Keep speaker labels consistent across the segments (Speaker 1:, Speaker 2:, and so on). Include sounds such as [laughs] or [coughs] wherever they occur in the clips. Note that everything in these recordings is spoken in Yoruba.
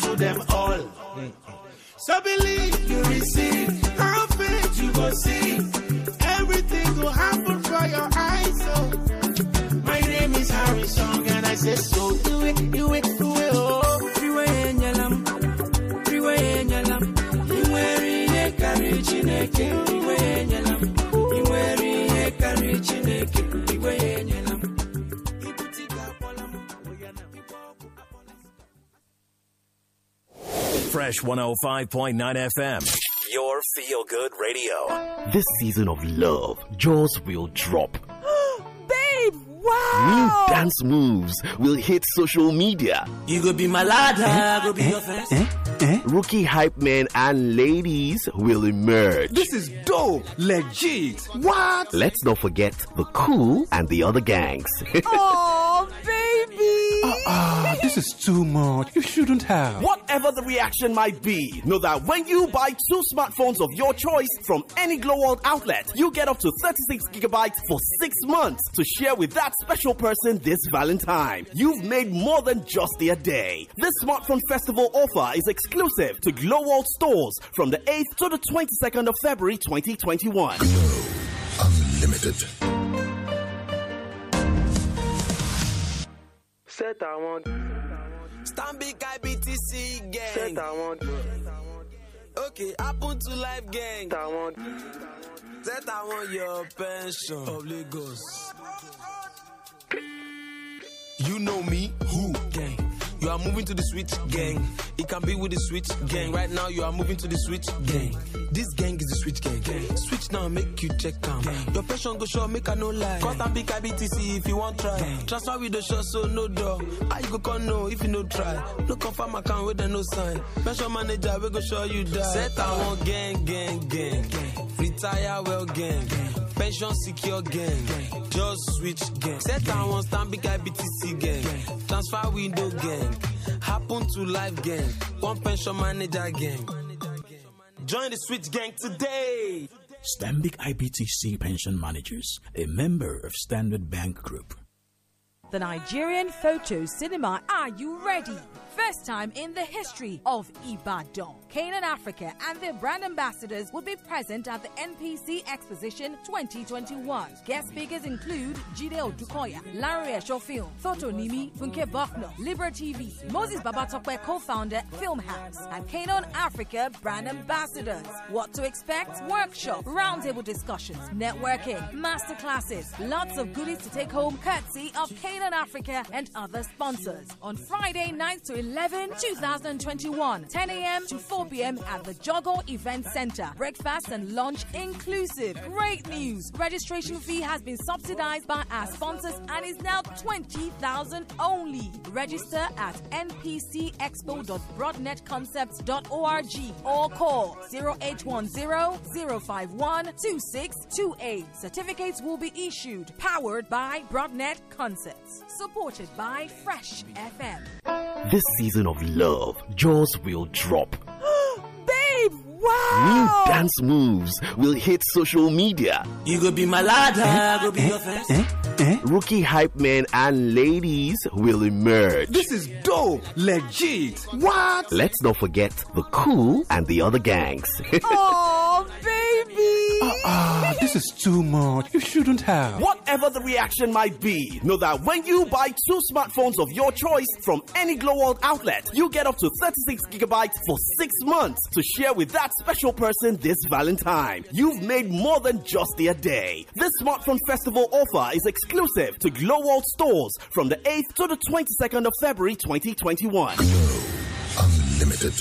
Speaker 1: to them all. So believe you receive, have faith you go see. Everything go happen for your eyes. So my name is Harry Song and I say so. Do it, do it, do it, oh. eh, eh,
Speaker 2: Fresh 105.9 FM, your feel good radio.
Speaker 3: This season of love, jaws will drop.
Speaker 4: Babe,
Speaker 3: New
Speaker 4: wow!
Speaker 3: dance moves will hit social media. Eh?
Speaker 1: You go be my lad, I go be your friend.
Speaker 3: Rookie hype men and ladies will emerge.
Speaker 5: This is dope, legit. What?
Speaker 3: Let's not forget the cool and the other gangs. [laughs]
Speaker 4: Oh, baby!
Speaker 5: Ah, this is too much. You shouldn't have.
Speaker 6: Uh-uh. Whatever the reaction might be, know that when you buy two smartphones of your choice from any Glow World outlet, you get up to 36 gigabytes for six months to share with that special person this Valentine. You've made more than just their day. This smartphone festival offer is exclusive to Glow World stores from the 8th to the 22nd of February 2021.
Speaker 7: Unlimited.
Speaker 8: Set I want,
Speaker 1: Stand big IBTC gang.
Speaker 8: set I want,
Speaker 1: Okay, happen to life gang.
Speaker 8: set I want,
Speaker 1: Set I want your pension. Public goals. You know me, who gang? You are moving to the switch gang. It can be with the switch gang. Right now, you are moving to the switch gang. This gang is the switch gang. Switch now, make you check am. Your pension go sure, make I no lie. Cost and big IBTC if you want try. Transfer with the shot, so no door. How you go come know if you no try? No confirm account with the no sign. Pension manager, we go show you die. Set I want gang, gang, gang. Retire well gang. Pension secure gang. Just switch gang. Set I want stand big IBTC gang. Transfer window gang. Happen to life gang. One pension manager gang. Join the switch gang today.
Speaker 9: Stanbic IBTC Pension Managers, a member of Standard Bank Group.
Speaker 4: The Nigerian Photo Cinema, are you ready? First time in the history of Ibadan. Canaan Africa and their brand ambassadors will be present at the NPC Exposition 2021. Guest speakers include Jide Odukoya, Larry Esho Film, Thoto Nimi, Funke Bokno, Libra TV, Moses Babatokwe co-founder, Film House, and Canaan Africa brand ambassadors. What to expect? Workshop, roundtable discussions, networking, masterclasses, lots of goodies to take home courtesy of Canaan Africa and other sponsors. On Friday, 9th to 11, 2021, 10 a.m. to 4 p.m. at the Jogo Event Center. Breakfast and lunch inclusive. Great news! Registration fee has been subsidized by our sponsors and is now 20,000 only. Register at npcexpo.broadnetconcepts.org or call 0810-051-2628. Certificates will be issued. Powered by Broadnet Concepts. Supported by Fresh FM.
Speaker 3: this season of love, jaws will drop.
Speaker 4: Babe,
Speaker 3: New
Speaker 4: wow!
Speaker 3: dance moves will hit social media.
Speaker 1: You go be my lad,
Speaker 5: Eh?
Speaker 1: I go be your friend.
Speaker 3: Rookie hype men and ladies will emerge.
Speaker 5: This is dope, legit. What?
Speaker 3: Let's not forget the cool and the other gangs. [laughs]
Speaker 4: Oh, baby!
Speaker 6: Uh-uh.
Speaker 5: Ah, this is too much. You shouldn't have.
Speaker 6: Whatever the reaction might be, know that when you buy two smartphones of your choice from any Glow World outlet, you get up to 36 gigabytes for six months to share with that special person this Valentine. You've made more than just their day. This smartphone festival offer is exclusive to Glow World stores from the 8th to the 22nd of February 2021.
Speaker 7: Unlimited.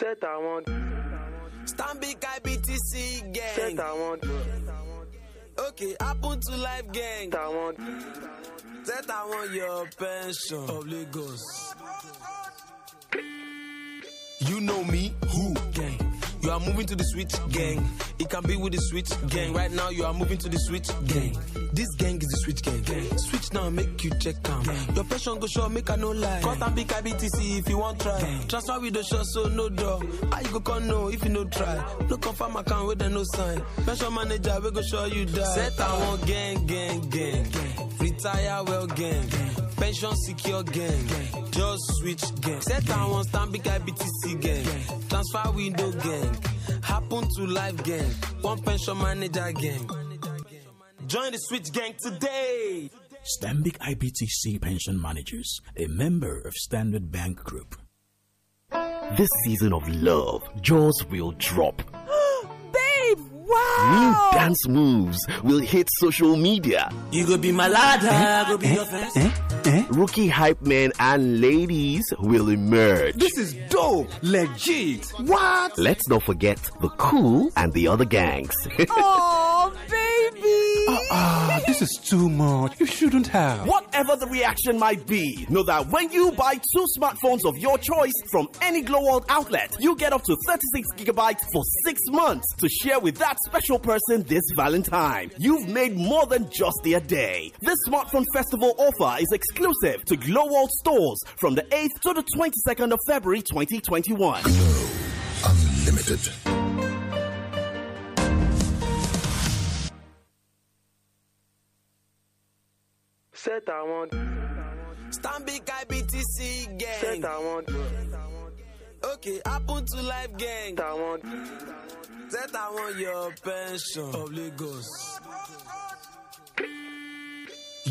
Speaker 8: set I want,
Speaker 1: Stand big IBTC
Speaker 8: set
Speaker 1: gang.
Speaker 8: I want,
Speaker 1: Okay, happen to life gang.
Speaker 8: set I want,
Speaker 1: That I want your pension. Public goals. You know me, who gang? You are moving to the switch gang. It can be with the switch gang. Right now, you are moving to the switch gang. This gang is the switch gang. Switch now, make you check am. Your pension go sure, make I no lie. Cut and pick IBTC if you want try. Transfer with the shot, so no door. How you go come know if you no try? No confirm account with the no sign. Pension manager, we go show you die. Set I want gang, gang, gang. Retire well, gang. Pension secure gang. Just switch gang. Set I want Stambik IBTC gang. Transfer window gang. Happen to life gang. One pension manager gang. Join the switch gang today.
Speaker 9: Stanbic IBTC Pension Managers, a member of Standard Bank Group.
Speaker 6: This season of love, jaws will
Speaker 2: [gasps]
Speaker 6: drop.
Speaker 10: Babe,
Speaker 3: New
Speaker 10: wow!
Speaker 3: dance moves will hit social media. Eh?
Speaker 11: You go be my ladder, go be your friend.
Speaker 3: Rookie hype men and ladies will emerge.
Speaker 2: This is dope. Legit. What?
Speaker 3: Let's not forget the cool and the other gangs. [laughs]
Speaker 10: Oh, baby!
Speaker 2: Ah, this is too much. You shouldn't have.
Speaker 6: Whatever the reaction might be, know that when you buy two smartphones of your choice from any Glow World outlet, you get up to 36 gigabytes for six months to share with that special person this Valentine. You've made more than just their day. This smartphone festival offer is exclusive to Glow World stores from the 8th to the 22nd of February 2021.
Speaker 12: Unlimited.
Speaker 13: Set I want.
Speaker 1: Stambik IBTC
Speaker 13: Set
Speaker 1: gang.
Speaker 13: I want.
Speaker 1: Okay, happen to life gang.
Speaker 13: Set I want.
Speaker 1: Set I want your pension of Lagos.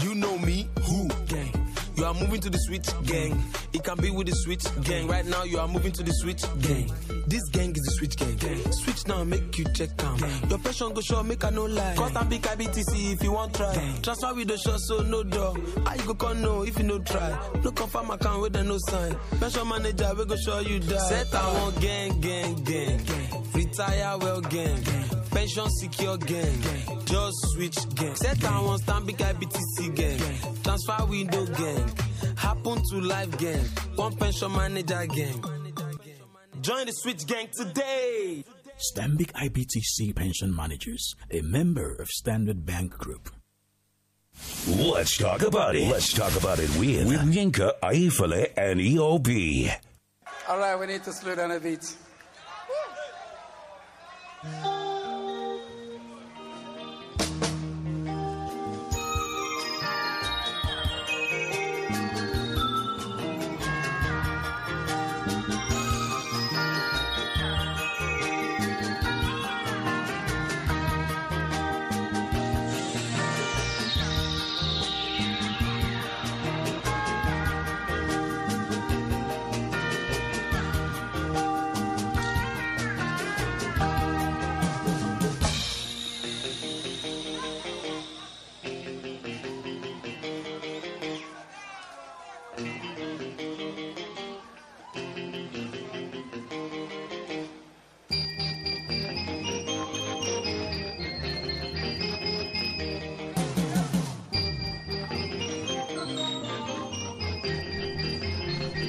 Speaker 1: You know me, who gang? You are moving to the switch gang. It can be with the switch gang. Right now, you are moving to the switch gang. This gang is the switch gang. Switch now, make you check am. Your pension go sure, make I no lie. Cost and big IBTC if you want try. Transfer with the short, so no door. How you go con no if you no try? No confirm account with the no sign. Pension manager, we go show you die. Set I want gang, gang, gang. Retire well gang. Pension secure gang. Just switch gang. Set I want stand big IBTC gang. Transfer window gang. Happen to life gang. One pension manager gang. Join the switch gang today.
Speaker 9: Stanbic IBTC Pension Managers, a member of Standard Bank Group.
Speaker 14: Let's talk about it. Let's talk about it with, with Yinka, Aifale, and E EOB.
Speaker 15: All right, we need to slow down a bit.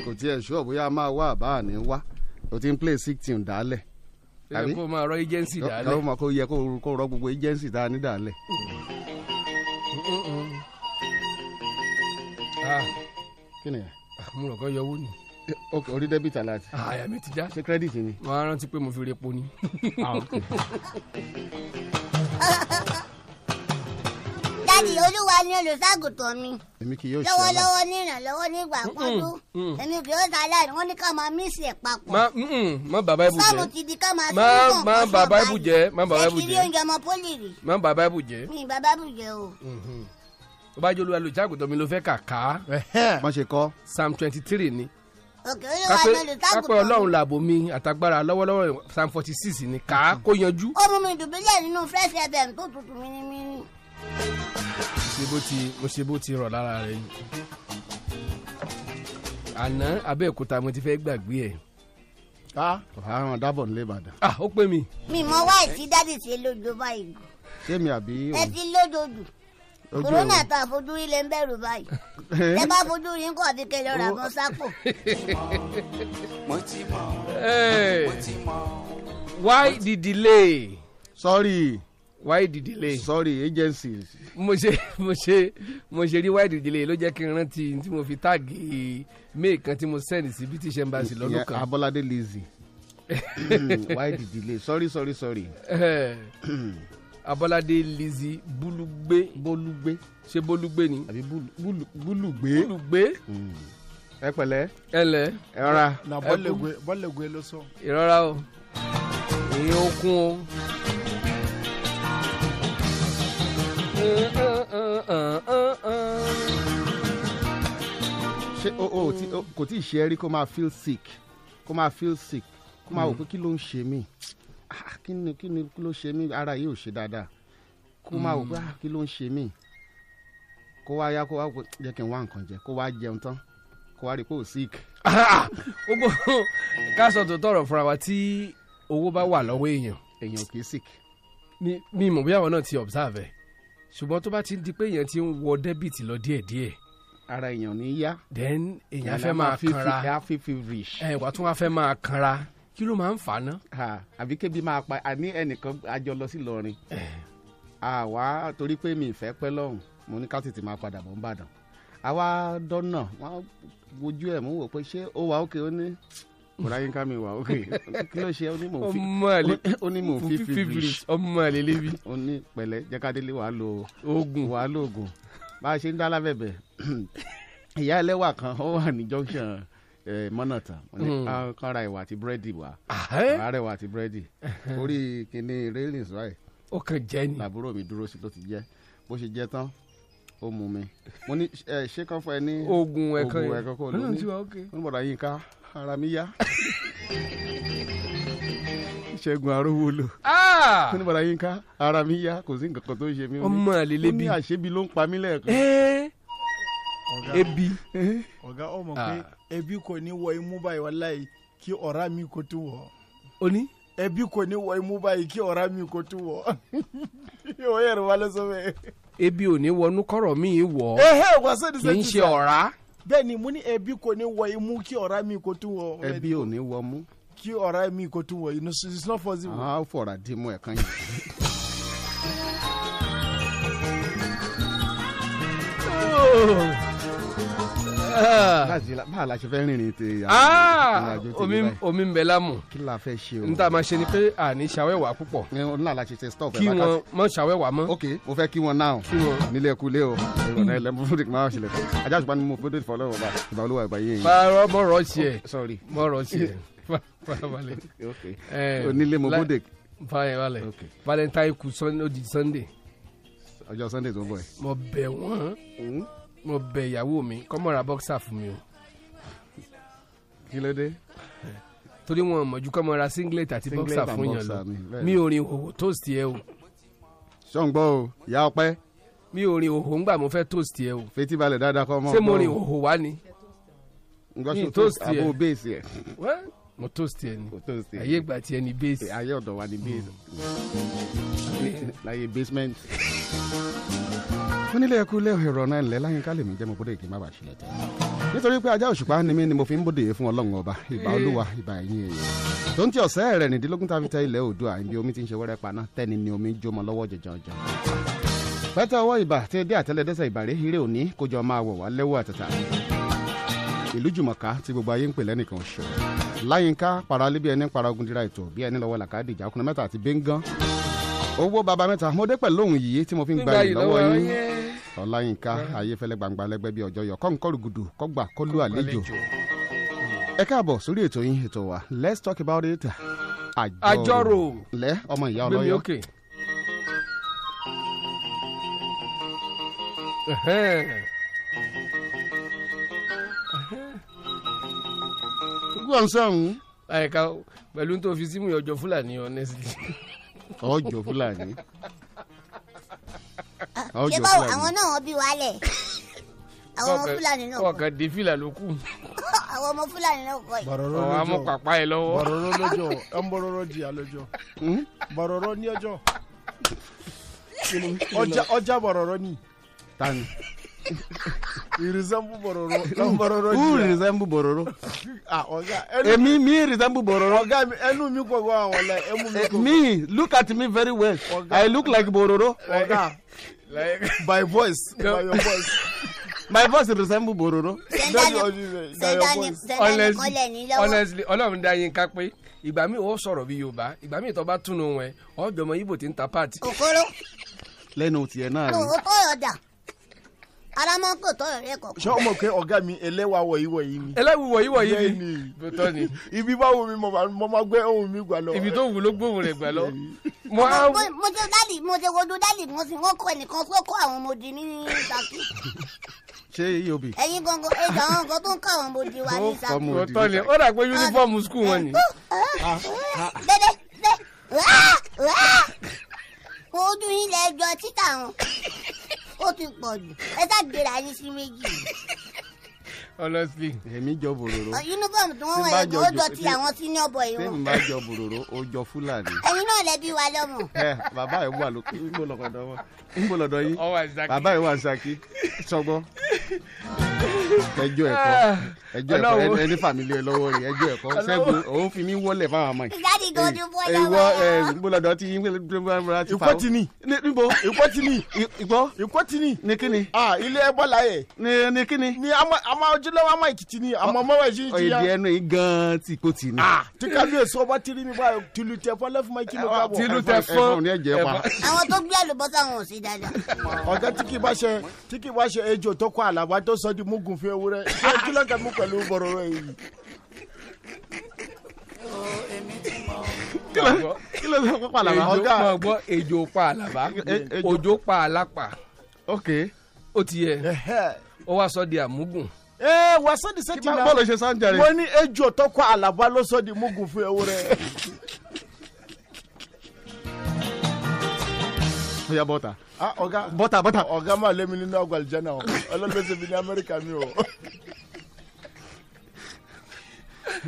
Speaker 16: kò tiẹ̀ ṣọ́ bóyá a máa wá àbá àní wá o ti ń play sick team dálẹ̀ àbí
Speaker 15: kó máa rọ agency
Speaker 16: kó
Speaker 15: dálẹ̀.
Speaker 16: mọ kó yẹ kó kó rọ gbogbo agency tá a ní dálẹ̀.
Speaker 15: Ah,
Speaker 16: kí ni ẹ
Speaker 15: mo rò kán yọwọ́ ni. Ah,
Speaker 16: Eh, ok orí debit alert
Speaker 15: àyà mi ti já.
Speaker 16: ṣe credit ni. Ah,
Speaker 15: mo á rántí pé mo fi repo ni.
Speaker 17: dáàdi olúwa ni olùṣàgùtàn mi
Speaker 16: èmi kì yóò ṣe ọ
Speaker 17: lọ́wọ́lọ́wọ́ ní ìrànlọ́wọ́ nígbà pọ́njú èmi kì yóò ṣàlàyé wọ́n ní ká máa mísì ẹ̀ papọ̀
Speaker 15: má mm-mm, má bà báìbù
Speaker 17: sọ́ọ̀mù
Speaker 15: jẹ́
Speaker 17: ti di ká máa
Speaker 15: má
Speaker 17: sílùkùn
Speaker 15: má
Speaker 17: kan
Speaker 15: bà
Speaker 17: sọ́ọ̀
Speaker 15: báìbù
Speaker 17: báyìí.
Speaker 15: jẹ́ má bà
Speaker 17: Ṣé
Speaker 15: báìbù
Speaker 17: kiri
Speaker 15: jẹ́
Speaker 17: oúnjẹ ọmọ pólì rí
Speaker 15: má bà báìbù jẹ́
Speaker 17: mi ìbá báìbù jẹ́ o
Speaker 15: tó bá jẹ́ olúwa lò jágùtọ̀ mi ló fẹ́ kàkà
Speaker 16: mọ ṣe kọ
Speaker 15: psalm twenty three ni
Speaker 17: òkè olúwa ni
Speaker 15: kápẹ́ kápẹ́
Speaker 17: olùṣàgùtàn
Speaker 15: ọlọ́run làbò mi àtagbára lọ́wọ́lọ́wọ́ psalm forty six ni kà á kó yanjú.
Speaker 17: ó mú mi dùbúlẹ̀ nínú fresh fm tó tutù mímímí
Speaker 15: ṣe bó ti mo ṣe bó ti rọ̀ lára rẹ̀ yìí. àná abẹ́òkúta mo ti fẹ́ gbàgbé ẹ̀.
Speaker 16: ká ọ̀hárán Ah, dábọ̀ nílé ìbàdàn
Speaker 15: ah ó pè mí.
Speaker 17: mi mọ wáì tí dáàdi ṣe lójó báyìí
Speaker 16: ṣé mi àbí
Speaker 17: ẹ
Speaker 16: òun
Speaker 17: ti lójoojú
Speaker 16: ojú
Speaker 17: kòrónà
Speaker 16: òun?
Speaker 17: tá a fojú rí lè ń bẹ̀rù báyìí
Speaker 15: [laughs]
Speaker 16: Eh?
Speaker 17: ẹ bá fojú rí nǹkan àfi kẹlẹ́ ọ̀rọ̀ àbọ̀ sápò
Speaker 15: Hey. why the delay
Speaker 16: sorry
Speaker 15: why the delay
Speaker 16: sorry agencies
Speaker 15: mo ṣe [laughs] mo ṣe mo ṣe rí why the delay ló jẹ́ kí n rántí tí mo fi táàgì mail kan tí mo send sí british embassy lọ́dún
Speaker 16: ìyẹn
Speaker 15: kan
Speaker 16: abolade Hmm,
Speaker 15: [laughs]
Speaker 16: lazy Hmm, why the delay sorry sorry sorry
Speaker 15: Eh, abolade lizzy bulugbe
Speaker 16: bolugbe
Speaker 15: ṣe bolugbe ni.
Speaker 16: àbí bulugbe
Speaker 15: bulugbe
Speaker 16: Hmm. ẹ pẹ̀lẹ́
Speaker 15: ẹlẹ
Speaker 16: ẹ rà
Speaker 18: na bọ́lẹ̀gwe bọ́lẹ̀gwe ló sọ.
Speaker 15: ìrora o èyí ó kún o.
Speaker 16: ṣé o o ti o- kò tí ì ṣe é rí kó máa feel sick kó máa feel sick kó máa wò
Speaker 15: Hmm.
Speaker 16: pé kí ló ń ṣe mí Ah, kí ni kí ni kí ló ṣe mí ara yìí ò ṣe dáadáa kó máa wò pé
Speaker 15: Hmm.
Speaker 16: "Ah, kí ló ń ṣe mí kó wá yá kó wá wò- jẹ́ kí n wá nǹkan jẹ kó wá jẹun tán kó wá rí pé ò sick.
Speaker 15: [laughs] gbogbo káṣọ tó tọrọ fúnra wa tí owó bá wà lọ́wọ́ èèyàn.
Speaker 16: èèyàn kì í sick.
Speaker 15: ni mi mọ̀ bí àwọn náà ti observe ẹ̀ ṣùgbọ́n tó bá ti di pé èèyàn ti ń wọ dẹ́bìtì lọ díẹ̀díẹ̀.
Speaker 16: ara èèyàn ní yá.
Speaker 15: then èèyàn
Speaker 16: Èèyàn
Speaker 15: fẹ́
Speaker 16: á
Speaker 15: máa
Speaker 16: máa feel-
Speaker 15: kanra
Speaker 16: á feel feverish.
Speaker 15: ẹ wà tún wá fẹ́ máa kanra kí ló máa ń fà á ná.
Speaker 16: Ha, àbí kébi máa pa àní ẹnìkan àjọ lọ sí Ìlọrin àwa torí pé mi ìfẹ́ pẹ́ lọ́hùn mo ní ká tètè máa padà bọ̀ nìbàdàn àwa dọ́nà wọ́n wojú ẹ̀ mú wò pé ṣé ó wà ókè ó ní kòláyínká mi wà ókè [laughs] kí ló ṣe ó ní mò ń fi
Speaker 15: ọmọ àlè
Speaker 16: ó ní mò ń fi feverish
Speaker 15: ọmọ àlè lébi.
Speaker 16: ó ní pẹ̀lẹ́ jẹ́kadélé wàá lo
Speaker 15: oògùn
Speaker 16: wàá lo oògùn bá a ṣe ń dá lábẹ́bẹ̀ [clears throat] ìyá ẹlẹ́wà kan ó wà ní junction eh, mọ́nàtàn mo ní
Speaker 15: Mm.
Speaker 16: "Ah, kán ra ìwà àti búrẹ́dì wá
Speaker 15: ẹ́?
Speaker 16: àárẹ̀wà àti búrẹ́dì orí kìíní railings right
Speaker 15: ó kàn jẹ́ ni.
Speaker 16: làbúrò mi dúró sí ló ti jẹ́ bó ṣe jẹ́ tán ó mú mi mo ní ẹ ṣé kán fún ẹ ní
Speaker 15: Oògùn ẹ̀kan
Speaker 16: oògùn
Speaker 15: yẹn.
Speaker 16: ẹ̀kan kò
Speaker 15: Ó náà
Speaker 16: lóní
Speaker 15: ti wà okay.
Speaker 16: ó ní bọ̀dá yín ká ara mi yá [laughs] ṣẹ́gun arówólò
Speaker 15: Ah!
Speaker 16: ó ní bọ̀dá yín ká ara mi yá kò sí nǹkan kan tó ń ṣe mí ó ní-
Speaker 15: Ọmọ àlè lébi.
Speaker 16: ó ní àṣebi ló ń pa mí lẹ́ẹ̀kan
Speaker 15: ẹ́ẹ́
Speaker 18: Ọ̀gá.
Speaker 15: ebi.
Speaker 18: ọ̀gá ó
Speaker 15: Ah.
Speaker 18: mọ̀ pé ẹbí kò ní wọ imú báyìí wàláyé kí ọ̀rá mi kò tún wọ̀.
Speaker 15: o ní.
Speaker 18: ẹbí kò ní wọ imú báyìí kí ọ̀rá mi kò tún wọ̀. [laughs] ó yẹ̀rù wa lọ́sọ̀ bẹ́ẹ̀.
Speaker 15: ebi ò ní wọnú kọ̀rọ̀ mi wọ̀
Speaker 18: ẹ̀hẹ́ wà sẹ́ni
Speaker 15: kì í ṣe ọ̀rá.
Speaker 18: bẹ́ẹ̀ ni mo ní ẹbí kò ní wọ imú kí ọ̀rá mi kò tún wọ̀.
Speaker 16: ẹbí ò ní wọ mú
Speaker 18: kí ọ̀rá mi kò tún wọ̀ you know, it's not possible.
Speaker 16: àwọn á fọ̀rà dì mú ẹ̀kan yẹn. Láti la- Ah! báà la ṣe fẹ́ rìnrìn tè
Speaker 15: Ah! Omi- omi ń bẹ lámù.
Speaker 16: kí la fẹ́ ṣe o.
Speaker 15: n ta ma ṣe ni pé àní ṣàwẹ́wà púpọ̀
Speaker 16: Ẹ, ó ní là la ṣe ṣe stop ẹ̀
Speaker 15: kí
Speaker 16: bá ká
Speaker 15: wọn mọ ṣàwẹ́wà mọ́.
Speaker 16: ok mo fẹ́ kí wọn náà
Speaker 15: Kí wọn. Hmm.
Speaker 16: nílé ẹkú lé o ìrọ̀lẹ́ ẹlẹ́ mo fún ìgbà ṣẹlẹ̀ ajá ṣùgbọ́n ni mo fún ìdíje fọlọ́wọ́ bá ìgbà olúwa ìgbà yẹn.
Speaker 15: Fara mọ́ rọ̀ tiẹ̀.
Speaker 16: sorry
Speaker 15: mọ́ rọ̀
Speaker 16: [laughs]
Speaker 15: tiẹ̀. farabalẹ̀.
Speaker 16: ok
Speaker 15: Eh,
Speaker 16: onílé mo
Speaker 15: la-
Speaker 16: bóde
Speaker 15: farabalẹ̀ valentine kù sun- ó di sunday
Speaker 16: ọjọ́ sunday tó ń bọ̀ ẹ̀.
Speaker 15: mo bẹ̀
Speaker 16: Mm-hmm.
Speaker 15: wọ́n mo bẹ̀ ìyàwó mi kọ́mọ̀ra boxer fún mi o
Speaker 16: kí ló dé.
Speaker 15: torí wọn mọ̀jú kọ́mọ̀ra singlet àti
Speaker 16: Singlet
Speaker 15: boxer
Speaker 16: and
Speaker 15: fún yàn
Speaker 16: boxer
Speaker 15: lọ
Speaker 16: ni, bẹ́ẹ̀
Speaker 15: mi
Speaker 16: ni.
Speaker 15: ò rin òhò toast yẹ o
Speaker 16: sọ̀ǹgbọ́ o ìyá ọpẹ́
Speaker 15: mi ò rin òhò ńgbà mo fẹ́ toast yẹ o
Speaker 16: fetí balẹ̀ dáadáa kọ́ ọmọ
Speaker 15: ṣé mo
Speaker 16: ọgbọ́n
Speaker 15: rin
Speaker 16: o.
Speaker 15: òhò wá ni
Speaker 16: nǹkan
Speaker 15: mi
Speaker 16: ṣe
Speaker 15: toast
Speaker 16: toast
Speaker 15: yẹ.
Speaker 16: abo base yẹ.
Speaker 15: Wẹ́, mo toast yẹ ni
Speaker 16: toast yẹ.
Speaker 15: ayé ìgbà tiẹ̀ ni base
Speaker 16: ayé ọ̀dọ̀ wa ni base. láyé basement. fún nílé ẹkú lé ẹ̀rọ náà ńlẹ̀ láyé ká lè mí jẹ́ mo bóde kí n má bàa ṣílẹ̀ tẹ́. nítorí pé ajá òṣùpá ni mí ni mo fi ń bóde yìí fún ọlọ́run ọba ìbà olúwa ìbà ẹ̀yìn èèyàn. tó ń ti ọ̀sẹ́ rẹ̀ nìdílógún tàbí tẹ ilẹ̀ oòdùà ibi omi ti ń ṣe wẹ́rẹ́ paná tẹ́ni ni omi ń jó mọ́ lọ́wọ́ jọjọjọ pẹ́tẹ́ ọwọ́ ibà tí dé àtẹlẹdẹ́sẹ̀ ìbàrẹ́ eré òní kójọ máa wọ̀ wá lẹ́wọ́ àtàtà ìlú jùmọ̀ká tí gbogbo ayé ń pè lẹ́nìkan ṣọ láyínká paralẹ́ bí ẹni paragun dira ètò bí ẹni lọ́wọ́ làkàdé ìjà ọkùnrin mẹ́ta àti bẹ́ngàn owó baba mẹ́ta mo dé pẹ̀lú òun yìí tí mo fi ń gba ìlú lọ́wọ́ yín ọláyínká ayéfẹ́lẹ́ gbangba lẹ́gbẹ́ bí ọjọ́ yọ kọ́ńkọ́rùgùdù kọ́gbà kọ́lú àlejò ẹ káàbọ̀ sórí ètò yín ètò wa let's talk about it
Speaker 15: Àjọrò.
Speaker 16: lẹ ọmọ ìyá
Speaker 15: gbé mi
Speaker 16: ọlọ́yọ́
Speaker 15: ókè. Ẹ̀hẹ́n.
Speaker 16: gbọ́n sọ̀hún
Speaker 15: àyíká pẹ̀lú tó fi símú ọjọ́ fúlàní honestly.
Speaker 16: ọjọ́ fúlàní
Speaker 19: ṣé Ah, báwo
Speaker 16: ọjọ́ fúlàní.
Speaker 19: àwọn náà wọn bí wálẹ̀ àwọn ọmọ fúlàní náà kọ́
Speaker 15: ọkàn dé fìlà ló kù
Speaker 19: [laughs] àwọn ọmọ fúlàní náà kọ́ yìí.
Speaker 18: bọ̀rọ̀rọ̀
Speaker 15: ọ̀hún amú
Speaker 18: lọ́jọ́
Speaker 15: pàpá ẹ lọ́wọ́.
Speaker 18: bọ̀rọ̀rọ̀ lọ́jọ́ ẹ̀ ń bọ̀rọ̀rọ̀ jìyà lọ́jọ́
Speaker 15: Hmm?
Speaker 18: bọ̀rọ̀rọ̀ ní ọjọ́ ọjà ọjà bọ̀rọ̀rọ̀ ni
Speaker 16: tani.
Speaker 18: ìrìsẹ́mbù bọ̀rọ̀rọ̀ ń bọ̀rọ̀rọ̀
Speaker 16: who
Speaker 18: jìyà
Speaker 16: resemble bororo.
Speaker 18: Ah, ọ̀gá ẹnu
Speaker 16: èmi mi resemble bororo.
Speaker 18: ọ̀gá mi ẹnu mi kò gbọ́ àwọn ọ̀la ẹmu mi
Speaker 16: Eh,
Speaker 18: kò gbọ́.
Speaker 16: me look at me very well
Speaker 18: Ọ̀gá.
Speaker 16: i look like bororo
Speaker 18: ọ̀gá by voice by your voice.
Speaker 16: [laughs] my voice resemble bororo.
Speaker 19: Sẹ́ńtà ni
Speaker 16: uh,
Speaker 18: Lọ́jọ́ ọdún rẹ̀, by your
Speaker 19: sẹ́ńtà ni
Speaker 18: voice.
Speaker 19: sẹ́ńtà ni
Speaker 15: honestly
Speaker 19: kọ́lẹ̀ ní lọ́wọ́.
Speaker 15: honestly ọlọ́run dá yín ká pé ìgbà míì ó sọ̀rọ̀ bí yorùbá ìgbà míì tó bá túnú wọn ọ̀dọ́mọ ibo ti ń ta pàtì.
Speaker 19: kòkòrò
Speaker 16: lẹ́nu tiẹ̀ náà rí.
Speaker 19: kò tọrọ dà aramọ kò tọrọ rẹ kọ.
Speaker 18: ṣé o mọ̀ pé ọ̀gá mi ẹlẹ́wà wọ̀nyíwọ̀nyí ni.
Speaker 15: ẹlẹ́wù wọ̀nyí wọ̀nyí
Speaker 18: Bẹ́ẹ̀
Speaker 15: ni bótọ́ ni
Speaker 18: ibi bá wo mi mo máa- mo máa gbé ohun mi gbà lọ.
Speaker 15: ibi tó wù ló gbóhùn rẹ̀ gbà lọ. mo á
Speaker 19: mo mo ṣe dálì mo ṣe wojú dálì mo sì wọn kọ ẹnìkan sókò àwọn ọmọdé ní saki
Speaker 16: ṣé eob.
Speaker 19: ẹyin gangan ẹjọ àwọn nǹkan tó ń kọ àwọn ọmọdé wa ní saki.
Speaker 15: bótọ́ ni ó dà pé yunifọ́ọ̀mù skul wọn ni.
Speaker 19: dẹdẹ dẹ wá wá ojú yín lẹ jọ títà wọn ó ti pọ̀ jù ẹ sá gbéra yín sí méjì
Speaker 15: honestly.
Speaker 16: èmi jọ bòròró
Speaker 19: yunifọ̀mù tí wọ́n
Speaker 16: Tí
Speaker 19: wọ̀
Speaker 16: n bá
Speaker 19: yẹn
Speaker 16: jọ
Speaker 19: ó
Speaker 16: jù-
Speaker 19: jọ ti àwọn senior boy wọn
Speaker 16: tèmi bá jọ bòròró o jọ fúlàní.
Speaker 19: ẹyin náà lẹbi wa lọmọ
Speaker 16: ẹ Eh, bàbá yìí wà lókè ńgbò lọkọdọ wọn ńgbò lọdọ yìí
Speaker 15: Ọwọ́ Àṣàkí.
Speaker 16: bàbá yìí wà saki sọgbọ ẹjọ ẹkọ ẹjọ ẹkọ
Speaker 15: Ọlọ́run.
Speaker 16: ẹni- ẹni fàmílì ẹ lọ́wọ́ rẹ ẹjọ ẹkọ
Speaker 15: Ọlọ́run.
Speaker 16: sẹgun òun fi mí wọlé fáwọn ọmọ yìí. eh,
Speaker 19: ìyáàdì gan ti bọ́
Speaker 16: ìwọ
Speaker 19: lọ́wọ́
Speaker 16: ẹ ńgbò lọdọ tí yín gbẹlẹ ti
Speaker 18: ìkọ́ ti ni.
Speaker 16: níbo
Speaker 18: ìkọ́ ti ni.
Speaker 16: ìgbọ́
Speaker 18: ìkọ́ ti ni.
Speaker 16: ní kíni
Speaker 18: ah ilé ẹ bọ́lá yẹ.
Speaker 16: ní ní kíni.
Speaker 18: ni àmà ojúlówó àmà èkìtì ni àmọ́ mọ́wá yìí ti
Speaker 16: òyìnbí
Speaker 18: yá.
Speaker 16: ẹnu yìí gan ti kò tì ní.
Speaker 18: tí kábíyèsí ọba ti rí mi báyìí tìlù tẹ fọ́ lẹ́fún mi kí ló ká bọ̀.
Speaker 16: tìlù tẹ fọ́. Ẹ̀fọn ni ẹ̀jẹ̀ pa.
Speaker 19: àwọn tó gbé àlùbọ́sà wọn ò sí dáadáa
Speaker 18: ọ̀gá tí kì í bá ṣe tí kì í bá ṣe ejò tó kọ àlàbà tó sọ di mugun fún ewúrẹ́ [laughs] ṣé kí ló ń kẹ́mi pẹ̀lú bọ̀rọ̀rọ̀ yìí.
Speaker 16: kí ló kí ló sọ pé pàlàbà
Speaker 15: Ejò
Speaker 16: ọgá.
Speaker 15: máa gbọ́ ejò pa àlàbá
Speaker 16: E- ejò-
Speaker 15: òjò pa àlàpà
Speaker 16: ok
Speaker 15: ó ti yẹ ó wá sọ di àmúgùn.
Speaker 18: ẹ wà sọ́ọ̀dì sẹ́tì
Speaker 16: Kí bá-
Speaker 18: náà
Speaker 16: bọ́ọ̀lù ṣe sáńjà rẹ̀.
Speaker 18: mo ní ejò tó kọ àlàbà ló sọ di mugun fún ewúrẹ́.
Speaker 16: ó yà bọ́ta
Speaker 18: Ah, ọ̀gá
Speaker 16: bọ́ta bọ́ta.
Speaker 18: ọ̀gá máa lé mi nínú ọgbà àlùjẹ́nà o ọlọ́lọ́sẹ̀ mi ní amẹ́ríkà mi o.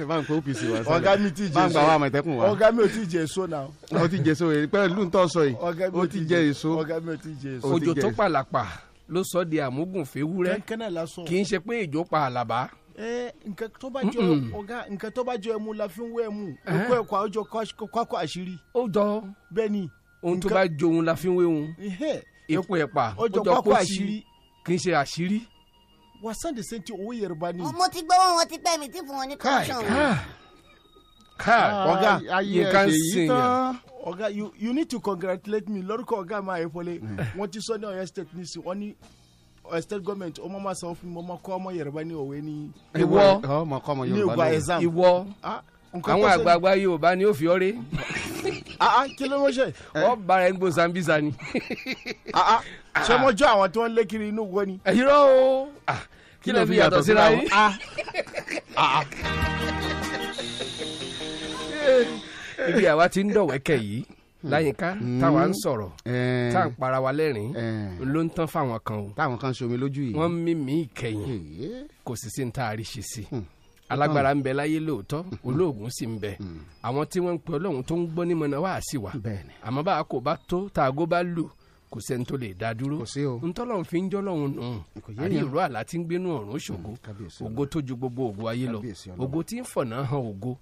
Speaker 16: ẹ bá ń pẹ́ opc wa sẹ́lẹ̀.
Speaker 18: ọ̀gá mi ti jẹ
Speaker 16: bá ń gbà wá àmọ̀tẹ́kùn wa.
Speaker 18: ọ̀gá mi ò ti jẹ èso náà.
Speaker 16: ó ti jẹ èso yìí pẹ̀lú ntọ́ sọ yìí
Speaker 18: ọ̀gá mi
Speaker 16: ó
Speaker 18: ò
Speaker 16: ti jẹ èso
Speaker 18: ọ̀gá mi ò ti jẹ èso.
Speaker 16: Ó ti
Speaker 15: òjò
Speaker 16: jẹ
Speaker 15: tó
Speaker 16: èso.
Speaker 15: pa àlàpà ló sọ di àmúgùn fèwúrẹ́
Speaker 18: kẹ́ńkẹ́n náà lásán.
Speaker 15: kì í ṣe pé ejò pa àlàbá.
Speaker 18: Eh, nkan tó bá jọ
Speaker 15: Mm-mm.
Speaker 18: ọ̀gá nkan tó bá jọ ẹmu la fi ń wé ẹmu
Speaker 15: Eh.
Speaker 18: òkú ẹ̀kọ́ àwùjọ kọ́kọ́ àṣírí
Speaker 15: ó jọ
Speaker 18: bẹ́ẹ̀ ni
Speaker 15: ohun tó
Speaker 18: Nǹkan-
Speaker 15: bá jo òun la fi ń wé òun
Speaker 18: Ehẹ́.
Speaker 15: epo ẹ̀pà
Speaker 18: ó jọ kọ́kọ́ àṣírí
Speaker 15: kì í ṣe àṣírí.
Speaker 18: wasan de senti owó yorùbá
Speaker 16: Hmm.
Speaker 18: ni.
Speaker 19: mo ti gbọ́ wọn wọn ti pẹ́ mi tí fún wọn ní corruption wọn.
Speaker 18: Ah,
Speaker 15: káà
Speaker 16: ọ̀gá
Speaker 15: nǹkan
Speaker 16: ayé ẹ̀ṣẹ̀
Speaker 15: sìn
Speaker 16: yìí tán.
Speaker 18: ọ̀gá you you need to congratulate me lórúkọ ọ̀gá mi àyẹ̀fọ́lẹ̀ wọ́n ti sọ ní ọ̀yọ́ state ní sí wọ́n ní ọ̀yọ́ state government ọmọ máa san fún mi ọmọ kọ́ ọmọ yorùbá ní òwe ní
Speaker 15: ìwọ
Speaker 16: ọmọ kọ́ ọmọ
Speaker 18: ní
Speaker 16: yorùbá
Speaker 18: ìgbà
Speaker 16: lónìí.
Speaker 18: exam.
Speaker 15: ìwọ
Speaker 18: Ah, nǹkan
Speaker 15: àwọn
Speaker 18: tó ṣe-
Speaker 15: àgbààgbà yorùbá ni ó fi ọrẹ
Speaker 18: [laughs] Ah, ah, kí ló mọ̀ ṣe
Speaker 15: ọ bára ẹ ń gbó sambisa ni.
Speaker 18: [laughs] Ah, ah, ṣé mo jọ àwọn tí wọ́n ń lé kiri inú wo ni.
Speaker 15: ẹ̀yin rọ o Ah, kí lè fi yàtọ̀ síra yín.
Speaker 18: Ah,
Speaker 15: [laughs] ibi àwa ti ń dọ̀wẹ́kẹ̀ yìí láyìnká
Speaker 16: Mm-hmm.
Speaker 15: táwa ń sọ̀rọ̀
Speaker 16: Ẹ̀ẹ́,
Speaker 15: tá à ń para wa lẹ́rìn
Speaker 16: Ẹ̀ẹ́.
Speaker 15: ló ń tán fáwọn kan o
Speaker 16: táwọn kan ṣomi lójú yìí.
Speaker 15: wọ́n ń mímí ìkẹyìn
Speaker 16: Èé,
Speaker 15: kò sì sí ní tá a rí ṣe sí
Speaker 16: Hmm.
Speaker 15: alágbára ń bẹ láyé lóòótọ́ olóògùn sì ń bẹ
Speaker 16: Hmm.
Speaker 15: àwọn tí wọ́n ń pe ọlọ́run tó ń gbọ́ ní mọ̀nà wá sí wa
Speaker 16: Bẹ́ẹ̀ni.
Speaker 15: àmọ́ bá a kò bá tó tá aago bá lù kò sẹ́ni tó lè dá dúró
Speaker 16: Kò sí o.
Speaker 15: ntọ́lọ́run fi ń jọ́lọ́run nù
Speaker 16: Kò yé
Speaker 15: àrí
Speaker 16: yẹn.
Speaker 15: ìró àlá tí ń gbénú ọ̀run ṣògo
Speaker 16: kábíyèsí
Speaker 15: ògo tó ju gbogbo ògo ayé lọ
Speaker 16: Kábíyèsí Ọlọ́run.
Speaker 15: ògo tí ń fọ̀nà hàn ògo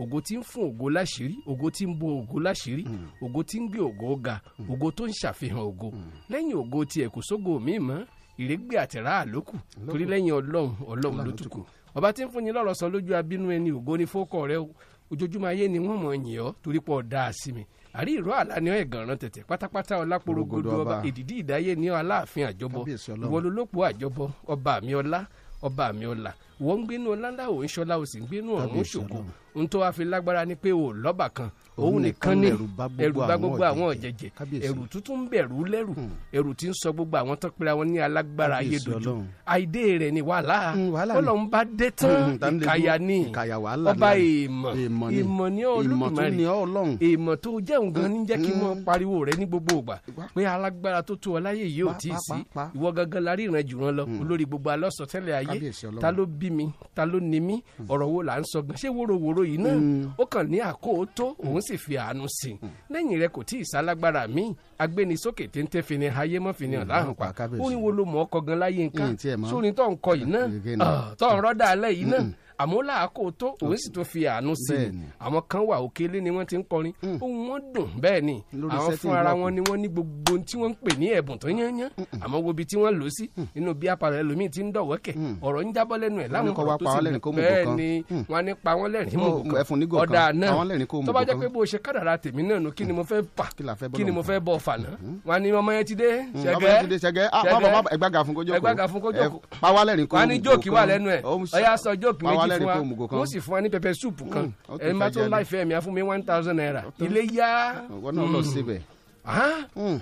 Speaker 15: ògo tí ń fún ògo láṣìírí ògo tí ń bo ògo láṣìírí ògo tí ń gbé ògo ga ògo tó ń ṣàfihàn ògo lẹ́yìn ògo tiẹ̀ kò sógo míì mọ́ ìrégbè àtẹ̀rá àlókù torí lẹ́yìn ọlọ́run ọlọ́run ló tún kù ọba tí ń fúnni lọ́rọ̀ sọ lójú abínú ẹni ògo ni fókọ̀ rẹ o ojoojúmọ́ ayé ni wọ́n mọ̀ yìn ọ́ torí pọ̀ dáa sí mi àrí ìró àlá ni ọ́ ẹ̀gànràn tẹ̀tẹ̀ pátápátá ọlápòrogodo
Speaker 16: Ògodo
Speaker 15: ọba
Speaker 16: ọba.
Speaker 15: èdìdí ìdáyé ni ọ́ aláàfin àjọbọ
Speaker 16: Kábíyèsí Ọlọ́run.
Speaker 15: ìwọ lólópo àjọbọ ọba àmì ọlá ọba àmì ọlá ìwọ ń gbénú ọlá ńlá òun ṣọlá o sì ń gbénú ọ̀run
Speaker 16: Kábíyèsí
Speaker 15: ṣògo
Speaker 16: Ọlọ́run.
Speaker 15: ohun tó wá fi lágbára ni pé o ò lọ́bà kan òun
Speaker 16: nìkan
Speaker 15: nìkan ni
Speaker 16: lẹ̀rù bá gbogbo
Speaker 15: ẹrù bá
Speaker 16: àwọn
Speaker 15: gbogbo àwọn
Speaker 16: ọ̀jẹ̀jẹ̀.
Speaker 15: ọ̀jẹ̀jẹ̀
Speaker 16: Kábíyèsí. Hmm.
Speaker 15: ẹrù tuntun ń bẹ̀rù lẹ́rù ẹrù tí ń sọ gbogbo àwọn tó pera wọn ní alágbára ayé
Speaker 16: Kábíyèsí
Speaker 15: dojú
Speaker 16: Ọlọ́run.
Speaker 15: àìdè rẹ̀ ni wàhálà
Speaker 16: Mm, wàhálà ni.
Speaker 15: ọlọ́run bá dé
Speaker 16: Mm,
Speaker 15: tán
Speaker 16: ta ni lè
Speaker 15: ìkàyà
Speaker 16: dúró?
Speaker 15: ni
Speaker 16: Ìkàyà wàhálà
Speaker 15: ọba
Speaker 16: ni.
Speaker 15: èèmọ̀ èèmọ̀
Speaker 16: Èèmọ̀ ni.
Speaker 15: ni
Speaker 16: Ìmọ̀ tún ni
Speaker 15: olùmọ̀rì
Speaker 16: ọ́ Ọlọ́run.
Speaker 15: èèmọ̀ tó jẹun gan ní jẹ́ kí wọ́n pariwo rẹ̀ ní gbogbo ìgbà pé alágbára tó tó ọ láyé yìí ò
Speaker 16: Pa,
Speaker 15: tí ì
Speaker 16: pa,
Speaker 15: sí
Speaker 16: pa, pa.
Speaker 15: ìwọ gangan la ríran jù wọn lọ olórí gbogbo alọ́sọ tẹ́lẹ̀ ayé
Speaker 16: Hmm. Kábíyèsí Ọlọ́run. Hmm.
Speaker 15: ta ló bí mi ta ló ni mí ọ̀rọ̀ wo là ń sọ gan ṣé wóróworó yìí náà ó kàn ní àkóótó
Speaker 16: Hmm.
Speaker 15: òun sì fi àánú sí i lẹ́yìn rẹ̀ kò tí ì sálágbára mi agbénisókè téńté fi ni ayé mọ́ fi ni ọ̀làhùn pa
Speaker 16: Hmm. Kábíyèsí. Hmm,
Speaker 15: ó ní wo ló mọ̀ ọkọ̀ gan láyé nǹkan
Speaker 16: Ìyìn tí ẹ̀ mọ́.
Speaker 15: sórin tó ń kọ yìí náà
Speaker 16: Gègé náà.
Speaker 15: ah, tó ń rọ́dà alẹ́ yìí náà àmọ́ làákò tó òun sì tó fi àánú sí i àwọn kan wà òkèlè ni wọ́n ti ń kọrin ohun wọn dùn bẹ́ẹ̀ ni
Speaker 16: Mm. Lórí
Speaker 15: àwọn
Speaker 16: setting
Speaker 15: fún ara
Speaker 16: block.
Speaker 15: wọn ni wọ́n ní gbogbo ohun tí wọ́n ń pè ní ẹ̀bùn tó yányán àmọ́ wo ibi tí wọ́n lò ó sí
Speaker 16: Mm.
Speaker 15: inú bí apàrọ̀ ẹlòmíì ti ń dọ̀wọ́kẹ̀ ọ̀rọ̀ ń jábọ́ lẹ́nu ẹ̀ láwọn
Speaker 16: kọ́ wa
Speaker 15: ọ̀rọ̀ tó
Speaker 16: pa
Speaker 15: sì
Speaker 16: Mm. wọ́n lẹ́rìn kó mú
Speaker 15: bẹ́ẹ̀
Speaker 16: nǹkan. Mm.
Speaker 15: ni wọ́n á ní pa wọ́n lẹ́rìn
Speaker 16: Ó,
Speaker 15: mú nǹkan.
Speaker 16: ẹfun ní gò kan.
Speaker 15: ọ̀dà
Speaker 16: Pa wọ́n lẹ́rìn kó mú
Speaker 15: náà tó bá
Speaker 16: nǹkan
Speaker 15: jẹ́
Speaker 16: kan.
Speaker 15: pé bó ṣe kádàrá tèmi náà nù kí ni mo fẹ́ pa kí ni mo fẹ́ bọ̀ fànà wọ́n ní ọmọ yẹn ti dé
Speaker 16: Mm-hmm. Mm. ọmọ yẹn ti dé, ṣẹ̀gẹ́. Ah, bàbá, bàbá, ẹgbága fún kó jókòó.
Speaker 15: ẹgbága fún kó
Speaker 16: Ẹ,
Speaker 15: jókòó
Speaker 16: pa wá lẹ́rìn kó
Speaker 15: wọ́n á ní
Speaker 16: mú
Speaker 15: jóòkì
Speaker 16: nǹkan
Speaker 15: wà
Speaker 16: kan.
Speaker 15: lẹ́nu ẹ̀
Speaker 16: Ó ń ṣe-
Speaker 15: ọ̀yá sọ jóòkì
Speaker 16: pa wá
Speaker 15: méjì
Speaker 16: lẹ́rìn kó
Speaker 15: fún
Speaker 16: mú
Speaker 15: wa
Speaker 16: nǹkan kan.
Speaker 15: wọ́n sì fún wa ní pẹpẹ súùpù kan
Speaker 16: Mm, ó tó
Speaker 15: ẹ̀ má tó
Speaker 16: fẹ́ jalè.
Speaker 15: láìfẹ́ mi á fún mi one thousand naira ilé yá
Speaker 16: Ìwọ náà lọ
Speaker 15: Mm.
Speaker 16: síbẹ̀.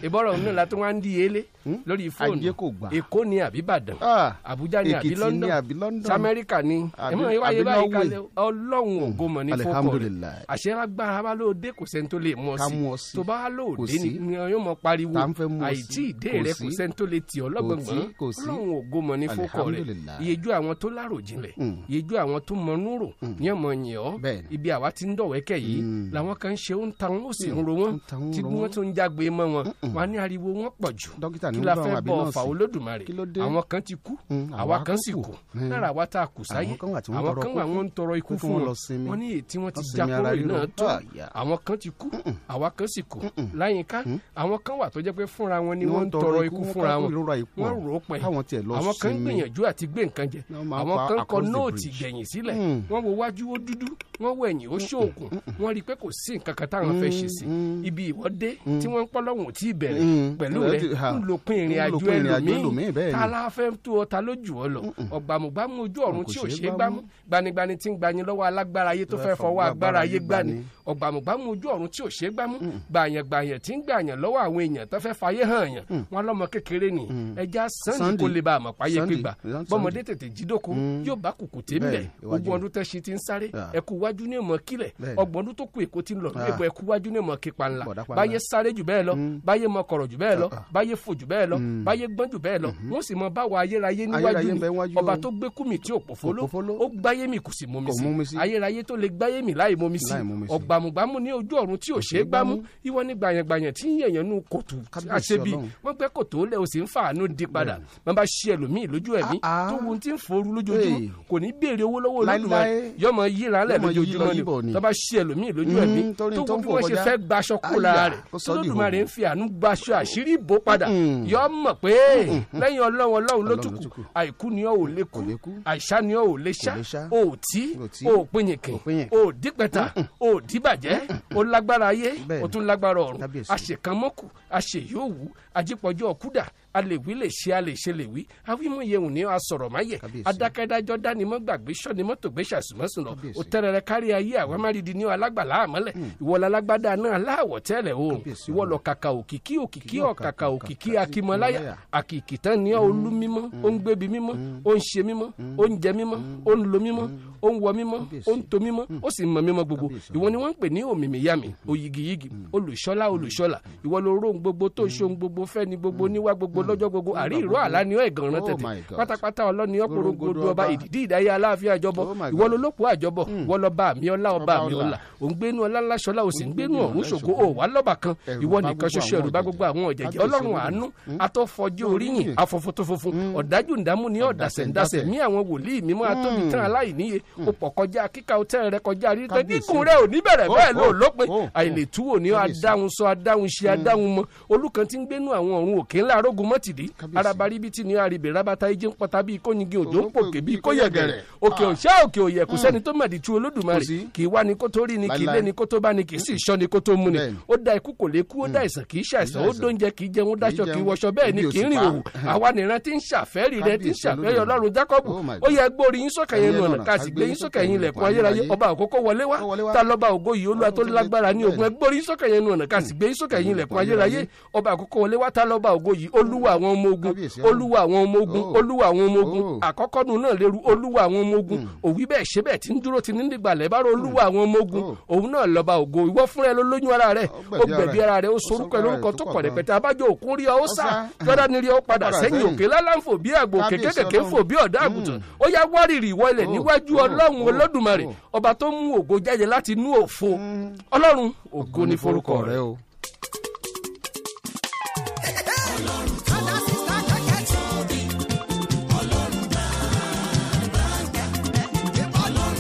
Speaker 15: ìbọ̀rọ̀ òun náà la tó wá ń di yéle lórí fóònù
Speaker 16: Hmm. Ajé kò gbà. Ah,
Speaker 15: èkó ni àbí ìbàdàn àbújá ni àbí
Speaker 16: Èkìtì ni àbí
Speaker 15: london
Speaker 16: London.
Speaker 15: samẹ́ríkà ni
Speaker 16: Àbí-
Speaker 15: ẹ̀mọ́ ìwà yẹn
Speaker 16: àbí
Speaker 15: báyìí
Speaker 16: Norway.
Speaker 15: kalẹ̀ ọlọ́run ògo mọ̀ ní fọ́kọ̀ rẹ̀
Speaker 16: Alhamdulillah.
Speaker 15: àṣẹ agbára bá lóde kò sẹ́ni tó lè mú ọ
Speaker 16: Ká
Speaker 15: sí
Speaker 16: mú ọ sí.
Speaker 15: tó bá lóde
Speaker 16: Kò sí.
Speaker 15: ni yóò mọ pariwo
Speaker 16: Tá ń fẹ́ mú ọ sí.
Speaker 15: àìtí ìdè
Speaker 16: Kò
Speaker 15: rẹ
Speaker 16: sí.
Speaker 15: kò sẹ́ni tó lè tì ọ lọ́gbọ̀ngbọ̀n
Speaker 16: kò sí.
Speaker 15: ọlọ́run ògo mọ̀ ní fọ́kọ̀ rẹ̀
Speaker 16: Alhamdulillah.
Speaker 15: iyejú àwọn tó lárò jinlẹ̀
Speaker 16: Mm.
Speaker 15: iyejú àwọn tó mọnú rò ní ọmọ yẹn ọ ibi àwa ti ń dọ̀wẹ́kẹ̀ yìí
Speaker 16: Mm.
Speaker 15: làwọn kan ń ṣe ó ń ta wọn ó sì ń ro wọn tí
Speaker 16: ro
Speaker 15: wọ́n
Speaker 16: wọ́n.
Speaker 15: tó ń jágbe mọ́ wọn wọn á ní ariwo wọn pọ̀ jù
Speaker 16: Dókítà ní
Speaker 15: kí la
Speaker 16: wúlò àwọn
Speaker 15: fẹ́
Speaker 16: àbí
Speaker 15: bọ̀
Speaker 16: nọ́ọ̀sì?
Speaker 15: fà olódùmarè
Speaker 16: Kí ló dé?
Speaker 15: àwọn kan ti kú
Speaker 16: Mm,
Speaker 15: àwa kan sì kù
Speaker 16: Mm.
Speaker 15: lára àwa tá a kù sáyé
Speaker 16: Àwọn kan wà tí wọ́n
Speaker 15: àwọn
Speaker 16: tọrọ
Speaker 15: kan
Speaker 16: kú
Speaker 15: wà
Speaker 16: fún.
Speaker 15: wọ́n ń tọrọ ikú
Speaker 16: Pé kí
Speaker 15: fún
Speaker 16: wọ́n
Speaker 15: wọn
Speaker 16: lọ sinmi.
Speaker 15: wọ́n ní èyí tí wọ́n ti
Speaker 16: Wọ́n
Speaker 15: já
Speaker 16: sinmi ara
Speaker 15: kúrò yìí
Speaker 16: ríro. Ah,
Speaker 15: náà tó
Speaker 16: Àyà.
Speaker 15: àwọn kan ti kú àwa kan sì kù láyìnká àwọn kan wà tó jẹ́ pé fúnra wọn ni
Speaker 16: Ni
Speaker 15: wọ́n
Speaker 16: wọ́n
Speaker 15: ń
Speaker 16: tọrọ
Speaker 15: tọrọ
Speaker 16: ikú,
Speaker 15: ikú
Speaker 16: wọ́n
Speaker 15: fúnra
Speaker 16: kákó
Speaker 15: wọn
Speaker 16: ìrora ikú
Speaker 15: wọ́n
Speaker 16: ọ̀hún.
Speaker 15: rò ó pẹ́
Speaker 16: Káwọn tiẹ̀ lọ
Speaker 15: àwọn kan
Speaker 16: sinmi.
Speaker 15: gbìyànjú àti gbé nǹkan jẹ
Speaker 16: Wọ́n máa
Speaker 15: àwọn
Speaker 16: pa
Speaker 15: kan kọ
Speaker 16: across the
Speaker 15: nóòtì
Speaker 16: bridge.
Speaker 15: gẹ̀yìn sílẹ̀
Speaker 16: Mm.
Speaker 15: wọ́n wo wájú ó dúdú wọ́n wo ẹ̀yìn ó ṣóògùn
Speaker 16: Hmm,
Speaker 15: wọ́n rí i pé kò sí nǹkan kan táwọn fẹ́ ṣe sí ibi ìwọ́de tí wọ́n ń pọ́ lọ́wọ́n tí ì bẹ̀rẹ̀
Speaker 16: Mm.
Speaker 15: pẹ̀lú
Speaker 16: Pẹ̀lú
Speaker 15: rẹ̀
Speaker 16: Hmm. ti- ha.
Speaker 15: ń lo pin ìrìn
Speaker 16: Ń
Speaker 15: àjò
Speaker 16: lo pin ìrìn àjò
Speaker 15: ẹlòmíì
Speaker 16: ẹlòmíì, bẹ́ẹ̀ ni. Hmm,
Speaker 15: tá a la fẹ́ tó ọ ta lójú ọ lọ ọ̀gbàmùgbàmù ojú ọ̀run
Speaker 16: Kò
Speaker 15: tí ò
Speaker 16: ṣeé
Speaker 15: ṣe é
Speaker 16: gbámú.
Speaker 15: gbámú gbanigbani tí ń gbani lọ́wọ́ alágbára ayé tó fẹ́ fọwọ́ agbára ayé gbani ọ̀gbàmùgbàmù ojú ọ̀run tí ò ṣe é gbámú
Speaker 16: Hmm.
Speaker 15: gbàyàngbàyàn tí ń gbàyàn lọ́wọ́ àwọn èèyàn tó fẹ́ fayé hàn yàn wọn lọ́mọ kékeré ni ẹja sànni
Speaker 16: Hmm. Sunday.
Speaker 15: kó lè bá àmọ̀ páyé
Speaker 16: Sunday.
Speaker 15: pígbà
Speaker 16: Sunday.
Speaker 15: bọ́mọdé tètè jí dóko
Speaker 16: Mm.
Speaker 15: yóò bá kùkùté ńbẹ̀
Speaker 16: Bẹ́ẹ̀, iwájú
Speaker 15: ogún
Speaker 16: ni.
Speaker 15: ọdún tẹ́ ṣe ti ń sáré
Speaker 16: Ah.
Speaker 15: ẹkú iwájú ní ìmọ̀ kílẹ̀
Speaker 16: Bẹ́ẹ̀.
Speaker 15: ọgbọ̀n ọdún tó kù èkó ti ń lọ
Speaker 16: Ah.
Speaker 15: níbo ẹkú iwájú ní ìmọ̀ kípa ńlá
Speaker 16: Bọ̀dá pa
Speaker 15: báyé
Speaker 16: ńlá. Hmm. Ah.
Speaker 15: sáré jù bẹ́ẹ̀ lọ báyé mọ kọ̀rọ̀ jù bẹ́ẹ̀ lọ báyé fò jù bẹ́ẹ̀ lọ
Speaker 16: Mm.
Speaker 15: báyé gbọ́n jù bẹ́ẹ̀ lọ wọ́n sì mọ báwo ayérayé
Speaker 16: Ayérayé
Speaker 15: níwájú
Speaker 16: ń bẹ níwájú
Speaker 15: ni ọba
Speaker 16: o.
Speaker 15: tó gbé kùmí tí ò pòfóló
Speaker 16: Kò pòfóló.
Speaker 15: ó gbáyé mi kò sì
Speaker 16: Kò mú
Speaker 15: momi
Speaker 16: mi
Speaker 15: sí
Speaker 16: sí.
Speaker 15: ayérayé tó lè gbáyé mi láì momi sí
Speaker 16: Láì momi sí.
Speaker 15: ọ̀gbàmùgbàmù ní ojú ọ̀run tí ò ṣeé gbámú ìwọ ní gbàyàngbàyàn tí ń yẹ̀yàn nú kòtò
Speaker 16: Kábíyèsí
Speaker 15: àṣebí
Speaker 16: Ọlọ́run.
Speaker 15: wọ́n gbẹ́ kòtò lẹ́ o sì ń fàánú di padà wọ́n bá ṣí ẹlòmíì lójú ẹ̀mí tó wọn ti ń foru lójoojúmọ́
Speaker 16: Ah, Hey.
Speaker 15: kò ní béèrè owó lọ́wọ́
Speaker 16: Láíláí.
Speaker 15: olódùmarè yọmọ yíra lẹ̀
Speaker 16: Yóò mọ yí lọ
Speaker 15: lójoojúmọ́ ni
Speaker 16: yíbọ̀ ni.
Speaker 15: tó bá ṣí ẹlòmíì lójú
Speaker 16: Mm,
Speaker 15: ẹ̀mí tó
Speaker 16: torí
Speaker 15: wọn
Speaker 16: tó ń
Speaker 15: bí
Speaker 16: fò
Speaker 15: wọ́n ṣe
Speaker 16: kọjá.
Speaker 15: fẹ́ gbaṣọ kó lára
Speaker 16: Àyà,
Speaker 15: rẹ̀
Speaker 16: ó sọ di
Speaker 15: olódùmarè
Speaker 16: ìhòòhò.
Speaker 15: ń fi àánú gbaṣọ àṣírí ìbò padà
Speaker 16: Mm.
Speaker 15: yọ mọ̀ pé lẹ́yìn ọlọ́run ọlọ́run ló
Speaker 16: Ọlọ́run ló
Speaker 15: tún
Speaker 16: tún
Speaker 15: kù
Speaker 16: kù.
Speaker 15: àìkú ni ó ò lè kú àìsá ni ó ò lè
Speaker 16: Kò lè
Speaker 15: ṣá
Speaker 16: ṣá.
Speaker 15: ó ò tí
Speaker 16: Ò tí.
Speaker 15: ó ò pinyìnkìn ó ò dípẹ́ta ó ò díbàjẹ́ ó lágbára ayé
Speaker 16: Bẹ́ẹ̀
Speaker 15: ó
Speaker 16: ni.
Speaker 15: tún lágbára ọ̀run
Speaker 16: Kábíyèsí.
Speaker 15: àṣekànmọ́kù àṣeyọ̀wù àjẹpọ̀jọ́ ọ̀kúdà alèwí lè ṣe alè ṣe lè wí awímúye òní asọ̀rọ̀ máyẹ̀ adákẹ́dájọ́ dánimọ̀ gbàgbé sọ́nimọ́tò gbé ṣàṣùmọ́sùn lọ
Speaker 16: Kábíyèsí. Mm.
Speaker 15: ó tẹ́rẹ̀rẹ̀ kárí ayé àwọn amárídi ní alágbàlá àmọ́lẹ̀ ìwọlá alágbádá náà láàwọ̀ tẹ́lẹ̀ oòrùn
Speaker 16: Kábíyèsí
Speaker 15: ìwọ lọ kàkà òkìkí òkìkí ọ̀kàkà òkìkí akímọláyà
Speaker 16: akímọláyà.
Speaker 15: àkìkì tán ni ọ́ olú mímọ́ ó ń gbébi mímọ́ ó ń ṣe mímọ́ ó ń jẹ mímọ́ ó ń lo mímọ́ ó ń wọ mímọ́ ó ń to mímọ́ ó sì ń mọ mímọ́ gbogbo ìwọ ni wọ́n ń pè ní òmìmìyàmì òyìgìyìgì olùṣọ́lá olùṣọ́là ìwọ ló rohun gbogbo
Speaker 16: Mm.
Speaker 15: tó ṣohun gbogbo fẹ́ni gbogbo níwá gbogbo lọ́jọ́ gbogbo àrí ìró àlá ni ọ́ ẹ̀gànràn
Speaker 16: Oh
Speaker 15: tẹ̀tẹ̀
Speaker 16: my God.
Speaker 15: pátápátá ọlọ́ni ọ̀pọ̀rọ̀gbọ̀dọ̀ ọba
Speaker 16: Gorongodo ọba.
Speaker 15: ìdí ìdáyé aláàfin àjọbọ
Speaker 16: Oh my God.
Speaker 15: ìwọ ló lópò àjọbọ ìwọ lọba àmì ọlá ọba
Speaker 16: Ọba
Speaker 15: àmì
Speaker 16: ọlá.
Speaker 15: ọlá òun gbénu ọlá ńláṣọlá o sì ń gbénu ọ̀hún ṣògo
Speaker 16: ṣògo.
Speaker 15: ò wá lọ́ba kan
Speaker 16: Ẹ̀rù
Speaker 15: ìwọ
Speaker 16: bá
Speaker 15: nìkan
Speaker 16: gbogbo
Speaker 15: ṣoṣo
Speaker 16: àwọn
Speaker 15: ẹ̀rù bá
Speaker 16: ọ̀jẹ̀jẹ̀.
Speaker 15: gbogbo àwọn ọ̀jẹ̀jẹ̀
Speaker 16: Kábíyèsí Mm.
Speaker 15: ọlọ́run
Speaker 16: Olúwa.
Speaker 15: àánú atọ́fọjú oríyìn afọfọ́tò funfun ọ̀dájú ǹdámú ni ọ̀dàsẹ̀ǹdàsẹ̀ mí àwọn wòlíì mímọ́ atóbi tán aláìníye ó pọ̀ kọjá kíkà ọtẹ́ rẹ kọjá rí pé
Speaker 16: Kábíyèsí.
Speaker 15: kíkùn rẹ ò ní bẹ̀rẹ̀
Speaker 16: Oh,
Speaker 15: bẹ́ẹ̀ ló
Speaker 16: oh,
Speaker 15: lópin
Speaker 16: oh, oh.
Speaker 15: àìlètúwò ni ó
Speaker 16: Kábíyèsí. Hmm.
Speaker 15: adáhùn sọ adáhùn ṣe adáhùn mọ olùkan tí ń gbénu àwọn ọ̀run òkè ńlá arógun mọ́tìdí
Speaker 16: Kábíyèsí.
Speaker 15: arabari bíi ti ní arìbè rabata ijé ń pọta bíi kóyingin òjò ń pòkè bíi kóyẹ̀gẹ̀rẹ̀
Speaker 16: Ah. Hmm.
Speaker 15: òkè òṣà òkè òyẹ̀ kò sẹ́ni tó mọ̀dí tu olódùmarè
Speaker 16: Kò sí.
Speaker 15: kì í wá ni kó tó rí ni kì í lé
Speaker 16: Láíláí. Hmm.
Speaker 15: ni kó tó bá ni kì í sì sọ ni kó tó mú ni
Speaker 16: Bẹ́ẹ̀ni. Hmm.
Speaker 15: ó da ikú kò lè kú ó da ìsàn kì í ṣàìsàn ó
Speaker 16: Kì í ṣàìsàn.
Speaker 15: dóúnjẹ kì í jẹun ó daṣọ
Speaker 16: Kì í
Speaker 15: kì í
Speaker 16: jẹun.
Speaker 15: wọṣọ bẹ́ẹ̀ ni
Speaker 16: Ebi ò
Speaker 15: kì í
Speaker 16: sì
Speaker 15: rìn
Speaker 16: pa.
Speaker 15: òwò
Speaker 16: Ah.
Speaker 15: àwa nìran tí ń ṣàfẹ́rí rẹ tí ń
Speaker 16: Kábíyèsí
Speaker 15: ṣàfẹ́rí
Speaker 16: Olódùmarè.
Speaker 15: ọlọ́run jákọ́bù
Speaker 16: Oh my God.
Speaker 15: ó yẹ gbórí yín sókè yẹn
Speaker 16: Ẹyẹ
Speaker 15: lọ́nà
Speaker 16: lọ́nà,
Speaker 15: ká sì gbé yín sókè yín lẹ̀kùn ayérayé
Speaker 16: ayérayé.
Speaker 15: ọba àkókò wọlé wá
Speaker 16: Ó wọlé wá.
Speaker 15: ta lọ́ba ògo yìí olúwa tó lágbára ní ogun ẹ gbórí yín sókè yẹn lọ́nà ká sì gbé yín sókè yín lẹ̀kùn ayérayé ọba àkókò wọlé wá ta lọ́ba ògo yìí olúwa àwọn ọmọ ogun
Speaker 16: Kábíyèsí Ọlọ́run.
Speaker 15: olúwa àwọn ọmọ ogun
Speaker 16: Oh.
Speaker 15: olúwa àwọn ọmọ ogun
Speaker 16: Oh. Hmm.
Speaker 15: àkọ́kọ́ nu náà léru olúwa àwọn ọmọ ogun òwí bẹ́ẹ̀ ṣe bẹ́ẹ̀ tí ń dúró ti ní nígbàlẹ̀ bá rọ olúwa àwọn ọmọ ogun òun náà lọ́ba ògo ìwọ fúnra ẹ ló lóyún ara rẹ
Speaker 16: gbẹ̀bí
Speaker 15: ó gbẹ̀bí
Speaker 16: ara
Speaker 15: ara rẹ ó
Speaker 16: Oh. ó
Speaker 15: sorúkọ
Speaker 16: sorúkọ ara
Speaker 15: lórúkọ
Speaker 16: rẹ̀
Speaker 15: tó
Speaker 16: tó
Speaker 15: kọ̀
Speaker 16: pọ̀
Speaker 15: rẹpẹtẹ abájọ òkun rí ọ ó sá
Speaker 16: sá.
Speaker 15: jọ́dánì rí ọ padà
Speaker 16: padà
Speaker 15: sẹ́yìn
Speaker 16: sẹ́yìn.
Speaker 15: òkè lálàǹfò bí àgbò òkè
Speaker 16: Kábíyèsí
Speaker 15: kékèké
Speaker 16: Ọlọ́run. Hmm.
Speaker 15: fò bí ọ̀dà àgùntàn ó yá wárìrì ìwọ ilẹ̀
Speaker 16: Oh,
Speaker 15: níwájú
Speaker 16: oh,
Speaker 15: ọlọ́run
Speaker 16: oh,
Speaker 15: olódùmarè
Speaker 16: oh. Hmm.
Speaker 15: ọba tó mú ògo jáde láti inú òfo ọlọ́run ògo ní forúkọ rẹ
Speaker 16: o.
Speaker 20: ọlọ́run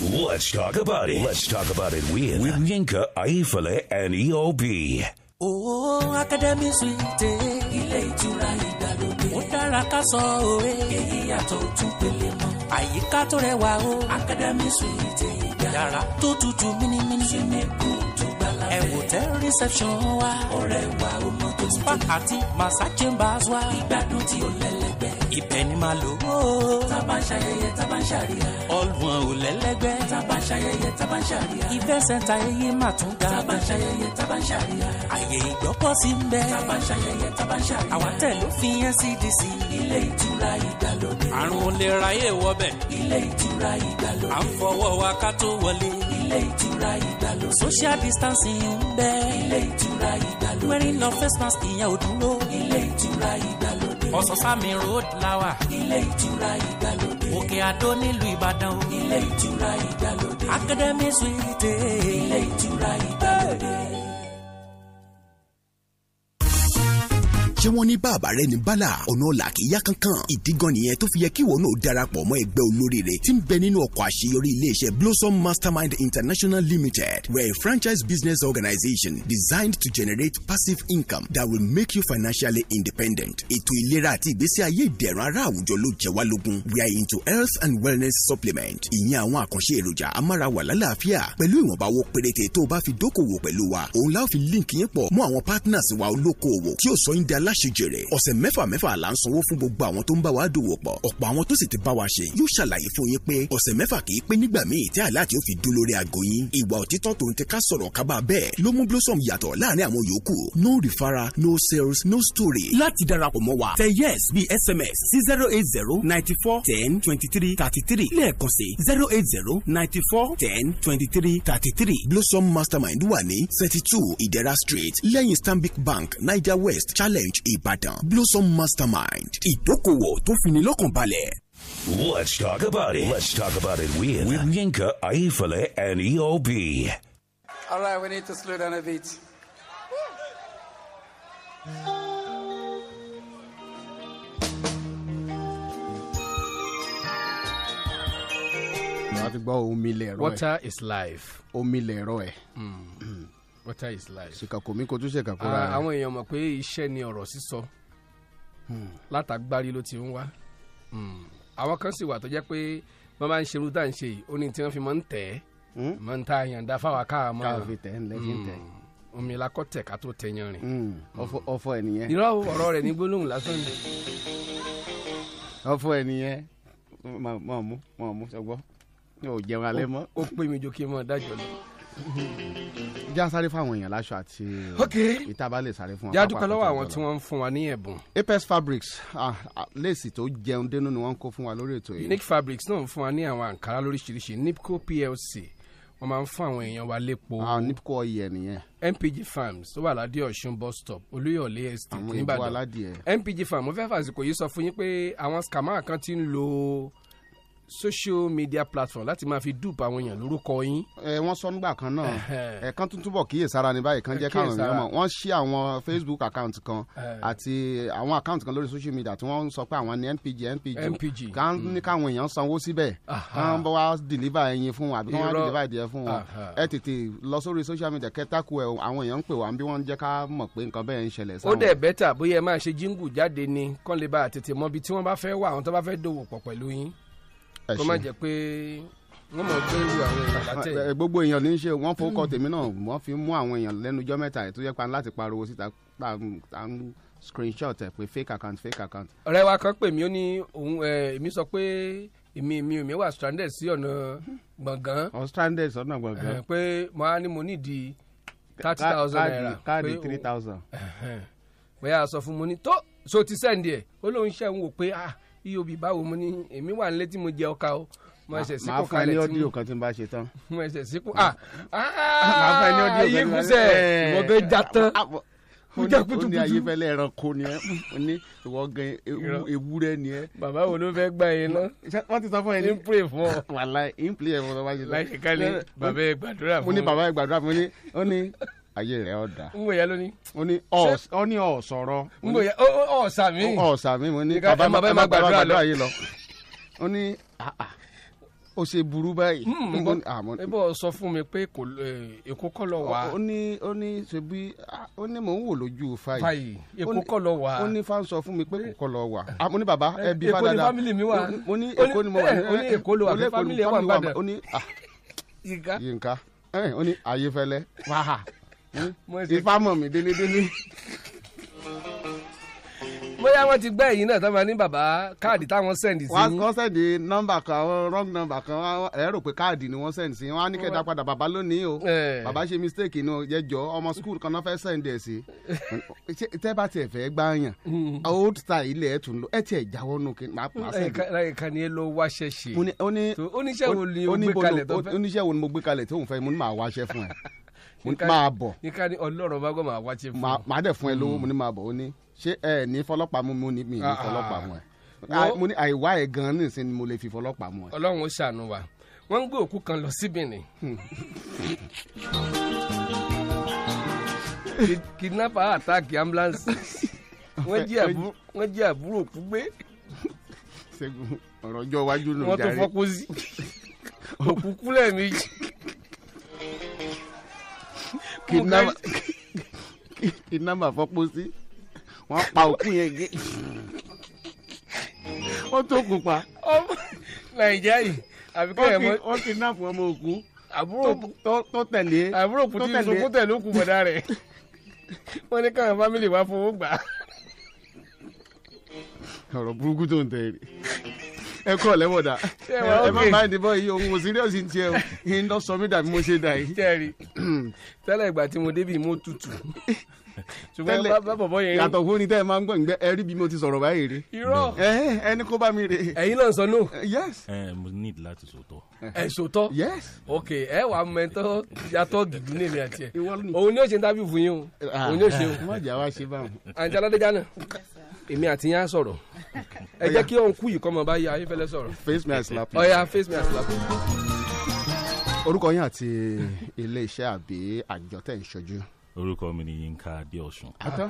Speaker 14: Let's talk about it. Let's talk about it with, with Yinka, Aifale, and E EOB.
Speaker 21: Owó Academy Suite ilé ìtura ìgbàlódé. Ó dára ká sọ òwe. Èyí yàtọ̀ ojú pele mọ́. Àyíká tó rẹwà o. Academy Suite ìgbà. Yàrá tó tutù mímímí. Sinimu tó gbala bẹ́ẹ̀. Ẹ̀wò tẹ́ reception wa. Ọ̀rẹ́ wa ó mọ tó ti dé. Spa àti massage chambers wa. Ìgbádùn tí ó lẹ́lẹ́gbẹ́. Ibẹ̀ ni màá lò ó. Tábà ń ṣayẹyẹ, tábà ń ṣàríyá. Ọlùwọ̀n ò lẹ́lẹ́gbẹ́. Tábà ń ṣayẹyẹ, tábà ń ṣàríyá. Event center eyé mà tún ga. Tábà ń ṣayẹyẹ, tábà ń ṣàríyá. Àyè ìgbọ́pọ̀ sí ń bẹ́. Tábà ń ṣayẹyẹ, tábà ń ṣàríyá. Àwọn tẹ̀ ló fi NCDC. Ilé ìtura ìgbàlódé. Àrùn olè ráyè wọbẹ̀. Ilé ìtura ìgbàlódé. À ń fọwọ́ wa ká tó wọlé. Ilé ìtura ìgbàlódé. Social distancing ń bẹ́. Ilé ìtura ìgbàlódé. Wearing no face mask ìyẹn ò dúró. Ilé ìtura ìgbàlódé ọ̀sán-sámi road lawa. ilé ìtura ìgbàlódé. òkè àdó nílùú ìbàdàn o. ilé ìtura ìgbàlódé. academy suite. ilé ìtura ìgbàlódé.
Speaker 22: ṣé wọ́n ní bàbá rẹ ní bala ọ̀nà ọ̀la kì í yá kankan ìdí gan nìyẹn tó fi yẹ kí ìwọ náà darapọ̀ mọ́ ẹgbẹ́ olóríire tí ń bẹ nínú ọkọ̀ àṣeyọrí iléeṣẹ́ blossom mastermind international limited we're a franchise business organization designed to generate passive income that will make you financially independent ètò ìlera àti ìgbésí ayé ìdẹ̀rùn ara àwùjọ ló jẹ́ wá lógún we are into health and wellness supplement ìyẹn àwọn àkànṣe èròjà amárawà lálàáfíà pẹ̀lú ìwọ̀nba owó péréte tó o bá fi dókòwò pẹ̀lú wa òun láò fi líǹkì yẹn pọ̀ mọ́ àwọn partners wa olókoòwò tí ó sọ yín di alá aláṣejèrè ọ̀sẹ̀ mẹ́fà mẹ́fà là ń sanwó fún gbogbo àwọn tó ń bá wa dòwò pọ̀ ọ̀pọ̀ àwọn tó sì ti bá wa ṣe yóò ṣàlàyé fún yín pé ọ̀sẹ̀ mẹ́fà kì í pé nígbà míì tí àlá àti òfin dún lórí aago yín ìwà òtítọ́ tó ń tẹ ká sọ̀rọ̀ kábà bẹ́ẹ̀ ló mú blossom yàtọ̀ láàrin àwọn yòókù no referral no sales no story. láti darapọ̀ mọ́ wa tẹ yes bí sms sí zero eight zero ninety four ten twenty three thirty three lẹ́ẹ̀kan sí zero eight zero ninety four ten twenty three thirty three blossom mastermind wà ní thirty two ìdẹ̀ra street lẹ́yìn stanbic bank niger west challenge Ibadan. Blossom Mastermind. Ìdókòwò tó fini lọ́kàn balẹ̀.
Speaker 14: Let's talk about it. Let's talk about it with, with Yinka, Aifale, and E EOB.
Speaker 23: All right, we need to slow down a bit.
Speaker 16: wàá fi gbọ́ omi lẹ̀rọ ẹ̀
Speaker 15: water is life.
Speaker 16: omi lẹ̀rọ ẹ̀.
Speaker 15: water is life.
Speaker 16: ṣìkàkò mi kò tún ṣèkàkò rà rẹ̀.
Speaker 15: Ah, àwọn èèyàn mọ̀ pé iṣẹ́ ni ọ̀rọ̀ sísọ
Speaker 16: Hmm.
Speaker 15: látàgbárí ló ti ń wá àwọn kan sì wà tó jẹ́ pé wọ́n máa ń ṣerú tá à ń ṣe yìí ó ní tí wọ́n fi máa ń tẹ̀ ẹ́ máa ń ta àyàndá fáwọn káà mọ́
Speaker 16: káà Hmm. fi tẹ̀ ẹ́ Hmm. ńlẹ́ fi ń tẹ̀.
Speaker 15: Hmm. omi lakọ tẹ ká tó tẹ yan rìn.
Speaker 16: ọfọ ẹ nìyẹn.
Speaker 15: Mm. irọ́ ọ̀rọ̀ rẹ̀ ní gbólóhùn lásán ni.
Speaker 16: ọfọ ẹ nìyẹn máa mú máa mú ṣọgbọ́n yóò jẹun alẹ́ mọ́.
Speaker 15: ó pè mí jó kí n mọ̀ dájọ́ lọ
Speaker 16: já sáré fún àwọn èèyàn láṣọ àti ìta bá lè sáré fún wa.
Speaker 15: já dúpẹ́ lọ́wọ́ àwọn tí wọ́n ń fún wa ní ẹ̀bùn.
Speaker 16: apex fabrics léèsì tó jẹun dénú ni wọ́n ń kó fún wa lórí ètò yìí.
Speaker 15: nick fabrics náà ń fún wa ní àwọn àǹkárá lóríṣiríṣi nipco plc wọ́n máa ń fún àwọn èèyàn wa lépo.
Speaker 16: àwọn Ah, nipco ọyẹ nìyẹn.
Speaker 15: mpg farms tó wà ládìí ọ̀ṣun bus stop olúyọ̀lé estate nìbàdàn mpg farm mo fẹ́ fàṣìkò yìí sọ fún yín pé àwọn scammer kan ti ń lo social media platform láti máa fi dùpọ̀ àwọn èèyàn lórúkọ yín.
Speaker 16: ẹ wọ́n sọ nígbà kan náà ẹ kan tuntun bọ kíyè sára ní báyìí kan jẹ káwọn èèyàn mọ wọ́n ṣí àwọn facebook account kan àti àwọn account kan lórí social media tí wọ́n sọ pé àwọn ní npg npg kan
Speaker 15: Mm.
Speaker 16: ní káwọn èèyàn sanwó síbẹ̀ kan bọ wá deliver ẹyin fún wọn àbí kan wá deliver ẹdìyẹ fún wọn ẹ tètè lọ sórí social media kẹtàkù ẹ àwọn èèyàn ń pè wá bí wọ́n jẹ ká mọ̀ pé nǹkan bẹ́ẹ̀ ń ṣẹlẹ̀ sáwọn.
Speaker 15: ó dẹ̀ bẹ́tà bóyá ẹ máa ṣe jíngù jáde ni kán lè bá àtètè mọ ibi tí wọ́n bá fẹ́ wà àwọn tó bá fẹ́ dòwò pọ̀ pẹ̀lú yín kó má jẹ pé wọn mọ pé irú àwọn èèyàn
Speaker 16: [laughs]
Speaker 15: látẹ.
Speaker 16: gbogbo èèyàn ní í ṣe wọn fowókọ
Speaker 15: Hmm.
Speaker 16: tèmi náà wọn fi mú àwọn èèyàn lẹnujọ mẹ́ta ẹ tó yẹ pa láti pariwo síta tá à ń screenshot ẹ pé fake account fake account.
Speaker 15: ọ̀rẹ́ wa kan pè mí ó ní òun èmi sọ pé èmi mi ò mi wà stranded sí ọ̀nà gbọ̀ngàn.
Speaker 16: ọ̀ stranded sọ̀nà gbọ̀ngàn.
Speaker 15: pé mo á ní mo nídìí thirty thousand naira.
Speaker 16: káàdì three
Speaker 15: [laughs]
Speaker 16: thousand.
Speaker 15: bóyá a sọ fún mo ní tó so ti sẹ́ǹdì ẹ̀ ó lóun ṣẹ́ ń wò pé ah iobi báwo mo ní èmi wà nílé tí mo jẹ ọkà o mo ẹsẹ̀ síkú kalẹ̀ tí mo máa fún ẹ ní
Speaker 16: ọdíò kan tí n bá ṣe tán.
Speaker 15: mo ẹsẹ̀ síkú ah ah ayé kúsẹ̀ mo gbé já tán
Speaker 16: Ah, ó ní ayéfẹ́lẹ́ ẹranko ni ẹ ó ní ìwọ gan ewúrẹ́ ni ẹ.
Speaker 15: bàbá wo ló fẹ́ gbà yín ná.
Speaker 16: wọ́n ti sọ fún ẹ ní.
Speaker 15: impre fún ọ.
Speaker 16: wàhálà impre ẹ̀ fún ọ bá ṣe tán.
Speaker 15: láì ṣe ká ní bàbá ẹ gbàdúrà fún mi.
Speaker 16: mo ní bàbá ẹ gbàdúrà fún mi ó ní ayé rẹ ọ̀dà.
Speaker 15: n bòyá ló ní.
Speaker 16: ó ní ọ ní ọ sọ̀rọ̀.
Speaker 15: n bòyá ọ ọ̀sà mi.
Speaker 16: ọ̀sà mi mo ní bàbá má gbàdúrà lọ. ó ní ó ṣe burú báyìí.
Speaker 15: Mm,
Speaker 16: Mo "Ah, ní,
Speaker 15: but-
Speaker 16: "Ah, mo ní-
Speaker 15: ẹ bọ́ sọ fún mi pé kò eh, èkó kọ́ lọ wá.
Speaker 16: ó ní ó ní ṣe bí ah, ó ní mò ń wò lójú fàyè.
Speaker 15: Fàyè, Èkó kọ́ lọ wà.
Speaker 16: ó ní fáwọn sọ fún mi pé kò kọ́ lọ wà. Ah, mo ní bàbá
Speaker 15: Eh,
Speaker 16: ẹbí
Speaker 15: Èkó ni family mi wà.
Speaker 16: mo ní
Speaker 15: Ó
Speaker 16: èkó
Speaker 15: ní-
Speaker 16: ni mo wà.
Speaker 15: eh, ó ní Èkó ló wà,
Speaker 16: Ó ní
Speaker 15: pé
Speaker 16: Èkó ni
Speaker 15: family ẹ̀ wà
Speaker 16: family
Speaker 15: Ìbàdàn.
Speaker 16: ó ní ah,
Speaker 15: Yinka.
Speaker 16: yinka Eh, ó ní ayéfẹ́lẹ́ wàhà
Speaker 15: Mo ṣe-
Speaker 16: ifá mọ̀ mí délédélé.
Speaker 15: bóyá wọ́n ti gbẹ́ ẹ̀yìn náà tó máa ní bàbá káàdì táwọn sẹ́ndì sí
Speaker 16: wọ́n
Speaker 15: yín.
Speaker 16: kọ́ sẹ́ndì nọ́mbà kan àwọn wrong number kan wá- ẹ rò pé káàdì ni wọ́n sẹ́ndì sí wọ́n á ní kẹ́ẹ̀dá padà bàbá lónìí o bàbá ṣe mistake ni o yẹ jọ ọmọ school kan náà fẹ́ sẹ́ndì ẹ̀ sí Ṣé tẹ́ bá tiẹ̀ fẹ́ gbáyàn old style ilẹ̀ ẹ̀ tún lọ ẹ̀ tiẹ̀ jáwọ́ nù kí máa pa sẹ́ndì.
Speaker 15: Ẹ̀ka- ẹ̀ka ni Hmm. ẹ lọ wáṣẹ́ ṣe.
Speaker 16: Mo ní- ó ní-
Speaker 15: So, oníṣẹ́ wo ni
Speaker 16: ó
Speaker 15: o
Speaker 16: ní
Speaker 15: gbé
Speaker 16: bo lo-
Speaker 15: kalẹ̀ tó
Speaker 16: ó-
Speaker 15: fẹ́.
Speaker 16: oníṣẹ́ wo ni mo gbé kalẹ̀ tó ń fẹ́ mo ní màá wáṣẹ́
Speaker 15: [laughs]
Speaker 16: fún ẹ Mo ní,
Speaker 15: Yinka-
Speaker 16: máa bọ̀
Speaker 15: Yinka ní ọlọ́run bá gbọ́ máa wáṣẹ́ fún
Speaker 16: màá-
Speaker 15: un.
Speaker 16: màá dẹ̀ fún ẹ lówó mo ní máa bọ̀ ó ní ṣé ẹ ní fọlọ́pàá mú mi Mo ní mi ní
Speaker 15: Hmm. Ah, ah.
Speaker 16: fọlọ́pàá mú ẹ
Speaker 15: Wọ́n-
Speaker 16: mo ní àìwá ẹ̀ gan-an nìsín ni mo lè fi fọlọ́pàá mú ẹ.
Speaker 15: ọlọ́run ó ṣàánú wa wọ́n ń gbé òkú kan lọ sí Benin. Kid- kidnapper attack ambulance wọ́n jí àbúrò wọ́n jí àbúrò òkú gbé
Speaker 16: ṣẹ́gun ọ̀rọ̀ ọjọ́ iwájú ló ń
Speaker 15: wọ́n tó
Speaker 16: darí.
Speaker 15: fọ́kú sí òkú kú lẹ́ẹ̀mejì.
Speaker 16: Kidnapper- [laughs] kidnapper fọ́pọ́ sí wọ́n pa òkú yẹn gé wọ́n tó kù pa
Speaker 15: Ọmọ Nàìjíríà yìí àbí kẹ́ ẹ̀ mọ́
Speaker 16: wọ́n ti náà fún ọmọ òkú
Speaker 15: àbúrò òkú-
Speaker 16: tó- tó tẹ̀lé
Speaker 15: àbúrò òkú
Speaker 16: tó
Speaker 15: tí
Speaker 16: tẹ̀lé-
Speaker 15: sunkún tẹ̀lé òkú bọ̀dá rẹ̀ wọ́n ní káwọn fámìlì wá fowó gbà á.
Speaker 16: ọ̀rọ̀ burúkú tó ń tẹ̀ ẹ́ ẹ kọ́ lẹ́wọ̀dà
Speaker 15: Ṣé wà
Speaker 16: ẹ má
Speaker 15: okay?
Speaker 16: bá ẹni bọ́ yìí òun ò síríọ̀sì tiẹ̀ o yìí ń lọ sọ mí dàbí mo ṣe dà yìí.
Speaker 15: tẹ́rì tẹ́lẹ̀ ìgbà tí mo débi mo tutù ṣùgbọ́n bá- bá bọ̀bọ̀ yẹn
Speaker 16: yàtọ̀ fún ni tẹ́ ẹ máa ń gbọ́ ìgbẹ́ ẹ rí bí mo ti sọ̀rọ̀ báyìí rí.
Speaker 15: irọ́
Speaker 16: ẹ ẹni kó bá mi rè.
Speaker 15: ẹ̀yin náà sọ nù.
Speaker 16: yes.
Speaker 24: ẹ mo need láti sòtọ.
Speaker 15: ẹ sòtọ.
Speaker 16: yes.
Speaker 15: ok ẹ wà mẹtọ yàtọ gidi ní èmi àti ẹ òun ni ó ṣe ń tábìlì fún yín o Ah.
Speaker 16: Ah.
Speaker 15: òun ni ó ṣe o
Speaker 16: má jà wá ṣe báwọn.
Speaker 15: àǹtí aládéjà náà èmi àti yín á sọ̀rọ̀ ẹ jẹ́ kí òun kú yìí kọ́ mọ bá yá ayéfẹ́lẹ́ sọ̀rọ̀
Speaker 16: face me i slap you.
Speaker 15: ọ̀ya face me as lap.
Speaker 16: orúkọ yín àti iléeṣẹ́ àbí àjọ tẹ̀ ń ṣojú.
Speaker 24: orúkọ mi ni yínká adéọsùn.
Speaker 16: àtọ́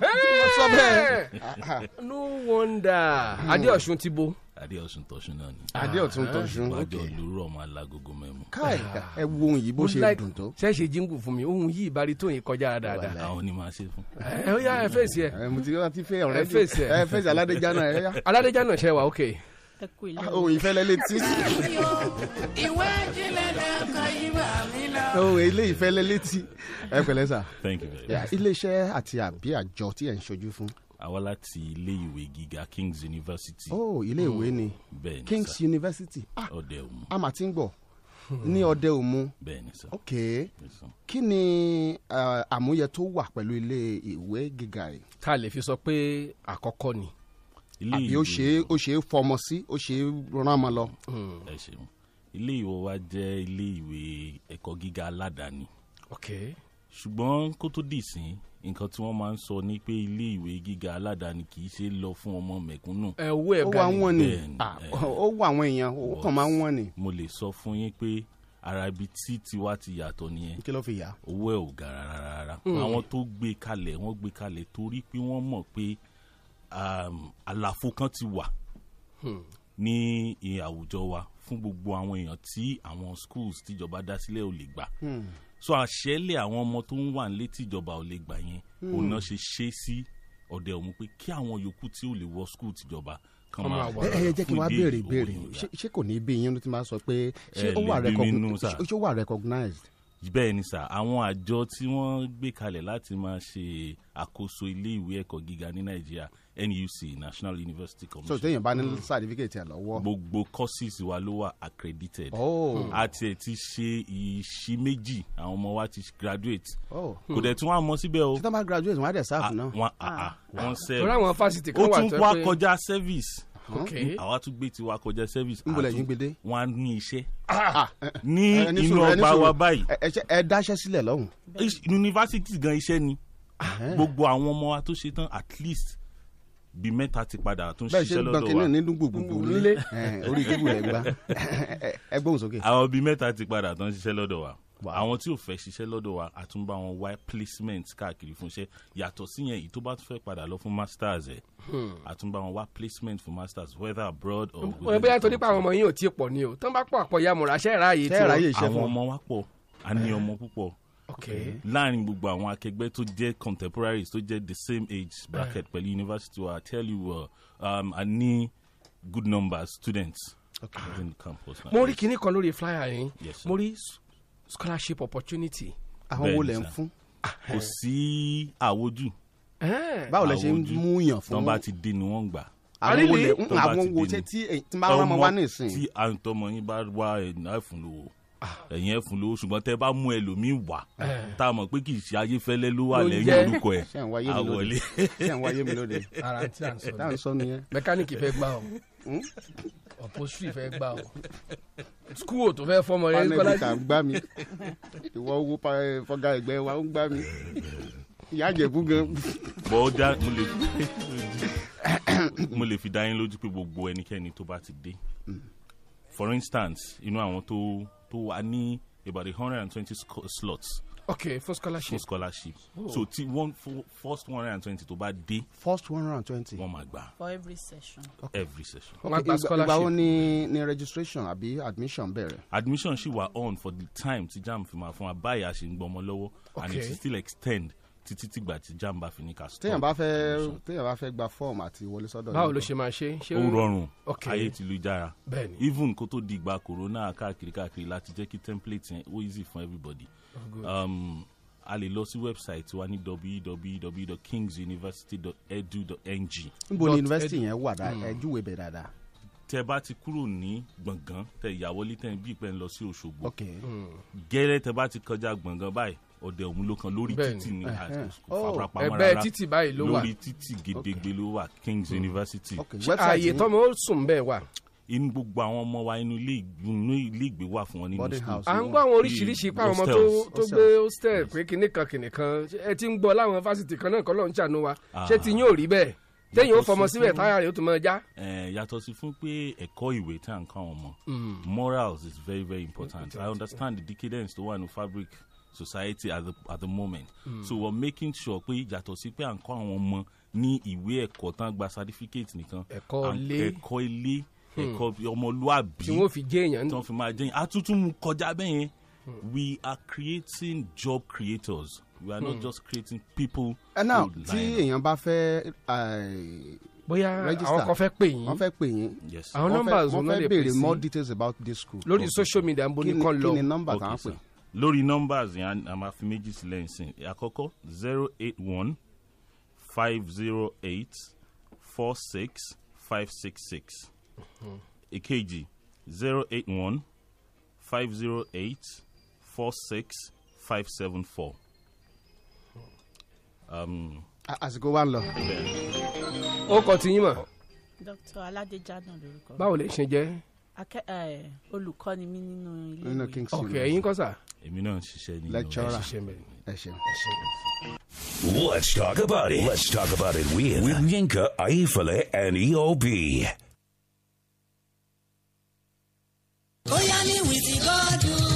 Speaker 15: sọ bẹ́ẹ̀. no wonder adéọ̀sùn ti bo.
Speaker 24: adéọsùn tọ̀sùn náà ni.
Speaker 16: Adéọ̀tún Tọ̀ṣun,
Speaker 24: wájú olóró ọmọ alágogo mẹ́mu.
Speaker 16: káì ẹ wo ohun yìí bó ṣe dùn tó.
Speaker 15: ṣẹ́ṣe jíǹkù fún mi ohun yìí ìbárí tó yìí kọjá dáadáa.
Speaker 24: àwọn ni màá ṣe fún.
Speaker 15: ẹ ó yá ẹ fèsì ẹ.
Speaker 16: ẹ mo ti yọra ti fẹ
Speaker 15: ẹ
Speaker 16: ọ̀rẹ́ di-
Speaker 15: fèsì ẹ.
Speaker 16: ẹ fèsì aládéjà náà ẹ yá.
Speaker 15: aládéjà náà ṣe wà ókè.
Speaker 16: ohun ìfẹ́lẹ́ létí.
Speaker 21: ìwé ìjìnlẹ̀ náà kọ ìwà mi lọ.
Speaker 16: ohun Oh, ilé ìfẹ́lẹ́ létí. ẹ pẹ̀lẹ́ sà.
Speaker 24: thank you very much.
Speaker 16: Yeah, iléeṣẹ́ àti àbí àjọ tí ẹ̀ ń ṣojú fún.
Speaker 24: àwa láti ilé ìwé gíga kings university. Mm,
Speaker 16: ó Oh, ilé ìwé ni
Speaker 24: bẹ́ẹ̀ni
Speaker 16: kings university. ah
Speaker 24: ọdẹ òmu.
Speaker 16: a mà ti ń gbọ̀ ní ọdẹ òmu.
Speaker 24: bẹ́ẹ̀ni sá.
Speaker 16: ok kí ni eh, àmúyẹ tó wà pẹ̀lú ilé ìwé gíga yìí.
Speaker 15: ká lè fi sọ pé àkọ́kọ́ ni.
Speaker 16: àbí ó ṣe é ó ṣe é fọmọ sí ó ṣe é rán ọmọ lọ.
Speaker 15: Hmm.
Speaker 24: ẹ ṣeun ilé ìwé wa jẹ́ ilé ìwé ẹ̀kọ́ gíga aládàáni.
Speaker 15: ok.
Speaker 24: ṣùgbọ́n kó tó dì sí nǹkan tí wọ́n máa ń sọ ni pé ilé ìwé gíga aládàáni kì í ṣe é lọ fún ọmọ mẹ̀kúnnù.
Speaker 15: ẹ owó ẹ̀
Speaker 16: ó wà
Speaker 15: ga ni.
Speaker 16: wọ́n ni
Speaker 24: Bẹ́ẹ̀ni,
Speaker 16: Ah, ó wà àwọn èèyàn ó kàn máa ń wọ́n ni.
Speaker 24: mo lè sọ fún yín pé ara ibi tí tiwa ti yàtọ̀ nìyẹn
Speaker 16: kí ló fi yà.
Speaker 24: owó ẹ̀ ò ga rárá rárá
Speaker 15: Hmm.
Speaker 16: Mm.
Speaker 24: àwọn tó gbé kalẹ̀ wọ́n gbé kalẹ̀ torí pé wọ́n mọ̀ pé um, àlàfo kan ti wà
Speaker 6: Hmm.
Speaker 24: ní i- àwùjọ wa fún gbogbo àwọn èèyàn tí àwọn schools tíjọba dá sílẹ̀ ò lè gbà so àṣẹlẹ̀ àwọn ọmọ tó ń wà nílé tíjọba ò lè gbà yẹn
Speaker 14: Hmm.
Speaker 24: òun náà ṣe ṣe sí ọ̀dẹ̀ òun pé kí àwọn yòókù tí ò lè wọ school tíjọba kan
Speaker 16: ẹ
Speaker 24: máa
Speaker 16: ẹ ẹ jẹ́ kí n
Speaker 24: fún
Speaker 16: wá
Speaker 24: ìdí
Speaker 16: béèrè
Speaker 24: èyí, owó
Speaker 16: béèrè
Speaker 24: yẹn ò
Speaker 16: ṣé- ṣé kò ní bí yín ló ti máa sọ pé
Speaker 24: Ẹ
Speaker 16: ṣé ó wà
Speaker 24: lè bí mi nú,
Speaker 16: recogni-
Speaker 24: sir.
Speaker 16: ṣé- ṣé ó wà recognized.
Speaker 24: bẹ́ẹ̀ ni sà àwọn àjọ tí wọ́n gbé kalẹ̀ láti máa ṣe àkóso iléèwé ẹ̀kọ́ gíga ní nàìjíríà nuc national university
Speaker 16: so
Speaker 24: commission
Speaker 16: téèyàn bá ní certificate ẹ lọ́wọ́.
Speaker 24: gbogbo courses wa ló wà accredited
Speaker 16: Oh.
Speaker 24: àti ẹ̀ ti ṣe ìṣí méjì àwọn ọmọ wa ti graduate
Speaker 16: Oh.
Speaker 24: kò dẹ̀ tún wá mọ́ síbẹ̀ o Ah,
Speaker 16: ṣé tó bá graduate wọn á dẹ̀ sáàfù náà. Ah.
Speaker 24: wọn àà wọn sẹ́ẹ̀
Speaker 15: Torí àwọn fásitì kan wà
Speaker 24: ó
Speaker 15: tó
Speaker 24: tún
Speaker 15: ẹ
Speaker 24: wá
Speaker 15: pé-
Speaker 24: kọjá service Hmm.
Speaker 15: Ok.
Speaker 24: àwa tún gbé tiwa kọjá service
Speaker 16: Níbo lẹ̀yin Ah.
Speaker 24: àtún-
Speaker 16: gbédé?
Speaker 24: wọn á ní iṣẹ́
Speaker 16: ẹ
Speaker 24: ní
Speaker 16: ní
Speaker 24: inú
Speaker 16: sùúrù, ẹ ní
Speaker 24: ọgbà wa
Speaker 16: sùúrù.
Speaker 24: báyìí
Speaker 16: ẹ ẹ ṣe- ẹ dáṣẹ́ sílẹ̀ lọ́hùn.
Speaker 24: Is- yunifásitì gan iṣẹ́ ni gbogbo àwọn ọmọ wa tó ṣe tán at least bíi mẹ́ta ti padà tún
Speaker 16: bẹ́ẹ̀ ṣe
Speaker 24: ṣiṣẹ́
Speaker 16: gbọ̀n
Speaker 24: lọ́dọ̀
Speaker 16: kínní
Speaker 24: wa
Speaker 16: nínú gbogbogbò nílé ẹ, orí ìdúgbò rẹ̀ gbá ẹ gbóhùn sókè.
Speaker 24: àwọn bíi mẹ́ta ti padà tún ṣiṣẹ́ lọ́dọ̀ wa àwọn tí ò fẹ́ ṣiṣẹ́ lọ́dọ̀ wa a tún bá wọn wá placement káàkiri fún iṣẹ́ yàtọ̀ síyẹn èyí tó bá tún fẹ́ padà lọ fún masters ẹ̀
Speaker 15: Hmm.
Speaker 24: a tún bá wọn wá placement fún masters whether abroad or
Speaker 15: wọ́n bóyá torí pé àwọn ọmọ yín ò tí ì pọ̀ ni o tán bá pọ̀ àpọ̀ ya mọ̀ra ṣẹ́ ráàyè tí
Speaker 24: àwọn ọmọ wa pọ̀ a ní ọmọ púpọ̀ láàrin gbogbo àwọn akẹgbẹ́ tó jẹ́ contemporaries tó jẹ́ the same age bracket pẹ̀lú university wa I tell you uh, um, a ní good number students within the campus.
Speaker 15: mo rí kinní kan lórí flyer yín
Speaker 24: Yes, sir.
Speaker 15: mo rí s- scholarship opportunity. Ah, eh.
Speaker 24: Bẹ́ẹ̀ ni, sir. kò sí àwojú.
Speaker 15: Ẹ́ẹ̀.
Speaker 16: Báwo lẹ ṣe ń
Speaker 24: Àwojú.
Speaker 16: mú yàn fún-
Speaker 24: tọ́n bá ti dé ni wọ́n ń gbà.
Speaker 16: Àwọn wo lẹ-
Speaker 24: Tọ́n bá
Speaker 16: àwọn
Speaker 24: ti
Speaker 16: wo
Speaker 24: dé
Speaker 16: ṣe
Speaker 24: ni.
Speaker 16: tí- eh, tí n bá rán ọmọ wá nísìn?
Speaker 24: tí à ń tọmọ yín bá wá ẹ̀yìn ẹ̀fún lówó ẹ̀yìn ẹ̀fún lówó ṣùgbọ́n tẹ́ bá mú ẹlòmíì wá
Speaker 16: Ẹ̀.
Speaker 24: tá a mọ̀ pé kì í ṣe ayéfẹ́lẹ́ ló wà
Speaker 16: Ló ń
Speaker 24: lẹ́yìn
Speaker 16: jẹ́.
Speaker 24: orúkọ ẹ̀
Speaker 16: Ṣé ń wáyé mi lóde?
Speaker 24: àwọlé.
Speaker 16: Ṣé ń wáyé mi lóde?
Speaker 15: ara tí à ń sọ
Speaker 16: Tá à ń sọ nìyẹn. Hmm?
Speaker 15: mẹkáníìkì fẹ́ gbà ọ́ ọ̀pọ̀sùn fẹ́ gbà ọ́ skúù tó fẹ́ fọmọ rẹ
Speaker 16: Panel
Speaker 15: kọ́lá
Speaker 16: kà ń gbá mi ìwọ owó pa- fọgá ẹgbẹ́ wa ń gbá mi ìyá àjẹbù gan.
Speaker 24: bọ́ ó dá mo lè mo lè fi dá yín lójú pé gbogbo ẹnikẹ́ni tó bá ti dé for instance inú àwọn tó tó wà ní about a hundred and twenty slots
Speaker 15: ok fún scholarship
Speaker 24: fún scholarship
Speaker 15: Oh.
Speaker 24: so ti one fo- first one hundred and twenty tó bá dé
Speaker 16: first one hundred and twenty.
Speaker 24: wọ́n máa gbà
Speaker 25: for every session.
Speaker 24: every session.
Speaker 16: Ok, ìgbà- ìgbà wo ni ni registration àbí admission bẹ̀rẹ̀.
Speaker 24: admission ṣì wà on for the time tí jam fi máa fún wa báyìí a ṣe ń gbọmọ lọ́wọ́ and it
Speaker 16: Okay.
Speaker 24: will still extend títí tìgbà tí jam bá fi ní ká stop.
Speaker 16: téèyàn bá fẹ́ téèyàn bá fẹ́ gba fọ́ọ̀mù àti wọlé sọ́dọ̀
Speaker 15: báwo
Speaker 16: yín
Speaker 15: ló
Speaker 16: kọ́?
Speaker 15: ṣe máa ṣe ṣé
Speaker 24: ó rọrùn
Speaker 15: ok
Speaker 24: ayé ti lu jára
Speaker 15: Bẹ́ẹ̀ni.
Speaker 24: even kó tó di ìgbà corona káàkiri káàkiri láti jẹ́ kí template yẹn ó easy fún everybody
Speaker 15: Oh, good.
Speaker 24: um, a lè lọ sí website wa ní www.kingsuniversity.edu.ng
Speaker 16: níbo ni yunifásitì yẹn wà dáa
Speaker 15: Mm.
Speaker 16: ẹ júwe bẹ̀ dáadáa.
Speaker 24: tẹ bá ti kúrò ní gbọ̀ngàn tẹ ìyàwọlé tẹ bí ìpẹ́ ń lọ sí òṣogbo
Speaker 16: ok
Speaker 24: gẹ́rẹ́ tẹ bá ti kọjá gbọ̀ngàn báyìí ọ̀dẹ̀ òun ló kan lórí
Speaker 15: Bẹ́ẹ̀ni.
Speaker 24: títì ní
Speaker 15: Ẹ̀hẹ́.
Speaker 24: àkókò farapamọ́
Speaker 15: Ẹ̀bẹ̀
Speaker 24: rárá.
Speaker 15: títì báyìí ló wà. Hmm.
Speaker 24: lórí títì gedegbe ló wà kings university
Speaker 15: Ṣé ààyè tọ́mọ ó sùn bẹ́ẹ̀ wà.
Speaker 24: inú gbogbo àwọn ọmọ wa inú ilé ìgbé- inú ilé ìgbé wà fún wọn nínú
Speaker 16: Boarding
Speaker 24: school.
Speaker 16: Hmm.
Speaker 15: à ń gbọ́ àwọn oríṣiríṣi pa àwọn ọmọ tó- tó gbé hostel pé kinní kan kinní kan Ṣé ẹ ti ń gbọ́ láwọn fásitì kan náà kọ́ ló ń ṣàánú wa ṣé
Speaker 24: Ah.
Speaker 15: ti yín ò rí bẹ́ẹ̀ téèyàn ó
Speaker 24: Yàtọ̀
Speaker 15: fọmọ
Speaker 24: sí
Speaker 15: síbẹ̀
Speaker 24: fún-
Speaker 15: táyà rẹ̀ ó tún máa já.
Speaker 24: Eh, yàtọ̀ sí fún pé ẹ̀kọ́ ìwé tí à ń kọ́ àwọn ọmọ
Speaker 15: Mm.
Speaker 24: morals is very very important
Speaker 15: Important,
Speaker 24: i understand the decadence tó wà ní fabric society at the, at the moment
Speaker 15: Mm.
Speaker 24: so we are making sure pé yàtọ̀ sí pé à ń kọ́ àwọn ọmọ ní ìwé ẹ̀kọ́ tán gba certificate nìkan
Speaker 15: Ẹ̀kọ́
Speaker 24: à ń-
Speaker 15: ilé.
Speaker 24: ẹ̀kọ́ ilé
Speaker 15: Hmm.
Speaker 24: ẹ̀kọ́ ọmọlúàbí
Speaker 15: Tí wọ́n fi jẹ́ èèyàn. Hmm.
Speaker 24: tí wọ́n fi máa jẹ́ èèyàn àtúntún mu kọjá bẹ́ẹ̀ yẹn we are creating job creators we are not
Speaker 16: Hmm.
Speaker 24: just creating people
Speaker 16: ẹ náà
Speaker 24: who
Speaker 16: Eh, tí
Speaker 24: line up.
Speaker 16: èèyàn bá fẹ́ eh,
Speaker 15: Bóyá àwọn kan fẹ́ pè yín.
Speaker 16: wọ́n fẹ́ pè yín
Speaker 24: Yes.
Speaker 15: Àwọn
Speaker 16: Wọ́n fẹ́-
Speaker 15: numbers wo
Speaker 16: wọ́n
Speaker 15: náà
Speaker 16: fẹ́
Speaker 15: lè pè
Speaker 16: béèrè
Speaker 15: sí?
Speaker 16: more details about this school
Speaker 15: lórí
Speaker 16: Okay.
Speaker 15: social media ń bo
Speaker 16: Kí
Speaker 15: ní
Speaker 16: ni-
Speaker 15: kán lọ.
Speaker 16: kí ni nọ́mbà tá à ń
Speaker 24: Okay,
Speaker 16: pè
Speaker 24: sir. lórí numbers yẹn a- a máa fi méjì sílẹ̀ nsìn àkọ́kọ́ zero eight one five zero eight four six five six six
Speaker 15: Mhm.
Speaker 24: èkejì zero eight one five zero eight four six five seven four. Um,
Speaker 16: À- àsìkò wa ń lọ.
Speaker 15: ó kọ ti yín mọ̀
Speaker 25: Dr. Aladejadan lorúkọ. mi.
Speaker 15: báwo lè ṣe jẹ́.
Speaker 25: Akẹ́ ẹ̀ olùkọ́ni mi nínú ilé
Speaker 16: Nínú
Speaker 25: ìwé.
Speaker 16: King's
Speaker 15: ok ẹ̀yin kọ́ sà.
Speaker 24: èmi náà ń ṣiṣẹ́ nínú
Speaker 16: lecturer
Speaker 24: ẹ̀.
Speaker 16: ẹ ṣeun.
Speaker 14: Let's talk about it. Let's talk about it with, with Yinka, Aifale, and E EOB.
Speaker 21: Bóyá ní wìtí gọ́dù.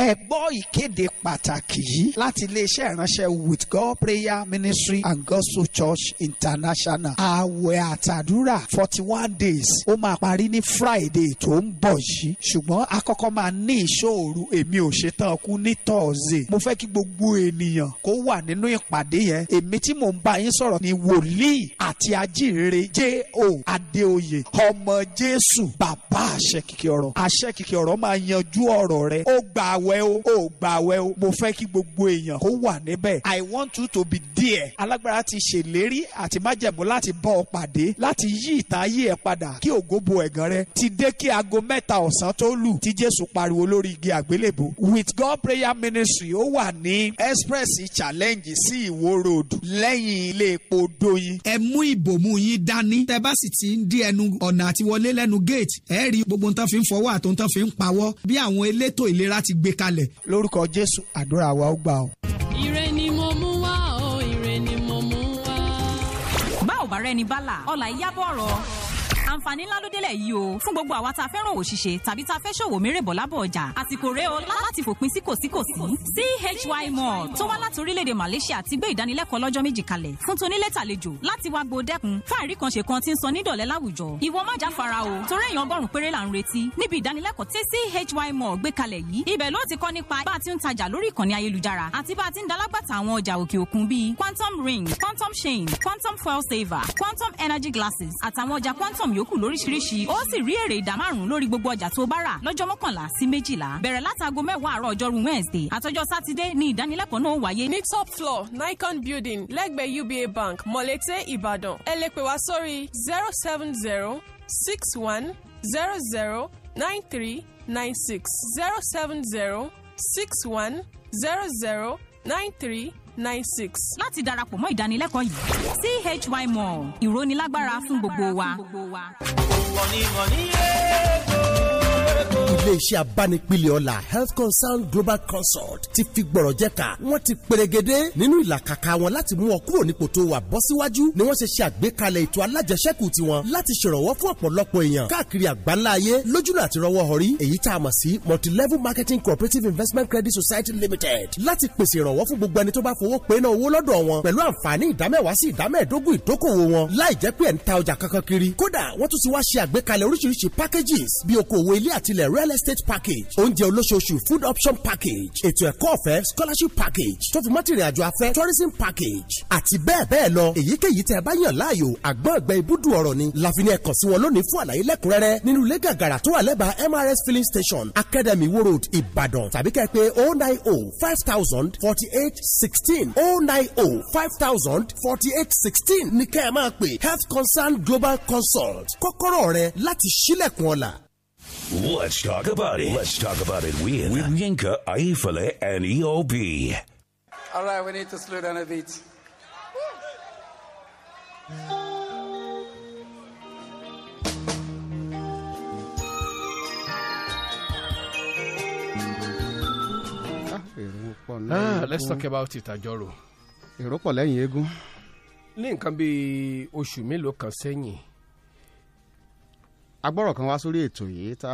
Speaker 26: ẹ gbọ́ ìkéde pàtàkì yìí láti iléeṣẹ́ ìránṣẹ́ with god prayer ministry and gospel church international àwẹ̀ àtàdúrà forty one days ó máa parí ní friday tó ń bọ̀ yìí ṣùgbọ́n akọ́kọ́ máa ní ìṣòro èmi ò ṣetán kú ní thursday mo fẹ́ kí gbogbo ènìyàn kó wà nínú ìpàdé yẹn èmi tí mò ń bá yín sọ̀rọ̀ ni wòlíì àti ajínrere j.o. adéoyè ọmọ jésù bàbá àṣẹ kìkì ọ̀rọ̀ àṣẹ kìkì ọ̀rọ̀ máa yanjú ọ̀rọ̀ rẹ ó gbà wẹ́ o ó gbà wẹ́ o mo fẹ́ kí gbogbo èèyàn kó wà níbẹ̀ i want you to be there alágbára ti ṣèlérí àti májẹ̀mú láti bọ́ ọ pàdé láti yí ìtàn ayé ẹ padà kí ògo bo ẹ̀gàn rẹ ti dé kí aago mẹ́ta ọ̀sán tó lù tí jésù pariwo lórí igi àgbélébù with god prayer ministry ó wà ní express challenge sí ìwó road lẹ́yìn ilé epo doyin. ẹ mú ìbòmú yín dání. tẹ bá sì ti ń dí ẹnu ọ̀nà àti wọlé lẹ́nu gate ẹ rí gbogbo nǹkan fi ń fọwọ́ àti nǹkan fi ń pawọ́ bí àwọn elétò ìlera ti gbé kalẹ̀. lórúkọ jésù àdúrà wa ó gbà ọ.
Speaker 27: Ire ni mo mú wá o, ire ni mo mú wá.
Speaker 28: bá ò bá rẹni bá là ọ̀la ìyábọ̀ ọ̀rọ̀ àǹfààní ńlá ló délẹ̀ yìí o fún gbogbo àwa tá a fẹ́ràn òwò ṣíṣe tàbí tá a fẹ́ ṣòwò mérèbọ̀ lábọ̀ ọjà àsìkò rẹ̀ o láti fòpin sí kòsíkòsí chy mall tó wá láti orílẹ̀-èdè malaysia ti gbé ìdánilẹ́kọ̀ọ́ lọ́jọ́ méjì kalẹ̀ fún tonílé tàlejò láti wá gbọ́ dẹ́kun fáàrí kan ṣe kan ti ń sọ nídọ̀lẹ́ láwùjọ ìwọ má jáfara o torí èèyàn ọgọ́rùn-ún péré là ń retí níbi ìdánilẹ́kọ̀ọ́ tí chy mall gbé kalẹ̀ yìí ibẹ̀ ló ti kọ́ nípa bá a ti ń tajà lórí ìkànnì ayélujára àti bá a ti ń dalágbàtà àwọn ọjà òkè òkun bíi quantum ring quantum chain quantum fuel saver quantum energy glasses àtàwọn ọjà quantum yòókù lóríṣiríṣi ó sì rí èrè ìdá márùn-ún lórí gbogbo ọjà tó bá rà lọ́jọ́ mọ́kànlá sí méjìlá bẹ̀rẹ̀ látago mẹ́wàá àárọ̀ ọjọ́rú wednesday àtọjọ́ sátidé ni ìdánilẹ́kọ̀ọ́ náà wáyé.
Speaker 29: ní top floor nikon building lẹ́gbẹ̀ẹ́ uba bank mọ̀lẹ́tẹ̀ ìbàdàn ẹ lè pè wá sórí zero seven zero six one zero zero nine three nine six zero seven zero six one zero zero nine three nine six.
Speaker 28: láti darapọ̀ mọ́ ìdánilẹ́kọ̀ọ́ yìí chy mall ìrónilágbára fún gbogbo wa.
Speaker 30: iléeṣẹ́ abánipilẹ̀ ọ̀la health concern global consult ti fi gbọ̀rọ̀ jẹ́ka wọ́n ti pèrègede nínú ìlàkàkà wọn láti mú ọ kúrò nípò tó wà bọ́ síwájú ni wọ́n ṣe ṣe àgbékalẹ̀ ètò alájẹsẹ́kù tiwọn láti ṣèrànwọ́ fún ọ̀pọ̀lọpọ̀ èèyàn káàkiri àgbáńlá ayé lójúnà àti rọwọ́ ọ̀rí èyí tá a mọ̀ sí multilevel marketing cooperative investment credit society limited láti pèsè ìrànwọ́ fún gbogbo ẹni tó bá fowó pe náà owó lọ́dọ̀ wọn pẹ̀lú àǹfààní ìdámẹ́wàá sí ìdámẹ́ẹ̀dógún ìdókòwò wọn láì jẹ́ pé ẹ̀ ń ta ọjà kankan kiri kódà wọ́n tún ti wá ṣe àgbékalẹ̀ oríṣiríṣi packages bí okòwò ilé àtilẹ̀ rẹ real estate package oúnjẹ olóṣooṣù food option package ètò ẹ̀kọ́ ọ̀fẹ́ scholarship package tó fi mọ́tìrìn àjò afẹ́ tourism package àti bẹ́ẹ̀ bẹ́ẹ̀ lọ èyíkéyìí tẹ́ ẹ bá yàn láàyò àgbọ̀n ẹgbẹ́ ibùdó ọ̀rọ̀ ni láfiní ẹ̀kọ́ sí wọn lónìí fún àlàyé lẹ́kùnrẹ́rẹ́ nínú ilé gàgàrà tó wà lẹ́bàá mrs filling station academy wo road ìbàdàn tàbí kẹ́ ẹ pé oh nine oh five thousand forty eight sixteen oh nine oh five thousand forty eight sixteen ní kẹ́ ẹ máa pè health concern global consult kọ́kọ́rọ́ rẹ láti ṣílẹ̀kùn ọ̀la.
Speaker 14: Let's talk about it. Let's talk about it with, with Yinka, Aifale, and E EOB.
Speaker 31: All right, we need to slow down a bit.
Speaker 15: ah let's talk about it àjọrò.
Speaker 16: èrò pọ̀ lẹ́yìn eégún.
Speaker 15: ní nǹkan bíi oṣù mélòó kan sẹ́yìn
Speaker 16: agbọ́rọ̀ kan wá sórí ètò yìí tá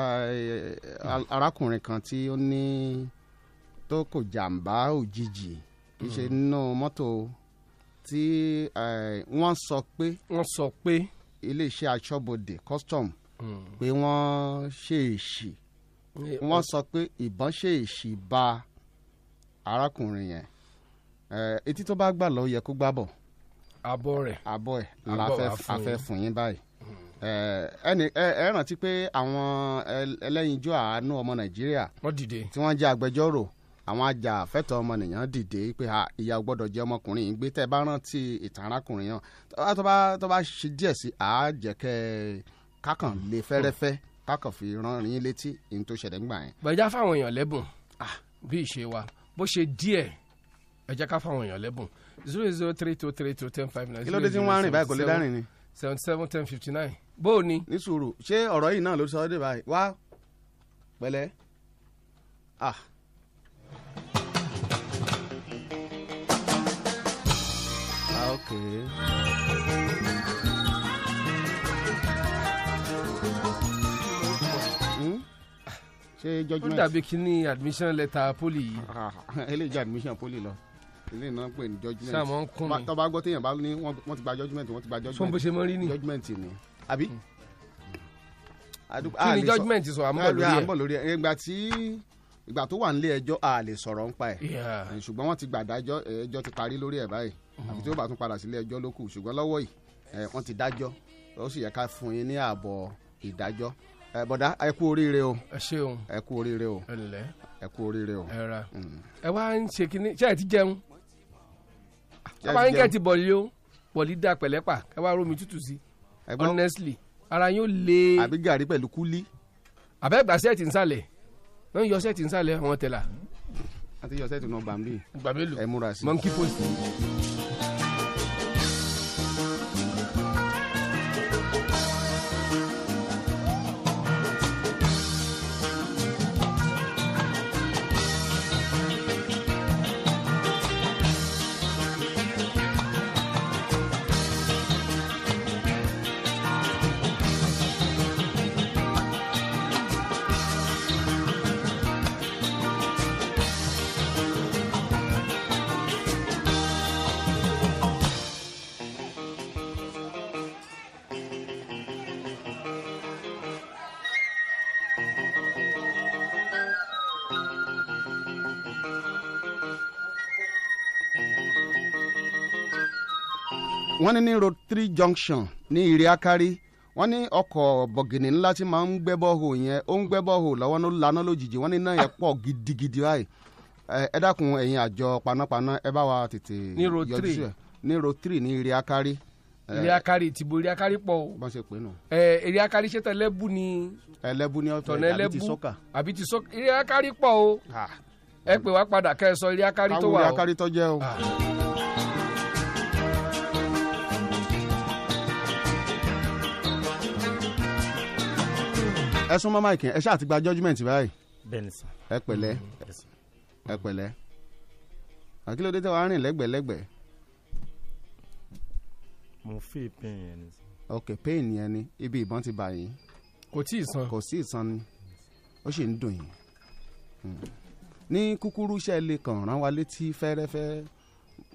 Speaker 16: arákùnrin kan tí ó ní tó kò jàǹbá òjijì kì í
Speaker 15: Mm.
Speaker 16: ṣe nínú mọ́tò tí wọ́n sọ pé
Speaker 15: wọ́n sọ pé Mm.
Speaker 16: iléeṣẹ́ aṣọ́bodè custom
Speaker 15: hmm,
Speaker 16: pé wọ́n ṣe èṣì wọ́n sọ pé ìbọn ṣe èṣì ba arákùnrin yẹn etí tó bá gbà lọ yẹ kó gbà bọ̀
Speaker 15: abọ́ rẹ̀
Speaker 16: abọ́ ẹ̀ àlàfẹ́ fún yín báyìí ẹni ẹ rántí pé àwọn ẹlẹ́yinjú àánú ọmọ nàìjíríà tí wọ́n jẹ́ agbẹjọ́rò àwọn ajàfẹ́tọ̀ ọmọnìyàn dìde pé ìyá gbọ́dọ̀ jẹ́ ọmọkùnrin yìí gbé tẹ́ bá rántí ìtàn arákùnrin náà tó bá tó bá ṣe díẹ̀ sí àájẹkẹ́ kákan lè fẹ́rẹ́fẹ́ kákan fi rán yín létí ìyẹn tó ṣẹlẹ̀ ńgbà yẹn.
Speaker 15: gbẹ̀já fáwọn èèyàn lẹ́bùn
Speaker 16: Ah.
Speaker 15: bí ìṣe wa bó ṣe díẹ̀ ẹ jẹ́ ká fáwọn èèyàn lẹ́bùn zero zero three two three two ten five nine.
Speaker 16: kí ló dé tí wọ́n á rìn báyìí kò lè dárìn ni
Speaker 15: seventy seven ten fifty nine bó o ní.
Speaker 16: ní sùúrù ṣé ọ̀rọ̀ yìí náà ló sọ ọ́ dé báyìí wá pẹ̀lẹ́ ah. ah ok. Hmm? ṣé judgement. Ah,
Speaker 15: ó dàbí kí ni admission letter poli yìí.
Speaker 16: eléyìí jẹ́ admission poli lọ ilé náà pè ní judgement
Speaker 15: sáà mọ̀ ń kún mi
Speaker 16: tọ́ba gbọ́ téèyàn bá ní wọ́n ti gba judgement wọ́n ti gba judgement
Speaker 15: fún bó ṣe mọ́ rí ni
Speaker 16: judgement ni àbí.
Speaker 15: kí ni judgement sọ àmọ́
Speaker 16: lórí ẹ̀ ìgbà tí ìgbà tó wà nílé ẹjọ́ a lè sọ̀rọ̀ ń pa ẹ̀ ṣùgbọ́n wọ́n ti gbàdájọ́ ẹjọ́ ti parí lórí ẹ̀ báyìí
Speaker 15: Uh-huh.
Speaker 16: àbí tí ó bá tún padà sílé ẹjọ́ ló kù ṣùgbọ́n lọ́wọ́ yìí wọ́n ti dájọ́ ó sì yẹ ká fún yín ní ààbọ̀ ìdájọ́ bọ̀dá ẹ kú oríire o
Speaker 15: ẹ ṣeun
Speaker 16: ẹ kú oríire o ẹ kú oríire o Mm.
Speaker 15: ẹ wá ń ṣe kínní ṣé ẹ ti jẹun ọba yín kẹ́ẹ̀tì bọ̀lì o bọ̀lì da pẹ̀lẹ́pà ẹ wá romi tútù sí honestly ara yín ó le.
Speaker 16: àbí gàrí pẹ̀lú kúlí.
Speaker 15: àbẹ́ gba sẹ́ẹ̀tì nsàlẹ̀ wọ́n yọ sẹ́ẹ̀tì nsàlẹ̀ wọn tẹ̀la.
Speaker 16: àti yọ sẹ́ẹ̀tì náà gbàmbé.
Speaker 15: gbàmbé lò
Speaker 16: ẹ múra sí.
Speaker 15: monkey post.
Speaker 16: wọ́n ní ní road three junction ní ìrì akari wọ́n ní ọkọ̀ bọ̀gìnì ńlá tí máa ń gbẹ́ bọ́ọ̀hù yẹn ó ń gbẹ́ bọ́ọ̀hù lọ́wọ́ ló laná lójijì wọ́n ní náà yẹn pọ̀ gidigidi báyìí Ẹ- ẹ dákun ẹ̀yin àjọ panápaná ẹ bá wa tètè
Speaker 15: Ní road
Speaker 16: yọjú
Speaker 15: three.
Speaker 16: sí ẹ̀. ní road three ní ìrì akari. Ẹ,
Speaker 15: eré akari ìtìbò eré akari pọ̀ o
Speaker 16: bọ́n ṣe pè é nù
Speaker 15: Ẹ, eré akari ṣètò ẹlẹ́bù ni
Speaker 16: ẹlẹ́bù ní ọ̀tọ̀
Speaker 15: tọ̀nà
Speaker 16: àbí ti
Speaker 15: ẹlẹ́bù
Speaker 16: sọ́kà.
Speaker 15: àbí ti sọ́kà eré akari pọ̀ o ẹ pè wá padà kẹ́ ẹ sọ eré akari tó
Speaker 16: káwọ́
Speaker 15: wà
Speaker 16: ìrì
Speaker 15: o.
Speaker 16: akari tó jẹ́ o. ẹ sún mọ́ máìkì ẹ ṣáà ti gba judgement báyìí
Speaker 32: bẹ́ẹ̀ni sàn.
Speaker 16: ẹ Eh, pẹ̀lẹ́ ẹ pẹ̀lẹ́ àkílódé tẹ wàá rìn lẹ́gbẹ̀lẹ́gbẹ̀
Speaker 32: mo fi pain yẹn ni sàn.
Speaker 16: ok pain yẹn ni ibi ìbọn ti bà yín.
Speaker 15: kò tí ì san.
Speaker 16: kò sí ìsan ni ó sì ń dùn yín. Mm. ní kúkúrú iṣẹ́ lè kàn rán wa létí fẹ́rẹ́fẹ́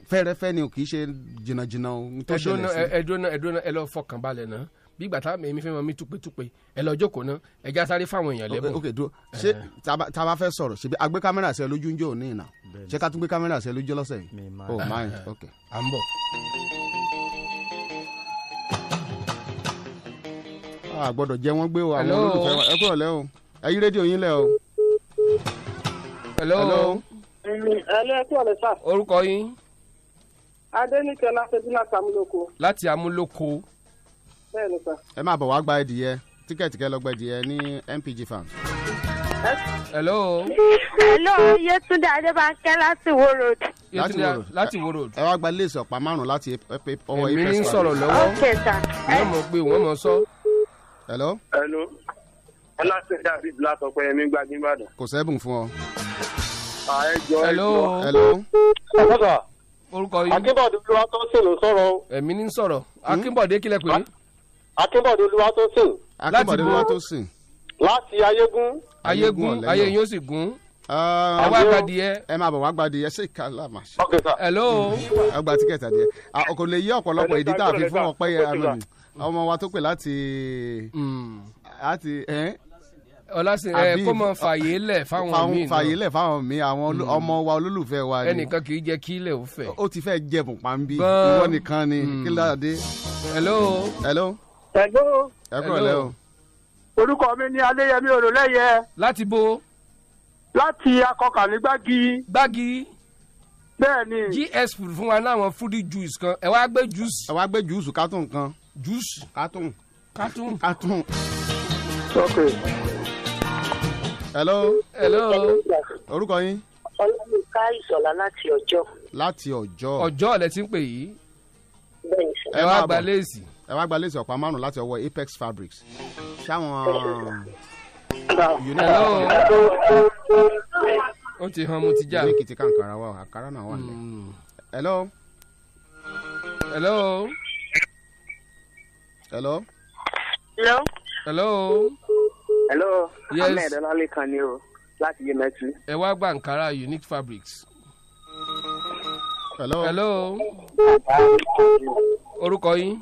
Speaker 16: fẹ́rẹ́fẹ́ ni o kì í ṣe jìnnàjìnnà ohun tó
Speaker 15: ẹdúnà
Speaker 16: ṣẹlẹ̀ sí.
Speaker 15: ẹdúnà ẹdúnà ẹ lọ fọkàn balẹ̀ náà bí gbàtà èmi fẹ́ mọ mi túpẹ́túpẹ́ ẹ lọ jókòó náà ẹ já sáré fáwọn èèyàn lẹ́bùn.
Speaker 16: Ok, ok dúró ṣé taba taba fẹ́ sọ̀rọ̀ ṣe bí agbé kámẹ́rà sí ẹ lójú ń jò ní ìnà ṣé ká tún gbé kámẹ́rà sí ẹ lójú lọ́sẹ̀ yìí. o máa yín ok.
Speaker 15: à ń bọ̀.
Speaker 16: a gbọ́dọ̀ jẹ́ wọ́n gbé o àwọn
Speaker 15: Hello.
Speaker 16: olólùfẹ́ wa ẹ kúrò lẹ́ o ẹ yí rédíò yín lẹ́ o. Hello.
Speaker 4: ẹlẹ́ ẹ̀kú ọ̀lẹ́ sà
Speaker 15: orúkọ yín
Speaker 4: adéníkẹ́ láfẹ́dúnà sàmúlòkọ
Speaker 15: láti amúlòkó.
Speaker 4: bẹ́ẹ̀ ni sà.
Speaker 16: ẹ máa bọ̀ wá gba ẹdìyẹ tíkẹ́ẹ̀tì kẹ́ lọ gba ẹdìyẹ ní mpg farms.
Speaker 15: hello.
Speaker 33: hello yetunde adébánkẹ́ láti wo road.
Speaker 16: láti wo road. ẹ wá gba léèsì ọ̀pá márùn-ún láti ẹ- ẹ- ọwọ́
Speaker 15: Èmi
Speaker 16: Apex
Speaker 15: ń
Speaker 16: Palace.
Speaker 15: sọ̀rọ̀ lọ́wọ́.
Speaker 33: ok sir.
Speaker 15: wọ́n mọ̀ pé wọ́n mọ̀ sọ.
Speaker 16: hello
Speaker 4: ẹnu ọlásẹ̀dá àbí ìlàsọpẹ ẹ̀mí gbajúmọ̀ ìbàdàn.
Speaker 16: kò sẹ́bùn fún ọ.
Speaker 4: àẹjọ
Speaker 15: hello.
Speaker 16: hello.
Speaker 4: ẹ̀lọ́
Speaker 15: orúkọ yín.
Speaker 4: akínbọ̀dé olúwa tó sìn ló sọ̀rọ̀ o
Speaker 15: èmi ní sọ̀rọ̀
Speaker 16: Hmm?
Speaker 15: akínbọ̀dé kílẹ̀ pé.
Speaker 4: akínbọ̀dé olúwa tó sìn
Speaker 16: akínbọ̀dé
Speaker 15: bo-
Speaker 16: wa tó sìn.
Speaker 4: láti ayégún.
Speaker 15: ayégún ayé yóò sì gún.
Speaker 16: ẹ
Speaker 15: wá gba adìyẹ.
Speaker 16: Ah, ẹ máa bọ̀ wá gba adìyẹ ṣé ìka la máa ṣe.
Speaker 15: hello.
Speaker 16: ẹ gba tíkẹ́ẹ̀tì adìyẹ Ah, kò lè yí ọ̀pọ̀lọpọ̀ ìdí tá a fi fún ọpẹ́ yẹn
Speaker 15: Hello, sir.
Speaker 16: lónìí ọmọ wa tó pè láti láti ẹ
Speaker 15: ọlásìn Hmm. ẹ
Speaker 16: Habib.
Speaker 15: kó mọ fàyè lẹ̀ fáwọn míì náà. Hmm.
Speaker 16: fàyè lẹ̀ fáwọn míì àwọn olú- ọmọ wa olólùfẹ́ wa ni
Speaker 15: ẹnìkan kì í jẹ́ kí ilẹ̀ ò fẹ̀.
Speaker 16: ó ti fẹ́ jẹ̀bùn pàmbí
Speaker 15: Bọ́ọ̀.
Speaker 16: ìwọ nìkan ni kí lóde.
Speaker 15: Hmm. hello.
Speaker 16: hello
Speaker 4: ẹ̀gbọ́n
Speaker 16: ẹ kúrò lẹ́ o.
Speaker 4: orúkọ mi ni adéyẹmí olùlẹ́yẹ.
Speaker 15: láti bo.
Speaker 4: láti akọkà ní gbági.
Speaker 15: gbági.
Speaker 4: bẹ́ẹ̀ni.
Speaker 15: gs food fún wa láwọn foodie juice kan ẹ wá gbé juice.
Speaker 16: ẹ wá gbé juice kátùn kan.
Speaker 15: juice.
Speaker 16: kátùn.
Speaker 15: kátùn.
Speaker 16: kátùn.
Speaker 4: ok.
Speaker 16: hello.
Speaker 15: hello.
Speaker 16: orúkọ yín
Speaker 34: ọlọ́mùká ìṣọ̀lá láti ọjọ́
Speaker 16: láti ọjọ́.
Speaker 15: ọjọ́ ọ̀lẹ́ ti ń pè yìí.
Speaker 34: bẹ́ẹ̀ sà.
Speaker 15: Ẹ wá
Speaker 16: máa
Speaker 15: gba
Speaker 16: bọ̀.
Speaker 15: léèsì.
Speaker 16: ẹ wá gba léèsì ọ̀pá márùn láti ọwọ́ apex fabrics ṣáwọn
Speaker 15: ó ti han mo ti já. Hmm.
Speaker 16: ìwé kìtì kankara wa àkàrà náà wà lẹ. hello.
Speaker 15: hello.
Speaker 16: hello.
Speaker 34: hello.
Speaker 15: hello.
Speaker 4: hello
Speaker 15: Yes.
Speaker 4: ahmed ọlálẹ kan ni o láti yé mẹtí.
Speaker 15: ẹ wá gba ankara unique fabrics.
Speaker 16: hello.
Speaker 15: hello. orúkọ yín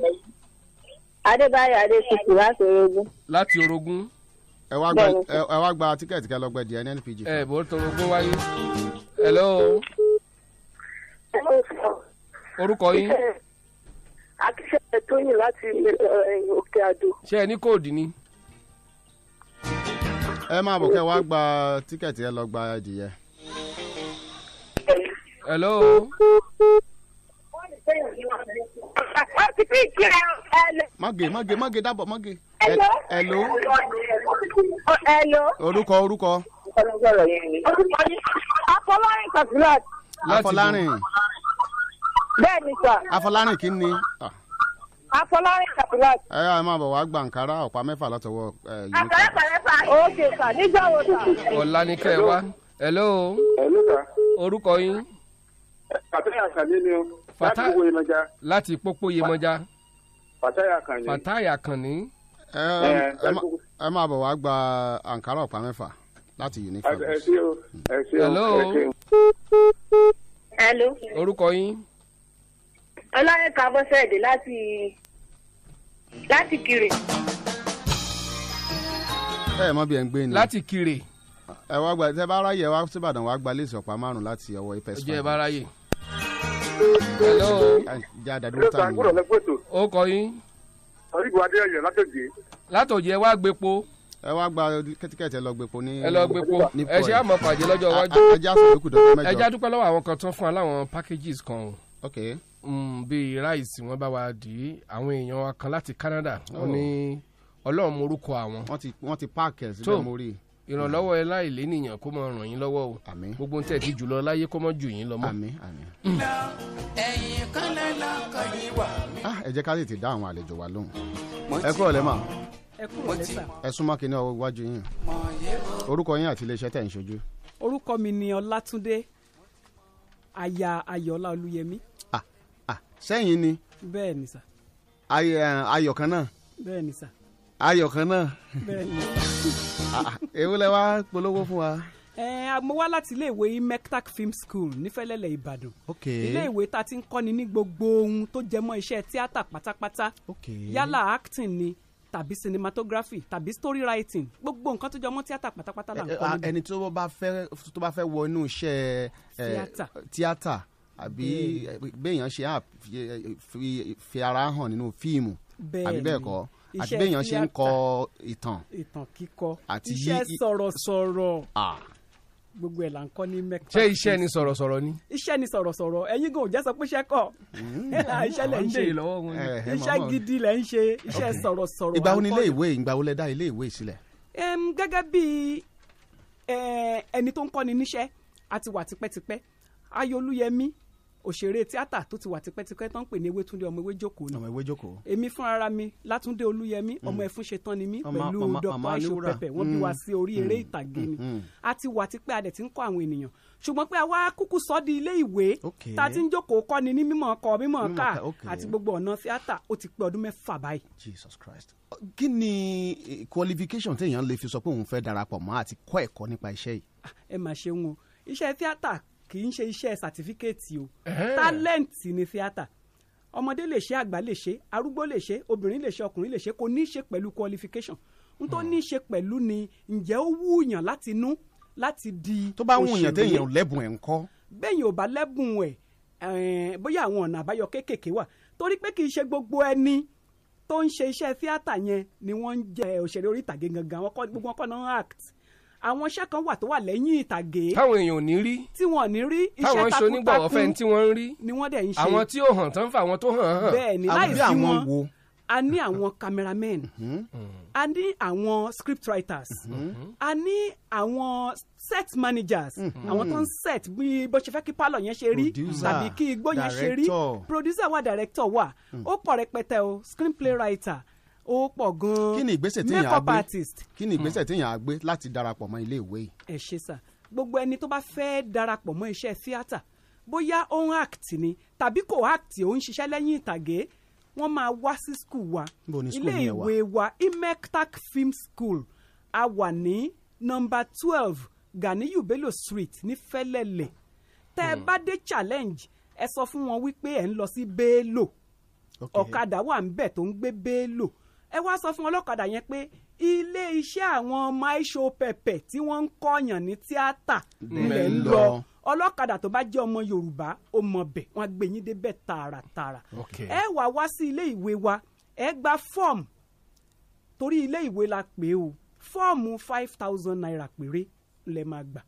Speaker 34: adébáyọ̀ adétutù láti orogún.
Speaker 15: láti orogún.
Speaker 16: ẹ wá gba ẹ- ẹ wá gba tíkẹ́ẹ̀tì kẹ́ lọ́gbẹ́ di nnpg.
Speaker 15: ẹ bó torogún wáyé. hello. orúkọ yín
Speaker 34: akíṣẹ́ tóyìn láti eh, òkè àdó.
Speaker 15: ṣé ẹ ní kóòdù ni.
Speaker 16: ẹ máa bọ̀ kẹ́ ẹ wá gba tíkẹ́ẹ̀tì kẹ́ lọ́gbà adìyẹ.
Speaker 15: hello.
Speaker 16: mọ́gè mọ́gè mọ́gè dábọ̀ mọ́gè.
Speaker 34: Hello.
Speaker 16: hello.
Speaker 34: hello.
Speaker 16: orúkọ orúkọ.
Speaker 34: afọlárin kasilat.
Speaker 16: afọlárin
Speaker 34: bẹ́ẹ̀ ni sà
Speaker 16: afọlárin kí ni. Ah,
Speaker 34: afọlárin kasilat.
Speaker 16: ẹ ẹ máa bọ̀ wá gba ankara ọ̀pá mẹ́fà látọwọ́ ẹ, unique.
Speaker 34: àpẹẹrẹpẹrẹpà. ok sà nígbà wo sà.
Speaker 15: ọ̀la ni kẹ́ ẹ wá. hello.
Speaker 4: hello sir
Speaker 15: orúkọ yín
Speaker 4: fataya kàní ni o láti
Speaker 15: Fata-
Speaker 4: wo ìmọ̀já
Speaker 15: láti pópó yemọja.
Speaker 4: fataya kàní.
Speaker 15: fataya kànní.
Speaker 16: ẹ
Speaker 4: Ẹ,
Speaker 16: ẹ má- ẹ máa bọ̀ wá gba ankara ọ̀pá mẹ́fà láti unique
Speaker 4: Ẹ- ẹ
Speaker 16: fabrics.
Speaker 4: ṣé o ẹ ṣé o
Speaker 15: Hello.
Speaker 4: ẹ ṣé o.
Speaker 34: hello.
Speaker 15: orúkọ yín
Speaker 34: ọlọ́rin kan bọ́sẹ̀dé láti láti kiri.
Speaker 16: ẹ mọ bí ẹ ń gbé ni.
Speaker 15: láti kiri.
Speaker 16: ẹ wá gba tẹ bá ráyè wá síbàdàn wá gba léèsì ọ̀pá márùn láti ọwọ́ apes.
Speaker 15: ọjọ́ ẹ bá ráyè.
Speaker 16: hello. ìjà àdàdúró tá a
Speaker 4: gbọ́dọ̀
Speaker 16: lò.
Speaker 4: lẹ fún ètò.
Speaker 15: ó kọ yín.
Speaker 4: orígun adéyẹyẹ látòjé.
Speaker 15: látòjé wá gbépo.
Speaker 16: ẹ wá gba kẹ́tíkẹ́tì ẹ lọ gbépo ní.
Speaker 15: ẹ lọ gbépo
Speaker 16: ní
Speaker 15: ẹ ṣe
Speaker 16: pọ̀
Speaker 15: àmọ́ pàdé lọ́jọ́
Speaker 16: A- a-
Speaker 15: iwájú.
Speaker 16: ajá sọ̀rọ̀ kù dọ́jọ́ mẹ́jọ.
Speaker 15: ẹ já dúpẹ́ lọ́wọ́ àwọn kan tán fún wa láwọn packages kan o. Mm,
Speaker 16: ok.
Speaker 15: bíi ráìsì wọn bá wa dì í àwọn èèyàn wa kan láti canada wọn
Speaker 16: Oh.
Speaker 15: ní ọlọ́run morúkọ àwọn.
Speaker 16: wọ́n ti páàkì ẹ̀
Speaker 15: tó
Speaker 16: síbẹ̀ mo rí i.
Speaker 15: ìrànlọ́wọ́ ẹ láì lé nìyàn kó mọ ràn yín lọ́wọ́ o gbogbo ń tẹ̀ ti jùlọ láyé kó mọ jù yín lọ mọ́.
Speaker 21: ẹ̀yìn kan lẹ́la kan yìí wà.
Speaker 16: Ah, ẹ jẹ́ ká tètè dá àwọn àlejò wa lóhùn. ẹ kúrò lẹ́mà
Speaker 21: ẹ kúrò lẹ́sà.
Speaker 16: ẹ súnmọ́ kínní ọwọ́ iwájú yín. orúkọ yín àti iléeṣẹ́ tẹ̀ ń ṣojú.
Speaker 35: orúkọ mi ni ọlátúndé aya ayọ̀ọ́lá olúyẹmí
Speaker 16: sẹ́yìn ni
Speaker 35: bẹ́ẹ̀ ni sà
Speaker 16: Ay- ẹ, ayọ̀ kan náà
Speaker 35: bẹ́ẹ̀ ni sà
Speaker 16: ayọ̀ kan náà
Speaker 35: bẹ́ẹ̀ ni.
Speaker 16: [laughs] Ah, èwo lẹ wá polówó fún wa.
Speaker 35: ẹ a- mo wá láti iléèwé imectac film school nífẹ̀lẹ́lẹ̀ ìbàdàn
Speaker 16: ok
Speaker 35: iléèwé ta ti ń kọ́ni ní gbogbo ohun tó jẹ mọ́ iṣẹ́ tíátà pátápátá yálà acting ni tàbí cinematography tàbí story writing gbogbo nǹkan tó jẹ mọ́ tíátà pátápátá là ń
Speaker 16: Ẹ-
Speaker 35: kọ́
Speaker 16: a-
Speaker 35: níbi
Speaker 16: Eh, ẹni tó bá fẹ́ tó bá fẹ́ wọ inú iṣẹ́ ẹ,
Speaker 35: Tíátà.
Speaker 16: tíátà àbí béèyàn ṣe á fi- fi- fi ara hàn nínú fíìmù
Speaker 35: Bẹ́ẹ̀
Speaker 16: àbí bẹ́ẹ̀
Speaker 35: ni.
Speaker 16: kọ́ àti
Speaker 35: Iṣẹ́
Speaker 16: béèyàn ṣe ń
Speaker 35: tíátà.
Speaker 16: kọ ìtàn.
Speaker 35: ìtàn kíkọ
Speaker 16: Àti
Speaker 35: iṣẹ́
Speaker 16: yí-
Speaker 35: sọ̀rọ̀sọ̀rọ̀
Speaker 16: Ah,
Speaker 35: gbogbo ẹ̀ là ń kọ́ ní imectac
Speaker 15: ṣé iṣẹ́ ni sọ̀rọ̀sọ̀rọ̀ ni.
Speaker 35: iṣẹ́ ni sọ̀rọ̀sọ̀rọ̀ ẹ̀yin gan ò jẹ́ sọ pé iṣẹ́ kọ̀
Speaker 16: Mm.
Speaker 35: [laughs] iṣẹ́ lẹ̀ ń
Speaker 15: Àwọn
Speaker 35: ṣe
Speaker 15: ṣe ìlọ́wọ́ wọn ni.
Speaker 16: Eh, ẹ
Speaker 35: iṣẹ́
Speaker 16: mọ̀ mọ̀.
Speaker 35: gidi lẹ̀ ń ṣe iṣẹ́ sọ̀rọ̀sọ̀rọ̀
Speaker 16: ìgbà wo ni
Speaker 35: à ń
Speaker 16: ilé
Speaker 35: kọ́
Speaker 16: ìwé ìgbà wo lẹ dá ilé ìwé sílẹ̀.
Speaker 35: Em, gẹ́gẹ́ bí eh, ẹni tó ń kọ́ni níṣẹ́ a ti wà tipẹ́tipẹ́ ayolúyẹmí òṣèré tíátà tó ti wà tipẹ́tipẹ́ tó ń pè ní ewétúndé ọmọ ewé jókòó ni
Speaker 16: ọmọ ìwé jókòó.
Speaker 35: èmi fúnra mi látúndé olúyẹmí
Speaker 16: Hmm.
Speaker 35: ọmọ ẹfún ṣetán ni mí
Speaker 16: Ọmọ-
Speaker 35: pẹ̀lú
Speaker 16: màmá-
Speaker 35: dr
Speaker 16: màmá
Speaker 35: aisho
Speaker 16: Aníwúrà.
Speaker 35: pẹpẹ wọ́n bí
Speaker 16: Mm.
Speaker 35: wa sí orí eré
Speaker 16: Mm.
Speaker 35: ìtàgé ni
Speaker 16: Mm.
Speaker 35: a ti wà tipẹ́ a dẹ̀ ti ń kọ́ àwọn ènìyàn ṣùgbọ́n pé àwa kúkú sọ di ilé ìwé tá a ti ń jókòó kọ́ni ní mímọ̀ ọkọ̀ mímọ̀
Speaker 16: Mímọ̀
Speaker 35: ká
Speaker 16: ká, okay.
Speaker 35: àti gbogbo ọ̀nà tíátà ó ti pé ọdún mẹ́fà báyìí.
Speaker 16: jesus christ kí ni eh, qualification téèyàn lè fi sọ pé òun fẹ́ darapọ̀ mọ́ àti kọ́ ẹ̀kọ́ nípa iṣẹ́ yìí.
Speaker 35: ẹ mà ṣeun o iṣẹ́ tíátà kì í ṣe iṣẹ́ sàtífíkẹ́ẹ̀tì o tálẹ́ǹtì ni tíátà ọmọdé lè ṣe àgbà lè ṣe arúgbó lè ṣe obìnrin lè ṣe ọkùnrin lè ṣe kò ní í ṣe pẹ̀lú qualification n tó
Speaker 16: Hmm.
Speaker 35: ní í ṣe pẹ̀lú ni ǹjẹ́ ó wúyàn láti inú láti di
Speaker 16: tó bá wù yàn
Speaker 35: òṣèré.
Speaker 16: téèyàn ò lẹ́bùn ẹ̀ ń kọ́.
Speaker 35: bẹ́yìn ò bá lẹ́bùn ẹ̀ ẹ̀ẹ́n, bóyá àwọn ọ̀nà àbáyọ kéékèèké wà torí pé kì í ṣe gbogbo ẹni tó ń ṣe iṣẹ́ tíátà yẹn ni wọ́n ń jẹ òṣèré orí ìtàgé gangan àwọn kọ́ gbogbo wọn kọ́ náà ń act àwọn iṣẹ́ kan wà tó wà lẹ́yìn ìtàgé
Speaker 15: táwọn èèyàn ò ní rí
Speaker 35: tí wọn ò ní rí iṣẹ́
Speaker 15: táwọn ń ṣonígbọ̀wọ́ fẹ́ tí
Speaker 35: takuntakun
Speaker 15: wọ́n ń rí
Speaker 35: ni wọ́n dẹ̀ ń ṣe
Speaker 15: àwọn tí ó hàn tán fà àwọn tó hàn hàn.
Speaker 35: bẹ́ẹ̀ ni láì sí wọn a ní àwọn cameramen
Speaker 15: Mhm.
Speaker 35: a ní àwọn script writers
Speaker 16: Mm-hmm.
Speaker 35: a ní àwọn set managers àwọn tó ń set bí bó ṣe fẹ́ kí pálọ̀ yẹn ṣe rí
Speaker 16: Producer,
Speaker 35: tàbí kí igbó yẹn ṣe rí
Speaker 16: director. Mm.
Speaker 35: producer wa director wa ó pọ̀ rẹpẹtẹ o screen play writer ó pọ̀ gan-an
Speaker 16: kí ni ìgbésẹ̀ téèyàn á
Speaker 35: makeup
Speaker 16: gbé
Speaker 35: artist Hmm.
Speaker 16: kí ni ìgbésẹ̀ téèyàn á gbé láti darapọ̀ mọ́ ilé ìwé yìí.
Speaker 35: ẹ ṣe sà gbogbo ẹni tó bá fẹ́ darapọ̀ mọ́ iṣẹ́ tíátà bóyá ó ń act ni tàbí kò act ó ń ṣiṣẹ́ lẹ́yìn ìtàgé wọ́n máa wá sí skul wa
Speaker 16: Níbo ni school
Speaker 35: ilé
Speaker 16: yẹn wà?
Speaker 35: ìwé wa imectac film school a wà ní nọmba twelve ganiyu bello street ní fẹ́lẹ́lẹ̀ tẹ́ ẹ bá dé challenge ẹ sọ fún wọn wípé ẹ ń lọ sí bello ọ̀kadà wà ń bẹ̀ tó ń gbé bello ẹ wá sọ fún ọlọ́kadà yẹn pé ilé iṣẹ́ àwọn ọmọ aisho pẹpẹ tí wọ́n ń kọ́yàn ní tíátà nílẹ̀ ń lọ ọlọ́kadà tó bá jẹ́ ọmọ yorùbá ó mọ bẹ̀ wọ́n á gbé yín débẹ̀ tààràtààrà ẹ wà wá sí ilé ìwé wa ẹ gba fọ́ọ̀mù torí ilé ìwé la pè o fọ́ọ̀mù five thousand naira péré lẹ máa gbà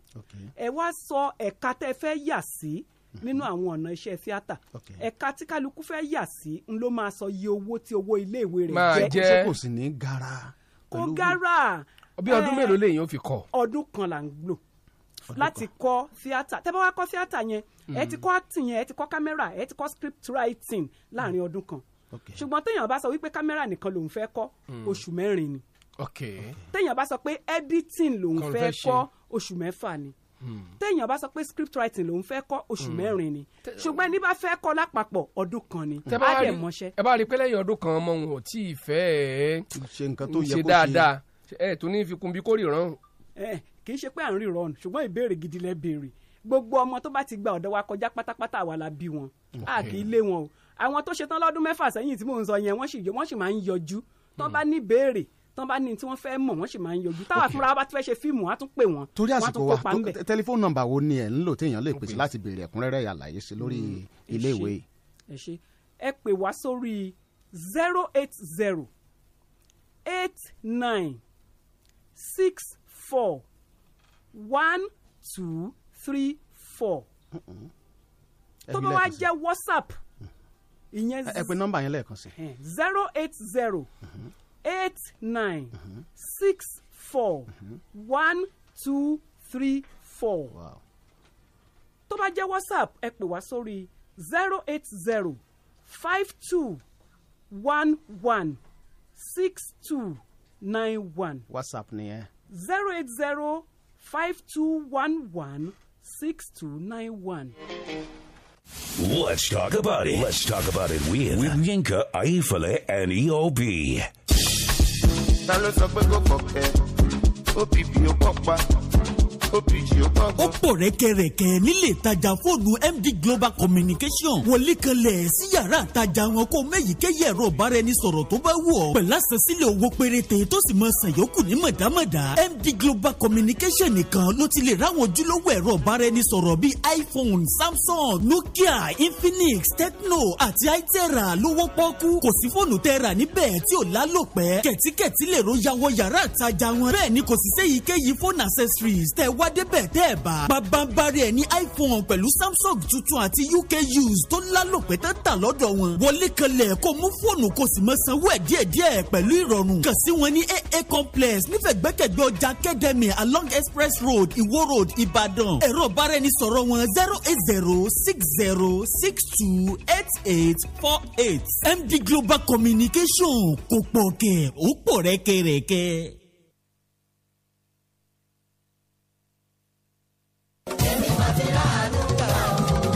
Speaker 35: ẹ wá sọ ẹ̀ka tẹ́ fẹ́ yà sí nínú àwọn ọ̀nà iṣẹ́ tíátà ẹ̀ka tí kálukú fẹ́ yà sí n ló máa sọ iye owó tí owó ilé ìwé rẹ̀
Speaker 16: ṣé kò sì ní gara.
Speaker 35: kò gara
Speaker 15: bí ọdún
Speaker 35: Eh,
Speaker 15: mélòó lèèyàn fi kọ̀.
Speaker 35: ọdún kan là ń lò láti kọ́ tíátà tẹ́ bá wá kọ́ tíátà yẹn
Speaker 15: Hmm.
Speaker 35: ẹ ti kọ́ acting yẹn ẹ ti kọ́ kámẹ́rà ẹ ti kọ́ script writing
Speaker 15: Hmm.
Speaker 35: láàrin ọdún kan ṣùgbọ́n téèyàn bá sọ wípé kámẹ́rà nìkan lòun fẹ́ kọ́
Speaker 15: Mm.
Speaker 35: oṣù mẹ́rin ni
Speaker 15: ok
Speaker 35: téèyàn bá sọ pé editing lòun
Speaker 15: Kan
Speaker 35: fẹ́
Speaker 15: fẹ́ ṣe.
Speaker 35: kọ́ oṣù mẹ́fà ni
Speaker 15: Hmm.
Speaker 35: téèyàn bá sọ pé script writing lòun fẹ́ kọ́ oṣù
Speaker 15: Mm.
Speaker 35: mẹ́rin ni ṣùgbọ́n ẹni bá fẹ́ kọ́ lápapọ̀ ọdún kan ni
Speaker 15: tẹ
Speaker 35: á
Speaker 15: bá rí
Speaker 35: dẹ̀ mọṣẹ́.
Speaker 15: ẹ bá rí pé lẹ́yìn ọdún kan ọmọ wọn ò tí ì fẹ́ ẹ
Speaker 16: ṣe nǹkan tó yẹ kó
Speaker 15: ṣe
Speaker 16: ṣe.
Speaker 15: dáadáa ẹ tó ní fi kun bí kò ríran.
Speaker 35: ẹ kì í ṣe pé à ń ríran ṣùgbọ́n ìbéèrè gidi lẹ béèrè gbogbo ọmọ tó bá ti gba ọ̀dọ́ wa kọjá pátápátá àwa la bí wọn a kì í lé
Speaker 16: Hmm.
Speaker 35: wọn o àwọn tó ṣetán lọ́dún mẹ́fà sẹ́yìn tí mò ń sọ yẹn wọ́n sì yọ- wọ́n sì máa ń yọjú tó bá ní béèrè tán bá ní tí wọ́n fẹ́ mọ̀ wọ́n sì máa ń yọjú táwa fúnra bá ti fẹ́ ṣe fíìmù wọ́n á tún pè wọ́n
Speaker 16: torí
Speaker 35: wọ́n á
Speaker 16: àsìkò
Speaker 35: tún
Speaker 16: wa
Speaker 35: kópa ńbẹ̀.
Speaker 16: tó- tẹlifóònù nọ́mbà wo ni ẹ ń lò téèyàn lè pèsè láti béèrè ẹ̀kúnrẹ́rẹ́ àlàyé sí lórí
Speaker 35: ẹ
Speaker 16: ilé
Speaker 35: ṣé.
Speaker 16: ìwé
Speaker 35: ẹ ṣe ẹ pè wá sórí zero eight zero eight nine six four one two three four tó bá wá jẹ́ whatsapp ìyẹn
Speaker 16: ẹ pè nọ́mbà yẹn lẹ́ẹ̀kan sí
Speaker 35: zero eight zero eight nine six four one two three four tó bá jẹ́ whatsapp ẹ pè wá sórí zero eight zero five two one one six two nine one
Speaker 16: whatsapp nìyẹn
Speaker 35: zero eight zero five two one one six two nine one.
Speaker 14: Let's talk about it. Let's talk about it with, with Yinka, Aifale, and E EOB.
Speaker 36: ta ló sọ pé kò pọ̀kẹ́ òpìpì ó pọ̀pá òpìjì ó pọ̀pá.
Speaker 37: ó pọ̀ rẹ́kẹrẹ́kẹ nílé ìtajà fóònù MD Global Communication wọlé kanlẹ̀ sí yàrá ìtajà wọn kó mẹ́yìíkéyìí ẹ̀rọ ìbáraẹnisọ̀rọ̀ tó bá wù ọ́ pẹ̀lú àṣẹsílẹ̀ owó péréte tó sì máa san yòókù ní mọ̀dámọ̀dá MD Global Communication nìkan ló ti lè ráwọn ojúlówó ẹ̀rọ ìbáraẹnisọ̀rọ̀ bíi iPhone Samsung Nokia Infinix Tecno àti itera lówó pọ́kú kò sí fóònù tẹ́ra níbẹ̀ tí ò lálòpẹ́ kẹ̀tíkẹ̀tí lè ro yàwọ yàrá ìtajà wọn bẹ́ẹ̀ ni kò sì séyìíkéyìí phone accessories tẹ́ wá débẹ̀ tẹ́ ẹ̀ bá babambari ẹ̀ ní iPhone pẹ̀lú Samsung tuntun àti UK used tó lálòpẹ́ tẹ́ tà lọ́dọ̀ wọn wọlé kanlẹ̀ kó mú fóònù kó sì mọ sanwó ẹ̀ díẹ̀díẹ̀ pẹ̀lú ìrọ̀rùn kàn sí wọn ní AA complex nífẹ̀gbẹ́kẹ̀gbẹ́ ọjà Academy along Express Road Iwo Road Ìbàdàn ẹ̀rọ ìbáraẹnisọ̀rọ̀ wọn zero eight zero six zero six two eight eight four eight MD Global Communication kò pọ̀ kẹ̀ ó pọ̀ rẹ́kẹrẹ́kẹ́.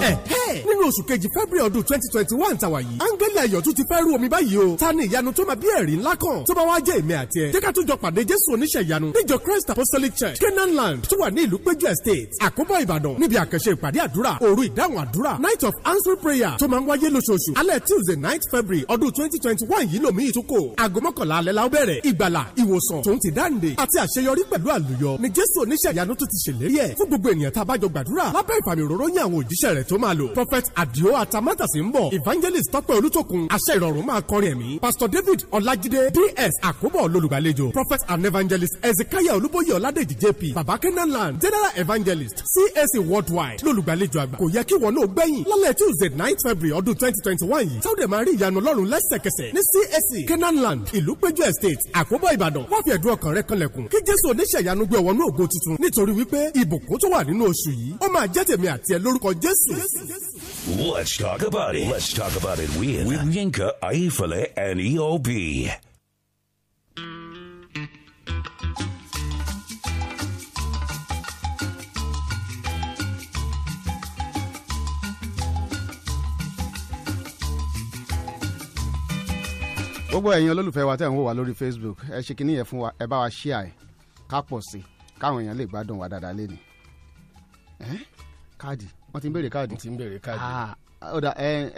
Speaker 18: Ẹ̀hẹ́! nínú oṣù kejì february ọdún twenty twenty one tàwa yìí áńgẹ́lì ayọ̀ tún ti fẹ́ rú omi báyìí o ta ni ìyanu tó máa bí ẹ̀rí ńlá kan tó bá wá jẹ́ èmi àti ẹ̀ jẹ́ ká tún jọ pàdé jésù oníṣẹ́ ìyanu níjọ christ apostolic church canaan land tó wà ní ìlú péjú estate àkóbọ̀ ìbàdàn níbi àkànṣe ìpàdé àdúrà òru ìdáhùn àdúrà night of answer prayer tó máa ń wáyé lóṣooṣù alẹ́ tuesday night february ọdún twenty twenty one yìí lòmí ìtúkò aago mọ́kànlá alẹ́ la ó bẹ̀rẹ̀ ìgbàlà ìwòsàn tòun ti dáǹde àti àṣeyọrí pẹ̀lú àlùyọ ni jésù oníṣẹ́ ìyanu tó ti ṣèlérí ẹ̀ fún gbogbo ènìyàn tá a bá jọ gbàdúrà lábẹ́ ìfàmì òróró yín àwọn òjíṣẹ́ rẹ̀ tó máa lò prophet adio atamátàsí ń bọ̀ evangelist tọ́pẹ́ olútòkun àṣẹ ìrọ̀rùn máa kọrin ẹ̀mí pastor david ọlájídé ds àkóbọ̀ lolùgbàlejò prophet and evangelist ezekiah olúbóyè ọládèjì jp baba kenan land general evangelist cac worldwide lolùgbàlejò àgbà kò yẹ kí wọn náà gbẹ̀yìn lálẹ́ tuesday night february ọdún twenty twenty one yìí sáwọ́dẹ̀ máa rí ìyanu ọlọ́run lẹ́sẹ̀kẹsẹ̀ ní cac kenan land ìlú péjú estate àkóbọ̀ ìbàdàn wọ́n fi ẹ̀dùn ọkàn rẹ kanlẹ̀kùn kí jésù oníṣẹ́ ìyanu gbé ọwọ́nú ògo tuntun nítorí wípé ìbùkún tó wà nínú oṣù yìí ó máa jẹ́ tèmi àti ẹ lórúkọ jésù.
Speaker 14: Let's talk about it. Let's talk about it with, with Yinka, Aifale, and E EOB.
Speaker 16: gbogbo ẹ̀yin olólùfẹ́ wa tẹ̀ ń wò wá lórí facebook ẹ ṣe kínní yẹn fún wa ẹ bá wa ṣíà ẹ̀ ká pọ̀ sí i káwọn èèyàn lè gbádùn wa dáadáa lé ni. Ẹ́, káàdì wọ́n ti ń béèrè káàdì. Ah, wọ́n ti ń béèrè káàdì. ọ̀dà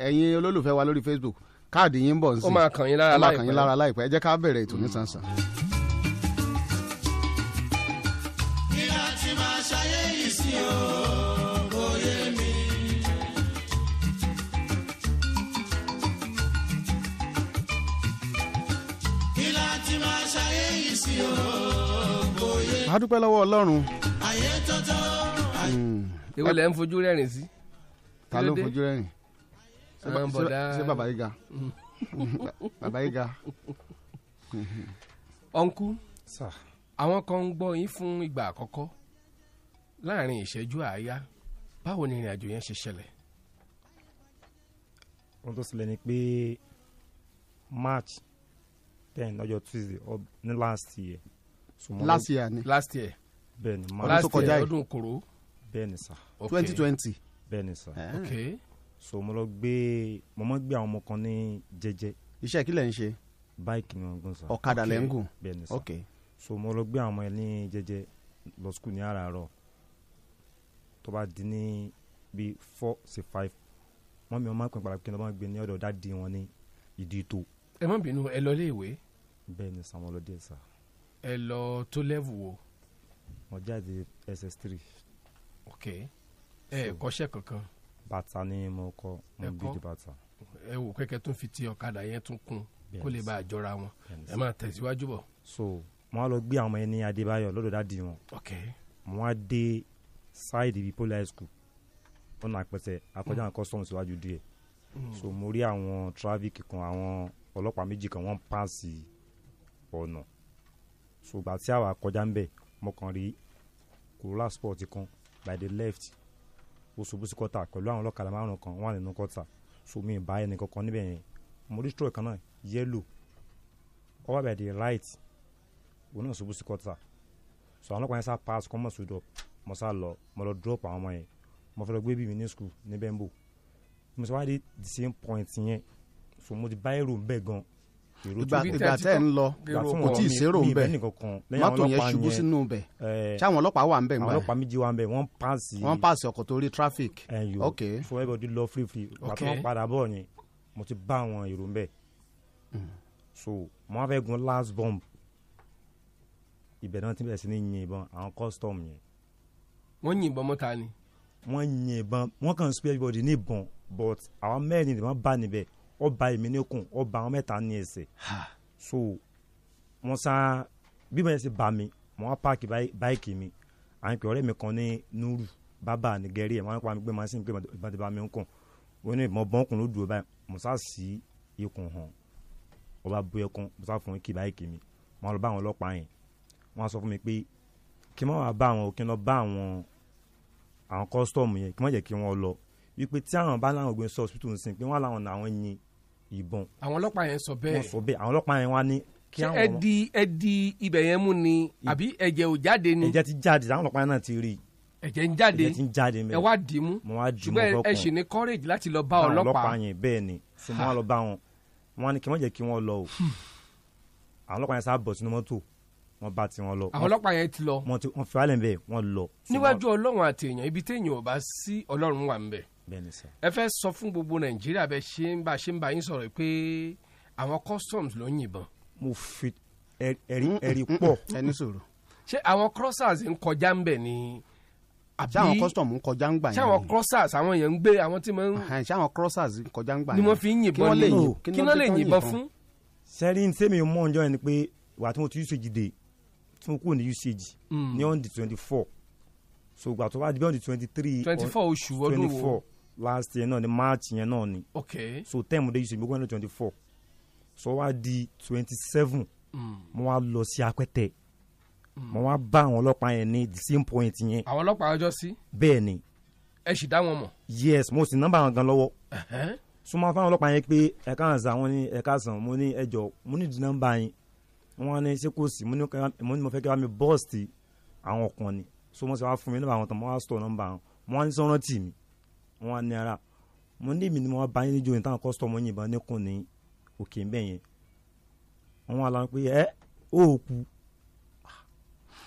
Speaker 16: ẹ̀yin olólùfẹ́ wa lórí facebook káàdì yín ń bọ̀ nsìn.
Speaker 15: Ó máa kàn yín lára
Speaker 16: Ó máa kàn yín
Speaker 15: láìpẹ́.
Speaker 16: lára láìpẹ́ ẹ jẹ́ ká bẹ̀rẹ̀ ètò nísànsàn.
Speaker 2: kí láti máa ṣayé yìí sí o kò yé mi. kí láti máa ṣayé yìí sí o kò yé mi.
Speaker 16: a dúpẹ́ lọ́wọ́ ọlọ́run.
Speaker 2: ayé tọ́tọ́
Speaker 15: Èwo lẹ ń fojú rẹ́rìn sí.
Speaker 16: Hmm. ta ló ń fojú rẹ́rìn.
Speaker 15: Ẹ máa ń Hmm. bọ̀ dáa.
Speaker 16: ṣé bàbá yìí ga. [laughs] bàbá yìí ga.
Speaker 15: ọ̀nkú àwọn kan ń gbọ́ yín fún ìgbà àkọ́kọ́ láàrin ìṣẹ́jú àáyá báwo ni ìrìn àjò yẹn ṣe ṣẹlẹ̀.
Speaker 32: ohun tó ṣẹlẹ̀ ni pé march ten ọjọ́ tuesday ọ- ní last year. So mo-
Speaker 16: Last year ni.
Speaker 15: last year
Speaker 32: bẹ́ẹ̀ni
Speaker 15: last year ọdún kòró.
Speaker 32: bẹ́ẹ̀ni sá.
Speaker 15: Okay. 2020.
Speaker 32: bẹ́ẹ̀ni sá.
Speaker 15: Eh. Okay.
Speaker 32: so mo lọ gbé mo mọ gbé àwọn ọmọ kan ní jẹ́jẹ́.
Speaker 16: iṣẹ́ kí lẹ̀ ń ṣe.
Speaker 32: báìkì ni wọ́n ń gùn sá.
Speaker 16: Ọ̀kadà lẹ̀ ń gùn?
Speaker 32: bẹ́ẹ̀ni sá.
Speaker 16: Okay.
Speaker 32: so mo lọ gbé àwọn ọmọ yẹn ní jẹ́jẹ́ lọ skul ní àràárọ̀ tó bá di ní bíi four sí five wọ́n mi wọ́n máa ń pè padà pé kí n lọ́ máa gbé ní ọ̀dọ̀ dáàdi wọn ní ìdí tó
Speaker 15: ẹ má bínú ẹ lọ ilé ìwé.
Speaker 32: bẹ́ẹ̀ ni Samuel Ọlọ́dẹ sà
Speaker 15: ẹ lọ tó lẹ́vù wo
Speaker 32: mo jáde ss3
Speaker 15: ok ẹ ẹ kọ́ṣẹ́ kankan
Speaker 32: bàtà ni mo kọ mo
Speaker 15: Ẹ
Speaker 32: bí
Speaker 15: kọ́?
Speaker 32: di bàtà
Speaker 15: ẹ wò kẹ́kẹ́ tó fi ti ọ̀kadà yẹn tún kún
Speaker 32: Bẹ́ẹ̀
Speaker 15: kó lè
Speaker 32: ni
Speaker 15: bá a jọra wọn ẹ máa tẹ̀síwájú bọ̀
Speaker 32: so mo wá lọ gbé àwọn ọmọ yẹn ní adébáyọ lọ́dọ̀ dáàdi wọn
Speaker 15: ok
Speaker 32: mo wá dé side ibi poli high school ọ̀nà àpẹtẹ akọjá àwọn customs síwájú díẹ̀
Speaker 15: Mm.
Speaker 32: so mo rí àwọn traffic kan àwọn ọlọ́pàá méjì kan wọ́n ń paasi ọ̀nà so ìgbà tí àwa kọjá ń bẹ̀ mo kàn rí corolla sport kan by the left ó ṣubú sí kọ́tà pẹ̀lú àwọn ọlọ́kadà márùn kan wọ́n wà nínú kọ́tà so mi ì bá ẹnì kankan níbẹ̀ yẹn mo rí stroke kan náà yellow over by the right òun náà ṣubú sí kọ́tà so àwọn ọlọ́pàá yẹn sá pass kọ́mọ̀ sódò mo sá lọ mo lọ drop àwọn ọmọ yẹn mo fẹ́ lọ gbé bí mi ní school ní bẹ́ńbò mo sọ wá dé the same point yẹn so mo ti bá èrò ń bẹ̀ gan èrò
Speaker 16: ìgbà
Speaker 32: tó-
Speaker 16: ìgbà tẹ́ ń lọ
Speaker 32: Ìgbà tí
Speaker 16: kò
Speaker 32: wọ́n
Speaker 16: tí ì
Speaker 32: mi-
Speaker 16: sérò
Speaker 32: mi
Speaker 16: ń bẹ̀
Speaker 32: bẹ́ẹ̀ nìkankan. Lẹ́yìn àwọn
Speaker 16: mọ́tò yẹn
Speaker 32: ọlọ́pàá
Speaker 16: ṣubú
Speaker 32: yẹn,
Speaker 16: sínú bẹ̀
Speaker 32: eh,
Speaker 16: ṣáwọn ọlọ́pàá wà ń bẹ̀
Speaker 32: àwọn
Speaker 16: ńgbà
Speaker 32: ọlọ́pàá méjì wà ń bẹ̀ wọ́n paasi
Speaker 16: wọ́n paasi ọkọ̀ tó rí traffic
Speaker 32: ẹyọ
Speaker 16: ok
Speaker 32: so everybody lọ free free ìgbà tí
Speaker 16: Ok.
Speaker 32: wọ́n padà bọ̀ yẹn mo ti bá àwọn èrò ń bẹ̀
Speaker 16: Mm.
Speaker 32: so mo wá fẹ́ gun last bomb ibẹ̀ náà ti bẹ̀rẹ̀ sí ní yin ìbọn àwọn custom yẹn
Speaker 15: wọ́n yìnbọn mọ́ta ni
Speaker 32: wọ́n yin ìbọn wọ́n kàn spare everybody ní ìbọn but àwọn mẹ́rin ni wọ́n bá níbẹ̀ ó ba èmi ní okùn ó ba àwọn mẹ́ta ní ẹsẹ̀ so wọ́n sá bí wọ́n yẹn ṣe bá mi wọ́n wá páàkì báyì- báìkì mi àwọn ìpè ọ̀rẹ́ mi kan ní nuru bábà ní gẹ̀rí ẹ̀ wọ́n á pa mi pé màá sì ń pè ìbọn ti bá mi ń kàn wọ́n ní ìbọn bọ́n kùn ló dùn ó báyìí mo sá sí ikùn hàn ó bá bu ẹkún mo sá fún kí báìkì mi wọ́n lọ bá àwọn ọlọ́pàá yẹn wọ́n á sọ fún mi pé kí n má wàá bá àwọn o, kí n lọ bá àwọn àwọn kọ́sítọ́ọ̀mù yẹn kí wọ́n jẹ́ kí wọ́n lọ wípé tí àwọn bá láwọn ògbìn sọ́ọ̀sì tó ń sìn pé wọ́n láwọn náà àwọn yin ìbọn
Speaker 15: àwọn ọlọ́pàá yẹn sọ bẹ́ẹ̀
Speaker 32: wọ́n sọ bẹ́ẹ̀ àwọn ọlọ́pàá yẹn wá ní kí
Speaker 15: ṣé
Speaker 32: àwọn
Speaker 15: ẹ di ẹ di ibẹ̀ yẹn mú ni àbí ẹ̀jẹ̀ ò jáde ni
Speaker 32: ẹ̀jẹ̀ ti jáde àwọn ọlọ́pàá yẹn náà ti rí i
Speaker 15: ẹ̀jẹ̀ ń jáde
Speaker 32: ẹ̀jẹ̀ ti ń jáde mẹ́
Speaker 15: ẹ wá dì í mú
Speaker 32: mo wá dì í mú
Speaker 15: ṣùgbọ́n ẹ- ẹ
Speaker 32: kọ́kàn.
Speaker 15: ṣì ní courage láti lọ bá
Speaker 32: Àwọn
Speaker 15: ọlọ́pàá
Speaker 32: yẹn bẹ́ẹ̀ ni sì mo wá lọ bá wọn wọn ní kí wọ́n jẹ́ kí wọ́n lọ o
Speaker 15: Hmm.
Speaker 32: àwọn ọlọ́pàá yẹn sá bọ̀ sínú mọ́tò wọ́n bá tiwọn lọ
Speaker 15: àwọn ọlọ́pàá yẹn ti lọ Hmm.
Speaker 32: wọ́n ti- wọ́n fi wálẹ̀ bẹ́ẹ̀ wọ́n lọ
Speaker 15: níwájú ọlọ́run àti èèyàn ibi téèyàn ò bá sí ọlọ́run wà ń bẹ̀
Speaker 32: bẹ́ẹ̀ ni sà
Speaker 15: ẹ fẹ́ sọ fún gbogbo nàìjíríà bẹ́ẹ̀ ṣe ń bá ṣe ń bá yín sọ̀rọ̀ pé àwọn customs ló ń yìnbọn
Speaker 32: mo fi ẹ- ẹ̀rí ẹ̀rí pọ̀
Speaker 16: ẹni sòrò
Speaker 15: ṣé àwọn crossers ń kọjá ń bẹ̀ ni àbí
Speaker 16: ṣáwọn custom ń kọjá ń gbà
Speaker 15: ṣé
Speaker 16: yẹn
Speaker 15: àwọn crossers àwọn èèyàn ń gbé àwọn tí wọ́n ń
Speaker 16: ni ṣáwọn crossers ń kọjá ń gbà
Speaker 15: ni
Speaker 16: yẹn.
Speaker 15: wọ́n fi ń
Speaker 16: Kí wọ́n
Speaker 15: yìnbọn
Speaker 16: lè
Speaker 15: ni
Speaker 16: yìn-
Speaker 15: kí wọ́n lè
Speaker 16: fi ń
Speaker 15: yìnbọn fún
Speaker 32: sẹ́rí ní sẹ́mi mọ́ ọjọ́ yẹn ni pé ìgbà tí mo ti usage dé tí mo kúrò ní usage
Speaker 15: Mm.
Speaker 32: ní on the twenty four so ìgbà tó bá di bí on the twenty three
Speaker 15: 24 oṣù ọdún wo?
Speaker 32: last year náà ni march yẹn náà ni
Speaker 15: ok
Speaker 32: so ten mo dé usage mo kúrò ní twenty four so wá di twenty seven
Speaker 15: Mm.
Speaker 32: mo wá lọ sí apẹ́tẹ̀ mo wá bá àwọn ọlọ́pàá yẹn ní the same point yẹn
Speaker 15: Hmm. àwọn ọlọ́pàá ọjọ́ sí
Speaker 32: bẹ́ẹ̀ ni
Speaker 15: ẹ sì dá wọn mọ̀
Speaker 32: yes mo sì nọ́mbà àwọn gan lọ́wọ́
Speaker 15: Ẹ̀hẹ́n.
Speaker 32: súnmọ́ fáwọn ọlọ́pàá yẹn pé ẹ̀ka àǹsà wọn ní ẹ̀ka àǹsàn mo ní ẹjọ́ mo ní ìdí nọ́mbà yín wọn ní ṣé kò sí mo ní ká- mo ní mo fẹ́ kí wọ́n mi bọ́ọ̀sì àwọn ọkàn ni so mo sì wá fún mi nọ́mbà àwọn tán mo wá sọ nọ́mbà àwọn wọn ní sọ́rọ́ tì mí wọn ní ara mo ní èmi ni mo wá bá yín níjó yẹn táwọn kọ́sítọ́mù yìnbọn níkùn ní òkè ń bẹ̀ yẹn wọn wá lọ pé ẹ ó kú Ah,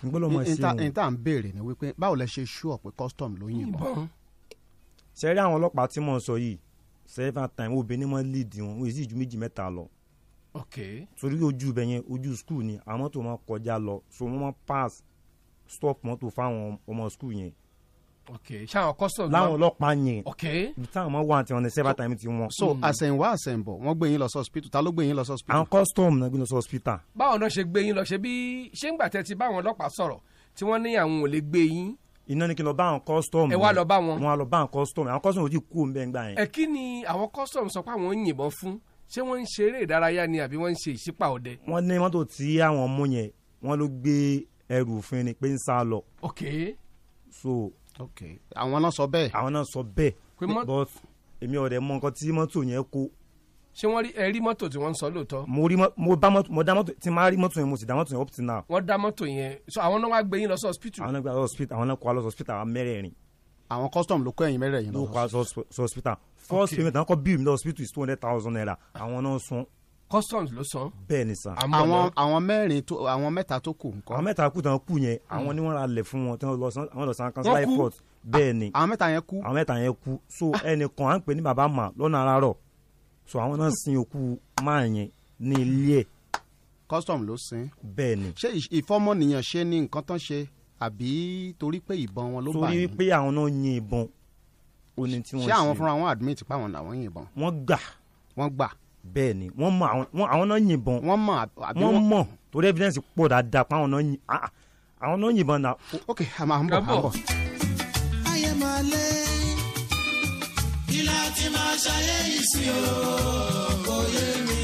Speaker 32: n gbọ́dọ̀ mọ̀
Speaker 16: In- in
Speaker 32: sí
Speaker 16: ta-
Speaker 32: wọn.
Speaker 16: in ta ń béèrè ni wípé báwo lẹ ṣe ṣú ọ̀pẹ custom ló yìnbọn
Speaker 32: sẹ́rí àwọn ọlọ́pàá tí mò ń sọ yìí several times obìnrin mọ́ lead wọn wọ́n èsì ju méjì mẹ́ta lọ
Speaker 15: ok
Speaker 32: torí ojú ibẹ̀ yẹn ojú skul ni àwọn mọ́tò máa kọjá lọ so wọ́n máa pass stop mọ́tò fáwọn ọmọ skul yẹn
Speaker 15: ok ṣé àwọn customs
Speaker 32: láwọn
Speaker 15: máa-
Speaker 32: ọlọ́pàá yẹn
Speaker 15: ok
Speaker 32: ibi táwọn máa wà tí wọ́n ní several times ti wọn.
Speaker 16: so àsẹ̀yìnwá àsẹ̀yìnbọ̀ wọ́n gbé yín lọ sọ́spítù ta ló gbé yín lọ sọ́spítù.
Speaker 32: àwọn custom náà gbé lọ sí hospital
Speaker 15: báwo náà ṣe gbé yín lọ ṣe bí ṣé ń gbà tẹ́ ti bá àwọn ọlọ́pàá sọ̀rọ̀ tí wọ́n ní àwọn ò lè gbé yín
Speaker 32: iná ní kí n lọ bá àwọn custom.
Speaker 15: Ẹ wá lọ bá wọn.
Speaker 32: wọ́n á lọ bá àwọn custom àwọn custom ò tí kú òun bẹ́ẹ̀ ń gbà yẹn.
Speaker 15: ẹ kí ni àwọn customs sọ pé àwọn ń yìnbọn fún ṣé wọ́n ń ṣe eré ìdárayá ni àbí wọ́n ń ṣe ìṣípà ọdẹ.
Speaker 32: wọ́n ní mọ́tò tí àwọn mú yẹn wọ́n ló gbé ẹrù òfin ni pé ń sá lọ.
Speaker 15: ok
Speaker 32: so
Speaker 16: àwọn náà sọ bẹ́ẹ̀.
Speaker 32: àwọn náà sọ bẹ́ẹ̀
Speaker 15: Pé mọ́-
Speaker 32: but èmi ọ̀rẹ́ mọ nǹkan tí mọ́tò yẹn kó
Speaker 15: ṣé wọ́n rí ẹ rí mọ́tò tí wọ́n ń sọ lóòótọ́
Speaker 32: mo rí mọ́- mo bá mọ́tò mo dá mọ́tò tí máa rí mọ́tò yẹn mo sì dá mọ́tò yẹn up till now
Speaker 15: wọ́n dá mọ́tò yẹn so àwọn náà wá gbé yín lọ sí hospital
Speaker 32: àwọn náà gba hospital àwọn náà kó wa lọ hospital àwọn mẹ́rẹ̀ẹ̀rin.
Speaker 16: àwọn custom ló kọ́ ẹ̀yìn mẹ́rẹ̀ẹ̀rin
Speaker 32: ló kó wa lọ hospital first
Speaker 15: Okay.
Speaker 32: payment náà kọ́ bill mi lọ hospital is two hundred thousand naira àwọn náà san
Speaker 15: customs ló san
Speaker 32: bẹ́ẹ̀ ni sàn.
Speaker 16: àwọn àwọn mẹ́rin tó àwọn mẹ́ta tó kù nǹkan.
Speaker 32: àwọn mẹ́ta kú tán kú yẹn àwọn ni wọ́n ra lẹ̀ fún wọn tí wọ́n lọ san àwọn lọ san
Speaker 16: Wọ́n
Speaker 32: kanṣáláì
Speaker 16: kú? Ah,
Speaker 32: court bẹ́ẹ̀ ni.
Speaker 16: àwọn mẹ́ta yẹn kú. Ah.
Speaker 32: àwọn mẹ́ta yẹn kú so ẹnìkan à ń pè ní bàbá mà lọ́nà àràárọ̀ so àwọn náà sin òkú máa yẹn ní ilé ẹ̀
Speaker 16: custom ló sin.
Speaker 32: bẹ́ẹ̀ni.
Speaker 16: ṣé ìṣ- ìfọmọnìyàn ṣe ni nǹkan tán ṣe àbí torí pé ìbọn wọn ló bá
Speaker 32: torí
Speaker 16: yín
Speaker 32: wípé àwọn náà yin ìbọn ó ní tí wọ́n
Speaker 16: ṣé àwọn fúnra wọn admit pé àwọn làwọn yìnbọn.
Speaker 32: wọ́n gbà.
Speaker 16: wọ́n gbà.
Speaker 32: bẹ́ẹ̀ni wọ́n mọ àwọn wọ́n- àwọn náà yìnbọn.
Speaker 16: wọ́n mọ àbí
Speaker 32: wọ́n
Speaker 16: wọ́n-
Speaker 32: mọ torí evidence pọ̀ dáadáa pé àwọn náà yin ah, ah, àwọn náà yìnbọn náà.
Speaker 16: ok a máa ń bọ̀ à ń bọ̀.
Speaker 2: ayé máa lé kí láti máa ṣayé yìí sí o kò yé mi.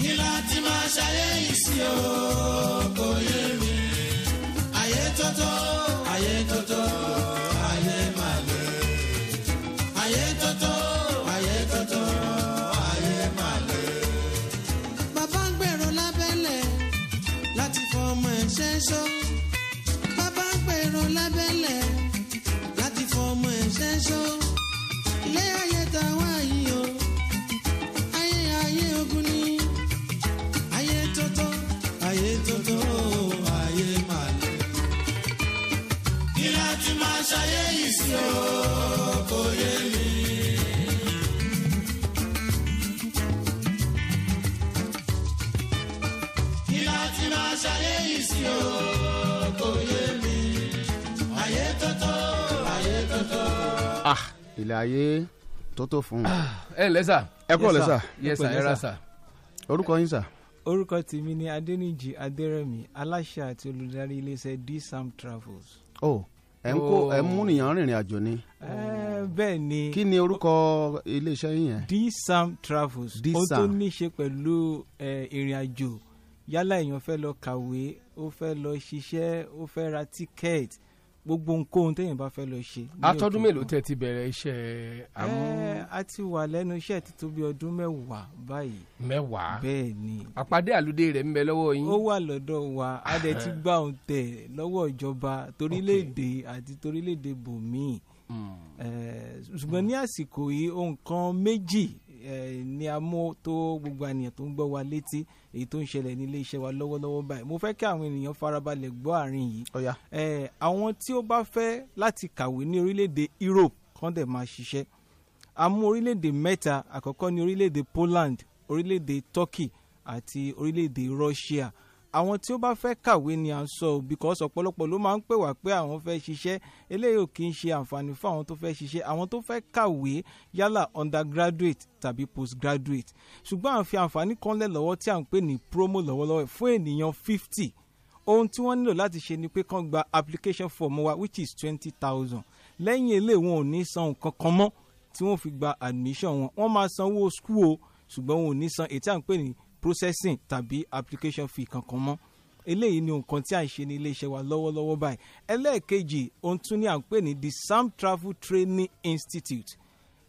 Speaker 2: kí láti máa ṣayé yìí sí o kò yé mi. ayé tótó ayé tótó ayé máa lé. ayé tótó ayé tótó ayé máa lé. bàbá ń gbèrò lábẹ́lẹ̀ láti fọmọ ẹ̀ṣẹ́ ṣọ́. bàbá ń gbèrò lábẹ́lẹ̀ láti fọmọ ẹ̀ṣẹ́ ṣọ́. ilé ayé ta wá yìí o ayé ayé ogun ni ayé tótó ayé tótó ayé màlẹ́. kí láti máa ṣayé yìí sí o kò yé mi. kí láti máa ṣayé yìí sí o kò yé mi. ayé tótó ayé tótó.
Speaker 19: Ah.
Speaker 16: ilé ayé tó tó fún un.
Speaker 15: Eh, ẹ ǹlẹ́ sà.
Speaker 16: ẹ kúrò lẹ́sà.
Speaker 15: yes sà ẹ ra sà.
Speaker 16: orúkọ yín sà.
Speaker 19: orúkọ tèmi ni adẹniji adẹrẹmí aláṣẹ àti olùdarí iléeṣẹ dsam travels.
Speaker 16: o ẹ ń kó
Speaker 19: Oh.
Speaker 16: ẹ ń múnìyàn rìnrìn àjò ni.
Speaker 19: Ẹ, bẹ́ẹ̀ ni
Speaker 16: kí ni orúkọ iléeṣẹ́ yín yẹn.
Speaker 19: dsam travels ó tó
Speaker 16: DSAM.
Speaker 19: ní í ṣe pẹ̀lú ẹ, ìrìn àjò yálà èèyàn fẹ́ lọ kàwé ó fẹ́ lọ ṣiṣẹ́ ó fẹ́ ra tíkẹ́ẹ̀tì gbogbo ohunkóhun téèyàn bá fẹ́ lọ ṣe. ní
Speaker 15: atọ́dún
Speaker 19: òkè
Speaker 15: mélòó
Speaker 19: òkun.
Speaker 15: tẹ ti bẹ̀rẹ̀ iṣẹ́ amú.
Speaker 19: Ẹ, a ti wà lẹ́nu iṣẹ́ ti tó bí ọdún mẹ́wàá báyìí.
Speaker 15: mẹ́wàá.
Speaker 19: bẹ́ẹ̀ ni.
Speaker 15: àpàdé àlùdé rẹ̀ ń bẹ lọ́wọ́ yín.
Speaker 19: ó wà lọ́dọ̀ wa a dẹ̀ ti gbà òun tẹ̀ lọ́wọ́ ìjọba torílẹ̀-èdè àti torílẹ̀-èdè bòmíì Eh, ṣùgbọ́n ní àsìkò yìí ohun kan méjì eh, ni a mú tó gbogbo àníyàn tó ń gbọ́ wa létí èyí tó ń ṣẹlẹ̀ ní iléeṣẹ́ wa lọ́wọ́lọ́wọ́ báyìí mo fẹ́ kí àwọn ènìyàn farabalẹ̀ gbọ́ àárín yìí Eh, àwọn tí ó bá fẹ́ láti kàwé ní orílẹ̀-èdè Europe kan dẹ̀ máa ṣiṣẹ́ a mú orílẹ̀-èdè mẹ́ta àkọ́kọ́ ní orílẹ̀-èdè Poland orílẹ̀-èdè Turkey àti orílẹ̀-èdè Russia àwọn tí ó bá fẹ́ kàwé ni à ń sọ ò because ọ̀pọ̀lọpọ̀ ló máa ń pè wá pé àwọn fẹ́ ṣiṣẹ́ eléyìí ò kì í ṣe àǹfààní fún àwọn tó fẹ́ ṣiṣẹ́ àwọn tó fẹ́ kàwé yálà undergraduate tàbí postgraduate ṣùgbọ́n à ń fi àǹfààní kan lẹ̀ lọ́wọ́ tí à ń pè ní promo lọ́wọ́lọ́wọ́ fún ènìyàn fifty ohun tí wọ́n nílò láti ṣe ni pé kán gba application form wa which is twenty thousand lẹ́yìn eléyìí wọn ò ní san nǹkan kan mọ́ tí wọ́n fi gba admission wọn wọ́n máa sanwó school o ṣùgbọ́n wọn ò ní san èyí tí à ń pè ní processing tàbí application fee kankan mọ́ eléyìí ni nǹkan tí à ń ṣe ní iléeṣẹ́ wa lọ́wọ́lọ́wọ́ báyìí ẹlẹ́ẹ̀kejì ohun tún ni à ń pè ní the sam travel training institute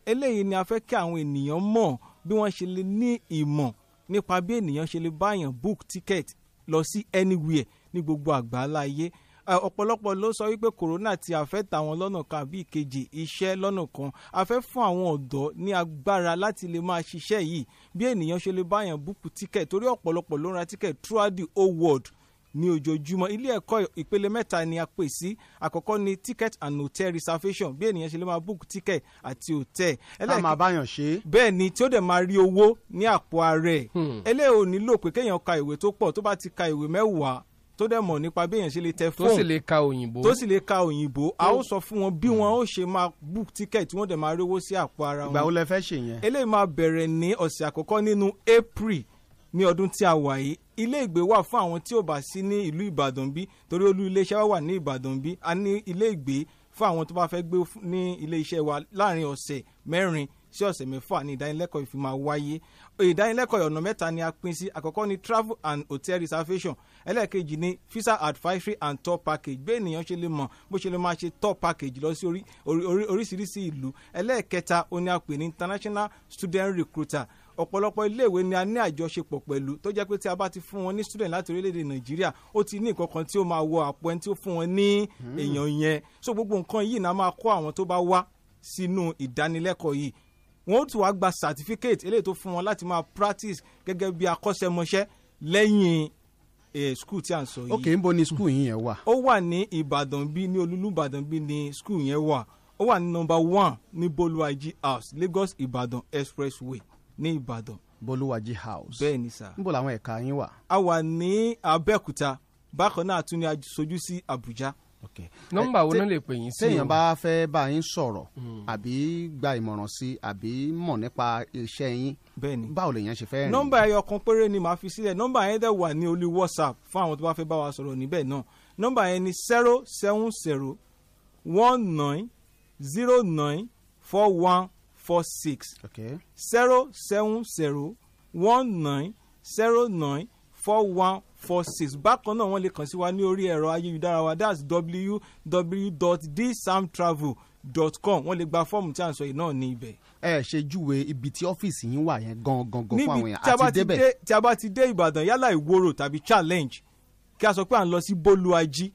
Speaker 19: eléyìí ni a fẹ́ kí àwọn ènìyàn mọ̀ bí wọ́n ṣe lè ní ìmọ̀ nípa bí ènìyàn ṣe lè báyàn book ticket lọ sí anywhere ní gbogbo àgbáńlá ayé Eh, ọ̀pọ̀lọpọ̀ ló sọ wípé corona ti àfẹ́tà àwọn lọ́nà kan àbí ìkejì iṣẹ́ lọ́nà kan a fẹ́ fún àwọn ọ̀dọ́ ní agbára láti lè máa ṣiṣẹ́ yìí bí ènìyàn ṣe lè báyàn book ticket torí ọ̀pọ̀lọpọ̀ ló ń ra ticket throughout the whole world ní ojoojúmọ́ ilé ẹ̀kọ́ ìpele mẹ́ta ni a pè sí àkọ́kọ́ ni ticket and hotel reservation bí ènìyàn ṣe lè máa book ticket àti hotel.
Speaker 16: a máa báyàn ṣe.
Speaker 19: bẹ́ẹ̀ ni tí ó dẹ̀ máa rí owó ní àpò ààrẹ
Speaker 15: Hmm.
Speaker 19: eléyìí ò nílò pé kéèyàn ka ìwé tó pọ̀ tó bá ti ka ìwé mẹ́wàá tó dẹ̀ mọ̀ nípa bí èèyàn ṣe lè tẹ
Speaker 15: tó
Speaker 19: fóònù
Speaker 15: sì lè ka òyìnbó.
Speaker 19: tó sì lè ka òyìnbó a ó sọ fún wọn
Speaker 16: Hmm.
Speaker 19: bí wọn ó ṣe máa book ticket tí wọn dẹ̀ máa rówó sí àpò ara wọn
Speaker 16: ìgbà wo lẹ fẹ́ ṣe yẹn.
Speaker 19: eléyìí máa bẹ̀rẹ̀ ní ọ̀sẹ̀ àkọ́kọ́ nínú april ní ọdún tí a wà yìí ilé ìgbé wà fún àwọn tí ò bá sí ní ìlú ìbàdàn bí torí olú iléeṣẹ́ wa wà ní ìbàdàn bí a ní ilé ìgbé fún àwọn tó bá fẹ́ gbé fún- ní iléeṣẹ́ wa láàrin ọ̀sẹ̀ mẹ́rin sí ọ̀sẹ̀ mẹ́fà ní ìdánilẹ́kọ̀ọ́ ìfi máa wáyé ìdánilẹ́kọ̀ọ́ ọ̀nà mẹ́ta ni a pín sí àkọ́kọ́ ni travel and hotel reservation ẹlẹ́ẹ̀kejì ni visa advisory and tour package bí ènìyàn ṣe lè mọ̀ bó ṣe lè máa ṣe tour package lọ sí orí orí- orí- oríṣiríṣi ìlú ẹlẹ́ẹ̀kẹta ó ní a pè ní international student recruiter ọ̀pọ̀lọpọ̀ iléèwé ni a ní àjọṣepọ̀ pẹ̀lú tó jẹ́ pé tí a bá ti fún wọn ní student láti orílẹ̀-èdè nàìjíríà ó ti ní nǹkan kan tí ó máa wọ àpò ẹni tí ó fún wọn ní èèyàn yẹn so gbogbo nǹkan yìí náà máa kọ́ àwọn tó bá wá sínú ìdánilẹ́kọ̀ọ́ yìí wọn ó tún wá gba certificate eléyìí tó fún wọn láti máa practice gẹ́gẹ́ bí akọ́ṣẹ́mọṣẹ́ lẹ́yìn eh, school tí à ń sọ yìí
Speaker 16: ok n bo ni skul yín yẹn wà.
Speaker 19: ó wà ní ìbàdàn bí ní olúlúbàdàn bí ní skul yẹn wà ó wà ní nọmba one ní bolúwàjí house lagos ìbàdàn expressway ní ìbàdàn.
Speaker 18: bolúwàjí house.
Speaker 19: bẹ́ẹ̀ ni sà.
Speaker 18: níbo làwọn ẹ̀ka yín wà.
Speaker 19: a wà ní abẹ́òkúta bákan náà tún ni a sojú sí abuja.
Speaker 15: nọ́mbà wo ló lè pè yín sí
Speaker 18: téèyàn
Speaker 15: o?
Speaker 18: bá fẹ́ bá yín sọ̀rọ̀
Speaker 16: Hmm.
Speaker 18: àbí gba ìmọ̀ràn sí àbí mọ̀ nípa iṣẹ́ yín.
Speaker 19: bẹ́ẹ̀ni.
Speaker 18: báwo lèèyàn ṣe fẹ́ rìn.
Speaker 19: nọ́mbà ẹyọ kan péré ni màá fi sílẹ̀ nọ́mbà yẹn dẹ̀ wà ní olú whatsapp fún àwọn tó bá fẹ́ bá wa sọ̀rọ̀ níbẹ̀ náà nọ́mbà yẹn ni zero seven zero one nine zero nine four one four six zero seven zero one nine zero nine four one four six bákan náà wọ́n lè kàn sí wa ní orí ẹ̀rọ ayélujára wa that's www.dsamtravel.com wọ́n lè gba fọ́ọ̀mù tí à ń sọ yìí náà ní ibẹ̀
Speaker 18: ẹ ṣe júwe ibi tí ọ́fíìsì yín wà yẹn gan gan gan fún àwọn
Speaker 19: níbi tí
Speaker 18: èèyàn
Speaker 19: a bá
Speaker 18: àti
Speaker 19: ti
Speaker 18: débẹ̀.
Speaker 19: dé tí a bá ti dé ìbàdàn yálà ìwòrò tàbí challenge kí a sọ pé à ń lọ sí bólúwájí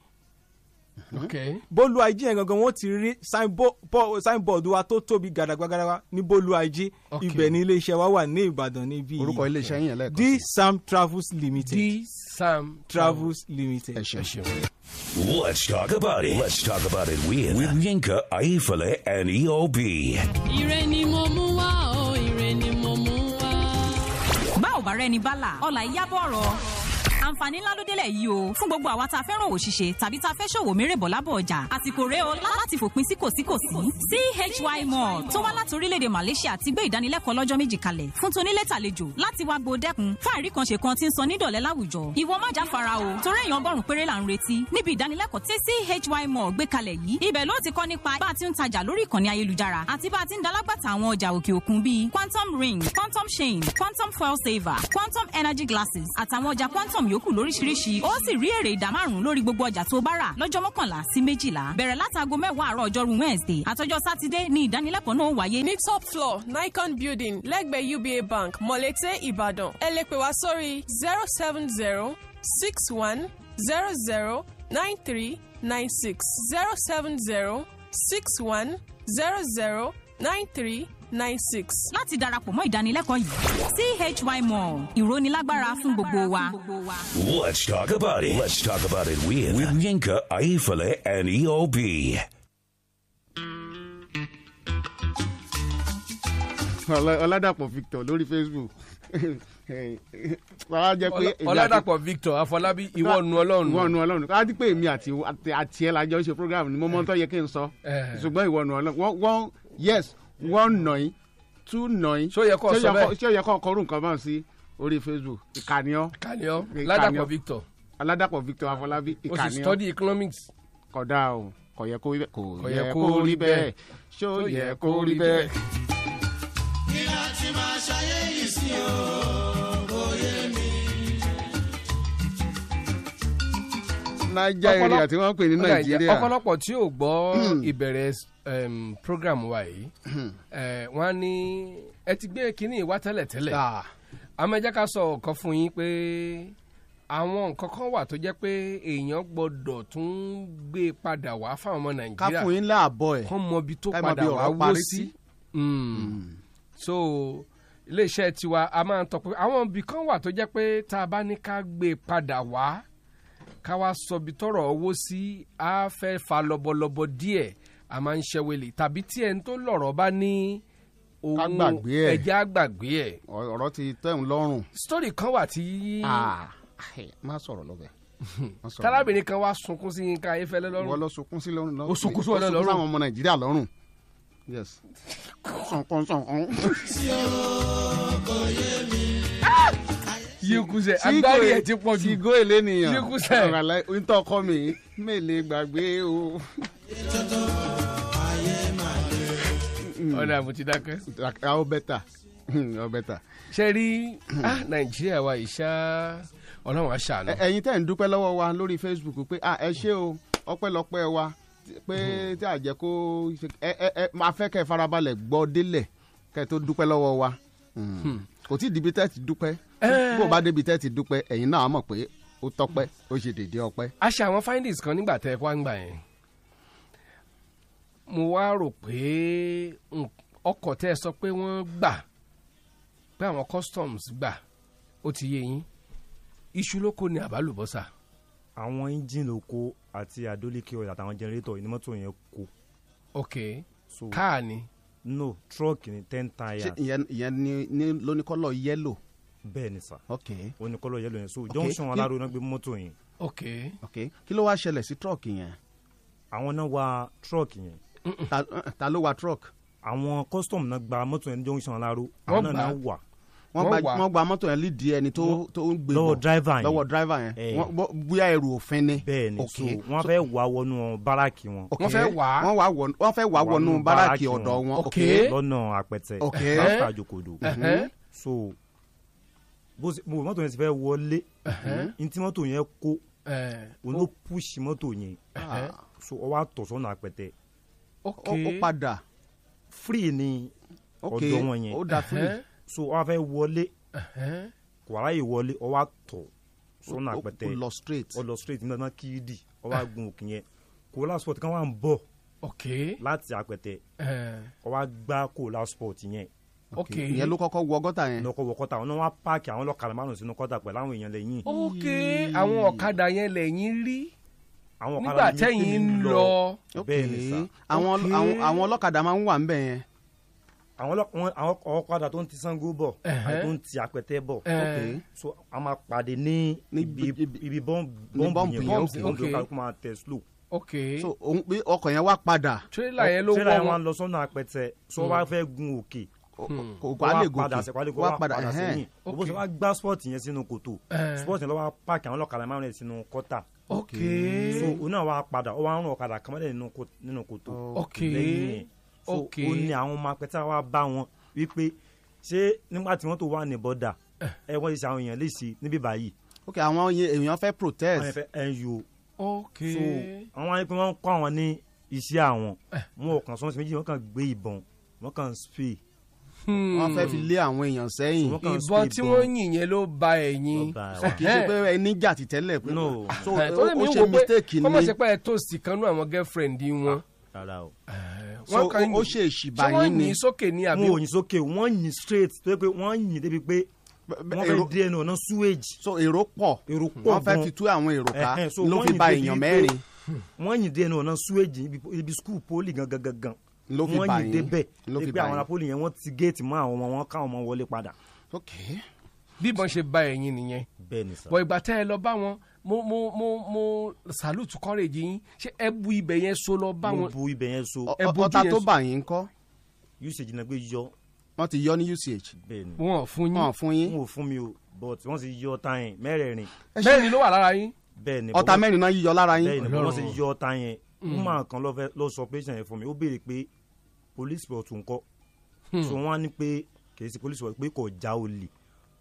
Speaker 19: Mhm. bólúwájí yẹn gangan wọn ti rí signbo- bo- signboard wa tó tóbi gàdàgbàgàdàgbà ní bólúwájí
Speaker 18: Okay.
Speaker 19: ibẹ̀ ní iléeṣẹ́ wa wà ní ìbàdàn níbí yìí.
Speaker 18: orúkọ iléeṣẹ́ yín yẹn lẹ́ẹ̀kan.
Speaker 19: d sam travels limited d
Speaker 15: sam
Speaker 19: travels limited.
Speaker 14: Let's talk about it. Let's talk about it with, with Yinka, Aifale, and E EOB.
Speaker 27: Ire ni mo mú wá o, ire ni mo mú wá.
Speaker 28: bá ò bá rẹni bálà ọ̀la ìyábọ̀ ọ̀rọ̀ àǹfààní ńlá ló délẹ̀ yìí o fún gbogbo àwa tá a fẹ́ràn òwò ṣíṣe tàbí tá a fẹ́ ṣòwò mérèbọ̀ lábọ̀ ọjà àsìkò rèé o láti fòpin sí kò sí kò sí chy mall tó wá láti orílẹ̀-èdè malaysia ti gbé ìdánilẹ́kọ̀ọ́ lọ́jọ́ méjì kalẹ̀ fún tonílé tàlejò láti wá gbó dẹ́kun fáàrí kan ṣe kan ti ń sọ nídọ̀lẹ́ láwùjọ ìwọ má jáfara o torí èèyàn ọgọ́rùn-ún péré là ń retí níbi ìdánilẹ́kọ̀ọ́ tí chy mall gbé kalẹ̀ yìí ibẹ̀ ló ti kọ́ nípa bá a ti ń tajà lórí ìkànnì ayélujára àti bá a ti ń dalágbàtà àwọn ọjà òkè òkun bíi quantum ring quantum chain quantum fuel saver quantum energy glasses àtàwọn ọjà quantum yòókù lóríṣiríṣi ó sì rí èrè ìdá márùn-ún lórí gbogbo ọjà tó bá rà lọ́jọ́ mọ́kànlá sí méjìlá bẹ̀rẹ̀ látago mẹ́wàá àárọ̀ ọjọ́rú wednesday àtọjọ́ sátidé ni ìdánilẹ́kọ̀ọ́ náà ó wáyé ní
Speaker 29: Top floor, Nikon Building, lẹ́gbẹ̀ẹ́ UBA Bank, Mọ̀lẹ́tẹ̀, Ìbàdàn. Ẹ lè pè wá sórí zero seven zero six one zero zero nine three nine six zero seven zero six one zero zero nine three nine six.
Speaker 28: láti darapọ̀ mọ́ ìdánilẹ́kọ̀ọ́ yìí chy mall ìrónilágbára fún gbogbo wa.
Speaker 14: Let's talk about it. Let's talk about it with, with Yinka, Aifale, and E EOB.
Speaker 16: Ọlá- ọládàpọ̀ victor lórí facebook [laughs] wàá jẹ pé èmi àti-
Speaker 15: ọládàpọ̀ victor afọlábí ìwọ nu ọlọ́run
Speaker 16: ìwọ nu ọlọ́run ká dípé èmi àti àti- àti ẹ̀ lajọ ṣe program ni mo mọ tó yẹ kí n sọ
Speaker 15: Eh.
Speaker 16: ṣùgbọ́n ìwọ nu ọlọ́run wọ́n- wọ́n yes wọ́n nà í tú nà í ṣó yẹ
Speaker 15: kó sọ bẹ́ẹ̀?
Speaker 16: ṣó yẹ kó kọrú nǹkan báwọn sí orí facebook ìkànnì ọ
Speaker 15: Ìkànnì ọ́. Ládàpọ̀ Victor.
Speaker 16: aládàpọ̀ victor afọlábí
Speaker 15: ó
Speaker 16: ìkànnì
Speaker 15: sì study economics.
Speaker 16: kódà o kò yẹ kó rí bẹ́ẹ̀
Speaker 15: Kò
Speaker 16: kò yẹ kó rí bẹ́ẹ̀ ṣó yẹ kó rí bẹ́ẹ̀.
Speaker 2: Kí láti máa ṣayé yìí sí o, kò yé mi.
Speaker 16: naija area tí wọ́n pè ní
Speaker 15: Ọ̀dà ìjẹ́-
Speaker 16: nàìjíríà
Speaker 15: ọ̀pọ̀lọpọ̀ tí ò gbọ́ ìbẹ̀rẹ̀ em, program wa yìí eh, wọ́n á ní ẹ ti gbé kínní ìwá tẹ́lẹ̀tẹ́lẹ̀ àmọ́ ẹ jẹ́ ká sọ ọ̀kan fún yín pé àwọn nǹkan kan wà tó jẹ́ pé èèyàn gbọ́dọ̀ tún gbé padà wá fáwọn ọmọ
Speaker 18: ká
Speaker 15: nàìjíríà
Speaker 18: fún yín láàbọ̀ ẹ̀.
Speaker 15: kán mọ ibi tó
Speaker 18: ká mọ
Speaker 15: padà
Speaker 18: bí
Speaker 15: wá
Speaker 18: ọ̀rọ̀
Speaker 15: wó
Speaker 18: parí
Speaker 15: sí
Speaker 16: Hmm.
Speaker 15: so iléeṣẹ́ tiwa a máa ń tọpẹ́ àwọn ibì kan wà tó jẹ́ pé tá a bá ní ká gbé e padà wá ká wá sọ ibi tọ́rọ̀ owó sí a fẹ́ fa lọ́bọ̀lọ́bọ̀ díẹ̀ a máa ń ṣẹ́wélé tàbí tí ẹni tó lọ̀rọ̀ bá ní
Speaker 16: Ká
Speaker 15: ohun
Speaker 16: gbàgbé ẹ̀.
Speaker 15: ẹ̀jẹ̀ á gbàgbé ẹ̀.
Speaker 16: ọ̀rọ̀ ti tẹ̀ ń lọ́rùn.
Speaker 15: sítórì kan wà tí
Speaker 16: Ah, má sọ̀rọ̀ lọ́bẹ̀. Má sọ̀rọ̀
Speaker 15: tálábìnrin kan wá sunkún sí yín ká ayéfẹ́lẹ́ lọ́rùn.
Speaker 16: wọ́n lọ sunkún sí lọ́rùn lọ́rùn.
Speaker 15: Ó sunkún sí wọn náà
Speaker 16: Ó sunkún
Speaker 15: lọ́rùn.
Speaker 16: sáwọn ọmọ nàìjíríà lọ́rùn. yes. sọ̀kan sọ̀kan.
Speaker 15: yíkúsẹ̀ agbárí ẹ̀ ti pọ̀ jù.
Speaker 16: sigo èlé nìyàn.
Speaker 15: Yíkúsẹ̀.
Speaker 16: ọ̀rọ̀ àlàyé ntọ́ ọkọ mi mélèé gbàgbé o.
Speaker 15: ọ̀dà mo ti dákẹ́.
Speaker 16: àwọn bẹ́tà àwọn bẹ́tà.
Speaker 15: ṣe rí ah, nàìjíríà wa ìṣá ọlọ́run àṣà lọ.
Speaker 16: Ẹ- ẹ̀yin tẹ́ ń dúpẹ́ lọ́wọ́ wa lórí facebook pé ah, ẹ ṣé o ọpẹ́lọpẹ́ wa pé
Speaker 15: Hmm.
Speaker 16: tí a jẹ́ kó ẹ ẹ ẹ máa fẹ́ kẹ́ ẹ farabalẹ̀ gbọ́ délẹ̀ kẹ́ ẹ tó dúpẹ́ lọ́wọ́ wa Mm.
Speaker 15: Hmm.
Speaker 16: kò tí ì dibi tẹ́ ti dúpẹ́
Speaker 15: Eh.
Speaker 16: bó o bá débi tẹ́ ti dúpẹ́ ẹ̀yin náà á mọ̀ pé ó tọ́pẹ́ ó ṣe dédé ọpẹ́.
Speaker 15: a ṣe àwọn findings kan nígbà tẹ ẹ wá ń gbà yẹn mo wá rò pé nk- ọkọ̀ tẹ́ ẹ sọ pé wọ́n gbà pé àwọn customs gbà ó ti yé yín iṣu ló kó ní àbálùbọ́sà
Speaker 32: àwọn engine ló kó àti àdólíkè ọ̀dà àtàwọn generator ni mọ́tò yẹn kó.
Speaker 15: ok
Speaker 16: So-
Speaker 15: káà ni.
Speaker 32: no truck ni ten tires.
Speaker 16: ṣé ìyẹn ìyẹn ni ní lóníkọ́lọ̀ yẹ́lò.
Speaker 32: bẹ́ẹ̀ ni sà.
Speaker 16: ok
Speaker 32: oníkọ́lọ̀ yẹ́lò yẹn so
Speaker 16: Ok,
Speaker 32: junction
Speaker 16: kí-
Speaker 32: aláró náà gbé mọ́tò yẹn.
Speaker 15: ok
Speaker 16: ok kí ló wáá ṣẹlẹ̀ sí truck yẹn.
Speaker 32: àwọn náà wa truck yẹn.
Speaker 16: Ta- eh, ta ló wa truck.
Speaker 32: àwọn custom náà gba mọ́tò yẹn ní junction aláró. àwọn
Speaker 16: Wọ́n
Speaker 32: náà
Speaker 16: gbà á.
Speaker 32: náà wà.
Speaker 16: wọ́n gba wọ́n gba mọ́tò yẹn lídìí ẹni tó tó ń gbé
Speaker 32: lọ́wọ́
Speaker 16: bọ̀.
Speaker 32: driver yẹn.
Speaker 16: lọ́wọ́ driver yẹn
Speaker 32: Eh.
Speaker 16: Wọ́n- bó- bóyá ẹrù òfin ni.
Speaker 32: bẹ́ẹ̀ ni
Speaker 16: ok
Speaker 32: so wọ́n fẹ́ wà wọnú báràkì wọn.
Speaker 16: ok wọ́n wá wọ- wọ́n fẹ́ wá wọnú báràkì ọ̀dọ̀ wọn. ok
Speaker 32: lọ́nà àpẹtẹ
Speaker 16: Ok.
Speaker 32: láfà jòkòdò Mhm.
Speaker 16: Ẹhẹ́.
Speaker 32: so bó ṣe mo mọ́tò yẹn ti fẹ́ wọlé
Speaker 15: Ẹhẹ́.
Speaker 32: n tí mọ́tò yẹn kó
Speaker 15: Ẹh.
Speaker 32: òun ló púṣì mọ́tò yẹn
Speaker 15: Ẹhẹ́.
Speaker 32: so ọ wá tọ̀ sọ́nà àpẹtẹ
Speaker 15: ok
Speaker 16: ó padà.
Speaker 32: free ni
Speaker 16: Ok,
Speaker 32: ọ̀dọ̀ wọn yẹn
Speaker 16: ó da
Speaker 18: Uh-huh.
Speaker 16: free. Ẹhẹ́.
Speaker 32: so ọ wá fẹ́ wọlé kò ráyè wọlé ọ wá tọ̀ sọ́nà
Speaker 16: Ó- ó-
Speaker 32: àpẹtẹ
Speaker 16: ó lọ straight.
Speaker 32: ọ lọ straight nígbà náà kíìdì ọ wá gun òkè yẹn kò lásìkò tí káwọn à ń bọ̀ láti àpẹtẹ ọ wá gbá kò lásìkò tí yẹn
Speaker 15: Eh, ok
Speaker 16: ìyẹn ló kọ́kọ́ wọ gọ́tà yẹn.
Speaker 32: lọkọ wọ kọta àwọn náà wá páàkì àwọn ọlọ́kadà márùn sínú kọta pẹ̀lú àwọn èèyàn lẹ́yìn.
Speaker 15: ok
Speaker 16: Hmm.
Speaker 15: àwọn ọ̀kadà yẹn lẹ́yìn rí
Speaker 32: àwọn
Speaker 15: nígbà tẹ́yìn ń lọ.
Speaker 32: bẹ́ẹ̀ ni sá.
Speaker 16: àwọn àwọn- àwọn ọlọ́kadà máa ń wà ń bẹ̀ yẹn.
Speaker 32: àwọn ọlọ- wọn- àwọn ọlọ́kadà tó ń ti sango bọ̀
Speaker 16: Ẹ̀hẹ́.
Speaker 32: àti tó ń ti àpẹtẹ bọ̀
Speaker 15: Eh.
Speaker 16: Ok.
Speaker 32: so a máa pàdé ní ibi ibi bọ́ǹ-
Speaker 16: ní
Speaker 32: bọ́ǹbù
Speaker 16: bọ́ǹbù
Speaker 32: yẹn
Speaker 16: yẹn,
Speaker 32: bọ́ǹbù
Speaker 16: ok.
Speaker 32: yẹn ló kálukú máa tẹ̀ slow.
Speaker 15: ok
Speaker 16: so òun pé ọkọ̀ yẹn wá padà.
Speaker 15: tírélà
Speaker 32: Tírélà yẹn wá ń lọ sọ́nà àpẹtẹ sọ wá fẹ́ gun òkè
Speaker 16: Hmm. kò wá lè gòkè.
Speaker 32: padà sẹ́kọ̀
Speaker 16: Wá
Speaker 32: wá
Speaker 16: padà,
Speaker 32: padà
Speaker 16: ẹ̀hẹ́n.
Speaker 32: sẹ́yìn
Speaker 16: Ok.
Speaker 32: bó ṣe wá gbá spọ́ọ̀tì yẹn sínú kòtò
Speaker 16: Ẹ̀hẹ́n.
Speaker 32: spọ́ọ̀tì yẹn lọ́wọ́ páàkì àwọn ọlọ́kadà márùn yẹn sínú kọ́tà
Speaker 15: Eh. ok
Speaker 32: so òun náà wá padà ó wá ń rún ọ̀kadà kan mọ́lẹ̀ nínú kò- nínú kòtò
Speaker 15: Ok.
Speaker 32: lẹ́yìn ẹ̀ so
Speaker 15: Ok.
Speaker 32: ó ní àwọn ọmọ apẹtẹ wa bá wọn wípé ṣé nígbà tí wọ́n tó wà ní bọ́dà
Speaker 15: Eh.
Speaker 32: ẹ wọ́n ti ṣe àwọn èèyàn léṣe níbí báyìí
Speaker 16: ok àwọn yẹn- èèyàn fẹ́ protest.
Speaker 32: wọ́n yẹn fẹ́ NU
Speaker 15: ok
Speaker 32: so àwọn ayé pé wọ́n ń kọ́ àwọn ní iṣẹ́ àwọn
Speaker 15: Eh.
Speaker 32: wọn ò kàn sọ́n sí méjì wọ́n kàn gbé ìbọn wọ́n kàn ń spray
Speaker 15: Hmm.
Speaker 16: wọ́n fẹ́ fi lé àwọn èèyàn sẹ́yìn.
Speaker 15: ìbọn tí wọ́n yìn yẹn ló ba ẹ̀yìn
Speaker 16: So kì í ṣe pé ẹni jà ti tẹ́lẹ̀ pé so
Speaker 15: Eh,
Speaker 16: ó
Speaker 15: torí mi ń
Speaker 16: ó ṣe
Speaker 15: wò pé
Speaker 16: mistake ni
Speaker 15: kọ́mọ̀ ṣe pé ẹ tóòsì kan nú àwọn girlfriend wọn. Eh,
Speaker 16: So,
Speaker 15: Wọ́n kàn
Speaker 16: ó- ó
Speaker 15: yìn.
Speaker 16: ṣe
Speaker 15: Ṣé
Speaker 16: ìṣìbàyín
Speaker 15: wọ́n
Speaker 16: ni.
Speaker 15: yìn sókè ní àbí.
Speaker 32: wọn ò yìn sókè wọ́n yìn straight tó yẹ pé wọ́n yìn débi pé wọ́n fẹ́
Speaker 16: èrò-
Speaker 32: dé ẹnu ọ̀nà sewage
Speaker 16: so èrò pọ̀
Speaker 32: èrò pọ̀
Speaker 16: wọ́n fẹ́
Speaker 32: gan.
Speaker 16: fi tú àwọn èrò ká
Speaker 32: Ẹ̀hẹ́n, so
Speaker 16: ló
Speaker 32: wọ́n
Speaker 16: fi
Speaker 32: yìn
Speaker 16: ba
Speaker 32: débi
Speaker 16: èèyàn
Speaker 32: pé
Speaker 16: mẹ́rin.
Speaker 32: wọ́n yìn dénú ọ̀nà sewage ibi- ibi skul poli gangan gangan
Speaker 16: Ló fi bà
Speaker 32: wọ́n yìn
Speaker 16: yín.
Speaker 32: débẹ̀
Speaker 16: Ló fi
Speaker 32: pé
Speaker 16: bà
Speaker 32: àwọn
Speaker 16: yín.
Speaker 32: apoli yẹn wọ́n ti géètì mọ́ àwọn ọmọ wọn káwọn ọmọ wọlé padà.
Speaker 15: bíbọn ṣe ba ẹ̀yìn nìyẹn.
Speaker 32: bẹ́ẹ̀ ni sà.
Speaker 15: bọ̀ ìgbà tẹ́ ẹ lọ bá wọn mo mo mo mo salute courage yín ṣé ẹ bu ibẹ̀ yẹn so lọ bá
Speaker 32: mo
Speaker 15: wọn.
Speaker 32: bu ibẹ̀ yẹn so.
Speaker 15: Ọ- Ẹ bójú
Speaker 16: ọta
Speaker 15: yẹn
Speaker 16: tó
Speaker 15: sí.
Speaker 16: bà yín kọ́
Speaker 32: usage náà gbé yọ.
Speaker 16: wọ́n ti yọ ní uch.
Speaker 32: bẹ́ẹ̀ ni.
Speaker 15: wọn ò fún yín.
Speaker 16: Wọn ò fún yín.
Speaker 32: wọn ò fún mi o but wọ́n ti yọ ọta yẹn mẹ́rẹ̀ẹ̀rin.
Speaker 15: mẹ́rin ló wà lára yín.
Speaker 32: bẹ́ẹ̀ ni.
Speaker 16: ọta
Speaker 32: bọ́wọ́-
Speaker 16: mẹ́rin náà yíyọ lára yín.
Speaker 32: bẹ́ẹ̀ ni bọ́wọ́ ti yọ ọta yẹn.
Speaker 15: Hmm.
Speaker 16: Mm.
Speaker 32: woman kan ló fẹ́ ló sọ patient yẹn fún mi ó béèrè pé police report ń kọ́.
Speaker 16: Hmm.
Speaker 32: so wọ́n á ní pé kì í ṣe police report pé kò já olè.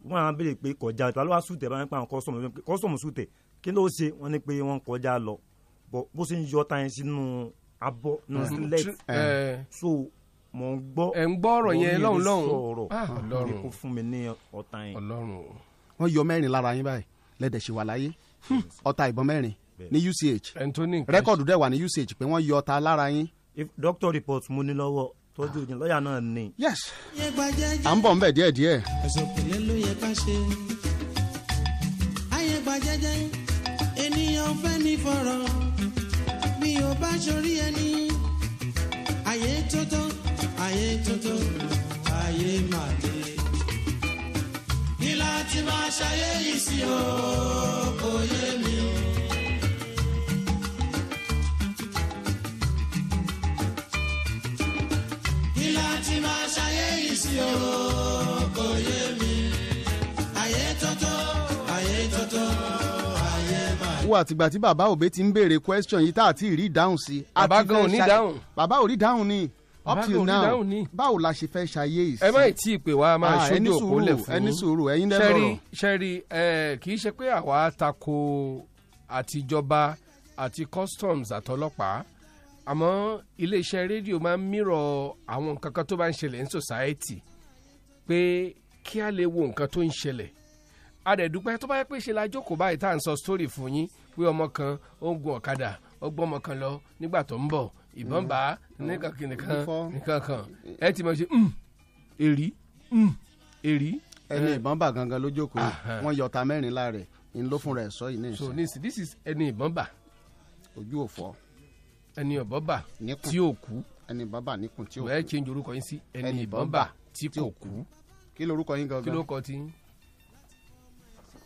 Speaker 32: wọ́n á béèrè pé kò já olè ta ló wá sùtẹ̀ báyìí pé àwọn custom ló ń pè custom sùtẹ̀ kí ló ṣe wọ́n ní pé wọ́n kọjá lọ. bọ́ bó ṣe ń yọ ọta yẹn sínú abọ́ nínú
Speaker 15: Mm.
Speaker 32: sílẹ̀
Speaker 15: Eh.
Speaker 32: so mò ń gbọ́
Speaker 15: ẹ̀ ń gbọ́ ọ̀rọ̀
Speaker 32: mo
Speaker 15: yẹn
Speaker 32: ní
Speaker 15: lọ́hùn
Speaker 32: ẹni
Speaker 15: lọ́hùn.
Speaker 32: sọ̀rọ̀
Speaker 15: Ah, Ọlọ́run.
Speaker 32: ní kó fún mi ní ọ̀tá yẹn.
Speaker 15: ọlọ́run o.
Speaker 16: wọ́n yọ mẹ́rin lára yín báyìí lẹ́dẹ̀ ṣe wà láyé
Speaker 15: Hmm.
Speaker 16: Hm, ọta ìbọn mẹ́rin ní uch rẹ́kọ̀dù dẹ̀ wà ní uch pé wọ́n yọ ọta lára yín.
Speaker 32: if doctor report mo ní lọ́wọ́ tọ́jú òyìn lọ́ọ̀yà náà ní.
Speaker 16: yes
Speaker 2: yé gbajẹ́jẹ́
Speaker 16: à ń bọ̀ ń bẹ̀ díẹ̀díẹ̀.
Speaker 2: òṣòkèlè ló yẹ ká ṣe. ayé gbajẹ́jẹ́ ènìyàn fẹ́ ní fọ̀rọ̀ bí o bá ṣorí ẹni. ayé tótó ayé tótó ayé máa dé. ní láti máa ṣayé yìí sí o kò yé mi o. kí láti máa ṣayé yìí sí o kò yé mi. ayé tọ́tọ́ ayé tọ́tọ́ ayé máa.
Speaker 16: wo àtìgbà tí bàbá òbí ti ń béèrè question yìí tá àti rí ìdáhùn sí. a
Speaker 15: Bàbá
Speaker 16: ti
Speaker 15: gan ò
Speaker 16: fẹ́
Speaker 15: ní
Speaker 16: ṣa-
Speaker 15: dáhùn.
Speaker 16: bàbá ò rí ìdáhùn ni up
Speaker 15: Bàbá gan
Speaker 16: till
Speaker 15: ò ní
Speaker 16: now
Speaker 15: dáhùn ni.
Speaker 16: báwo la ṣe fẹ́ ṣayé yìí sí.
Speaker 15: ẹ má ì tí ì pè wá a máa
Speaker 16: Ah, ẹni
Speaker 15: ṣojú òpó
Speaker 16: sùúrù,
Speaker 15: lẹ̀ fún
Speaker 16: ẹni sùúrù, ẹ̀yin lẹ
Speaker 15: Ṣẹ́rí-
Speaker 16: lọ́rọ̀.
Speaker 15: ṣẹ́rí ẹ kì í ṣe pé àwa tako àtijọba àti customs àtọlọ́pàá àmọ́ iléeṣẹ́ rédíò máa ń mírọ̀ àwọn nǹkan kan tó bá ń ṣẹlẹ̀ ní society pé kí a lè wo nǹkan tó ń ṣẹlẹ̀ adẹ̀dúpẹ́ tó bá yẹ pé ṣe la jókòó báyìí tá à ń sọ story fún yín pé ọmọ kan ó ń gun ọ̀kadà ó gbọ́ ọmọ kan lọ nígbà tó ń bọ̀
Speaker 18: Mm.
Speaker 15: ìbọn bá a nìkan nìkan nìkan kan ẹ ti mọ̀ ṣe "Mm, èrí mm, èrí.
Speaker 16: ẹni
Speaker 15: Eh,
Speaker 16: ìbọn bà gangan ló jókòó
Speaker 15: Aha.
Speaker 16: wọ́n yọ ọta mẹ́rin lára ẹ̀ ń ló fúnra ẹ̀ sọ yìí ní
Speaker 15: so
Speaker 16: ìsìn
Speaker 15: this this is ẹni ìbọn bà
Speaker 16: ojú òfò
Speaker 15: ẹni ọ̀bọ bà
Speaker 16: Níkùn.
Speaker 15: tí ò kú
Speaker 16: ẹni bàbá níkùn tí ò
Speaker 15: wẹ́ẹ́ change orúkọ yín sí ẹni ìbọn bà tí kò kú.
Speaker 16: kí lorúkọ yín gangan.
Speaker 15: kí lorúkọ tí yín.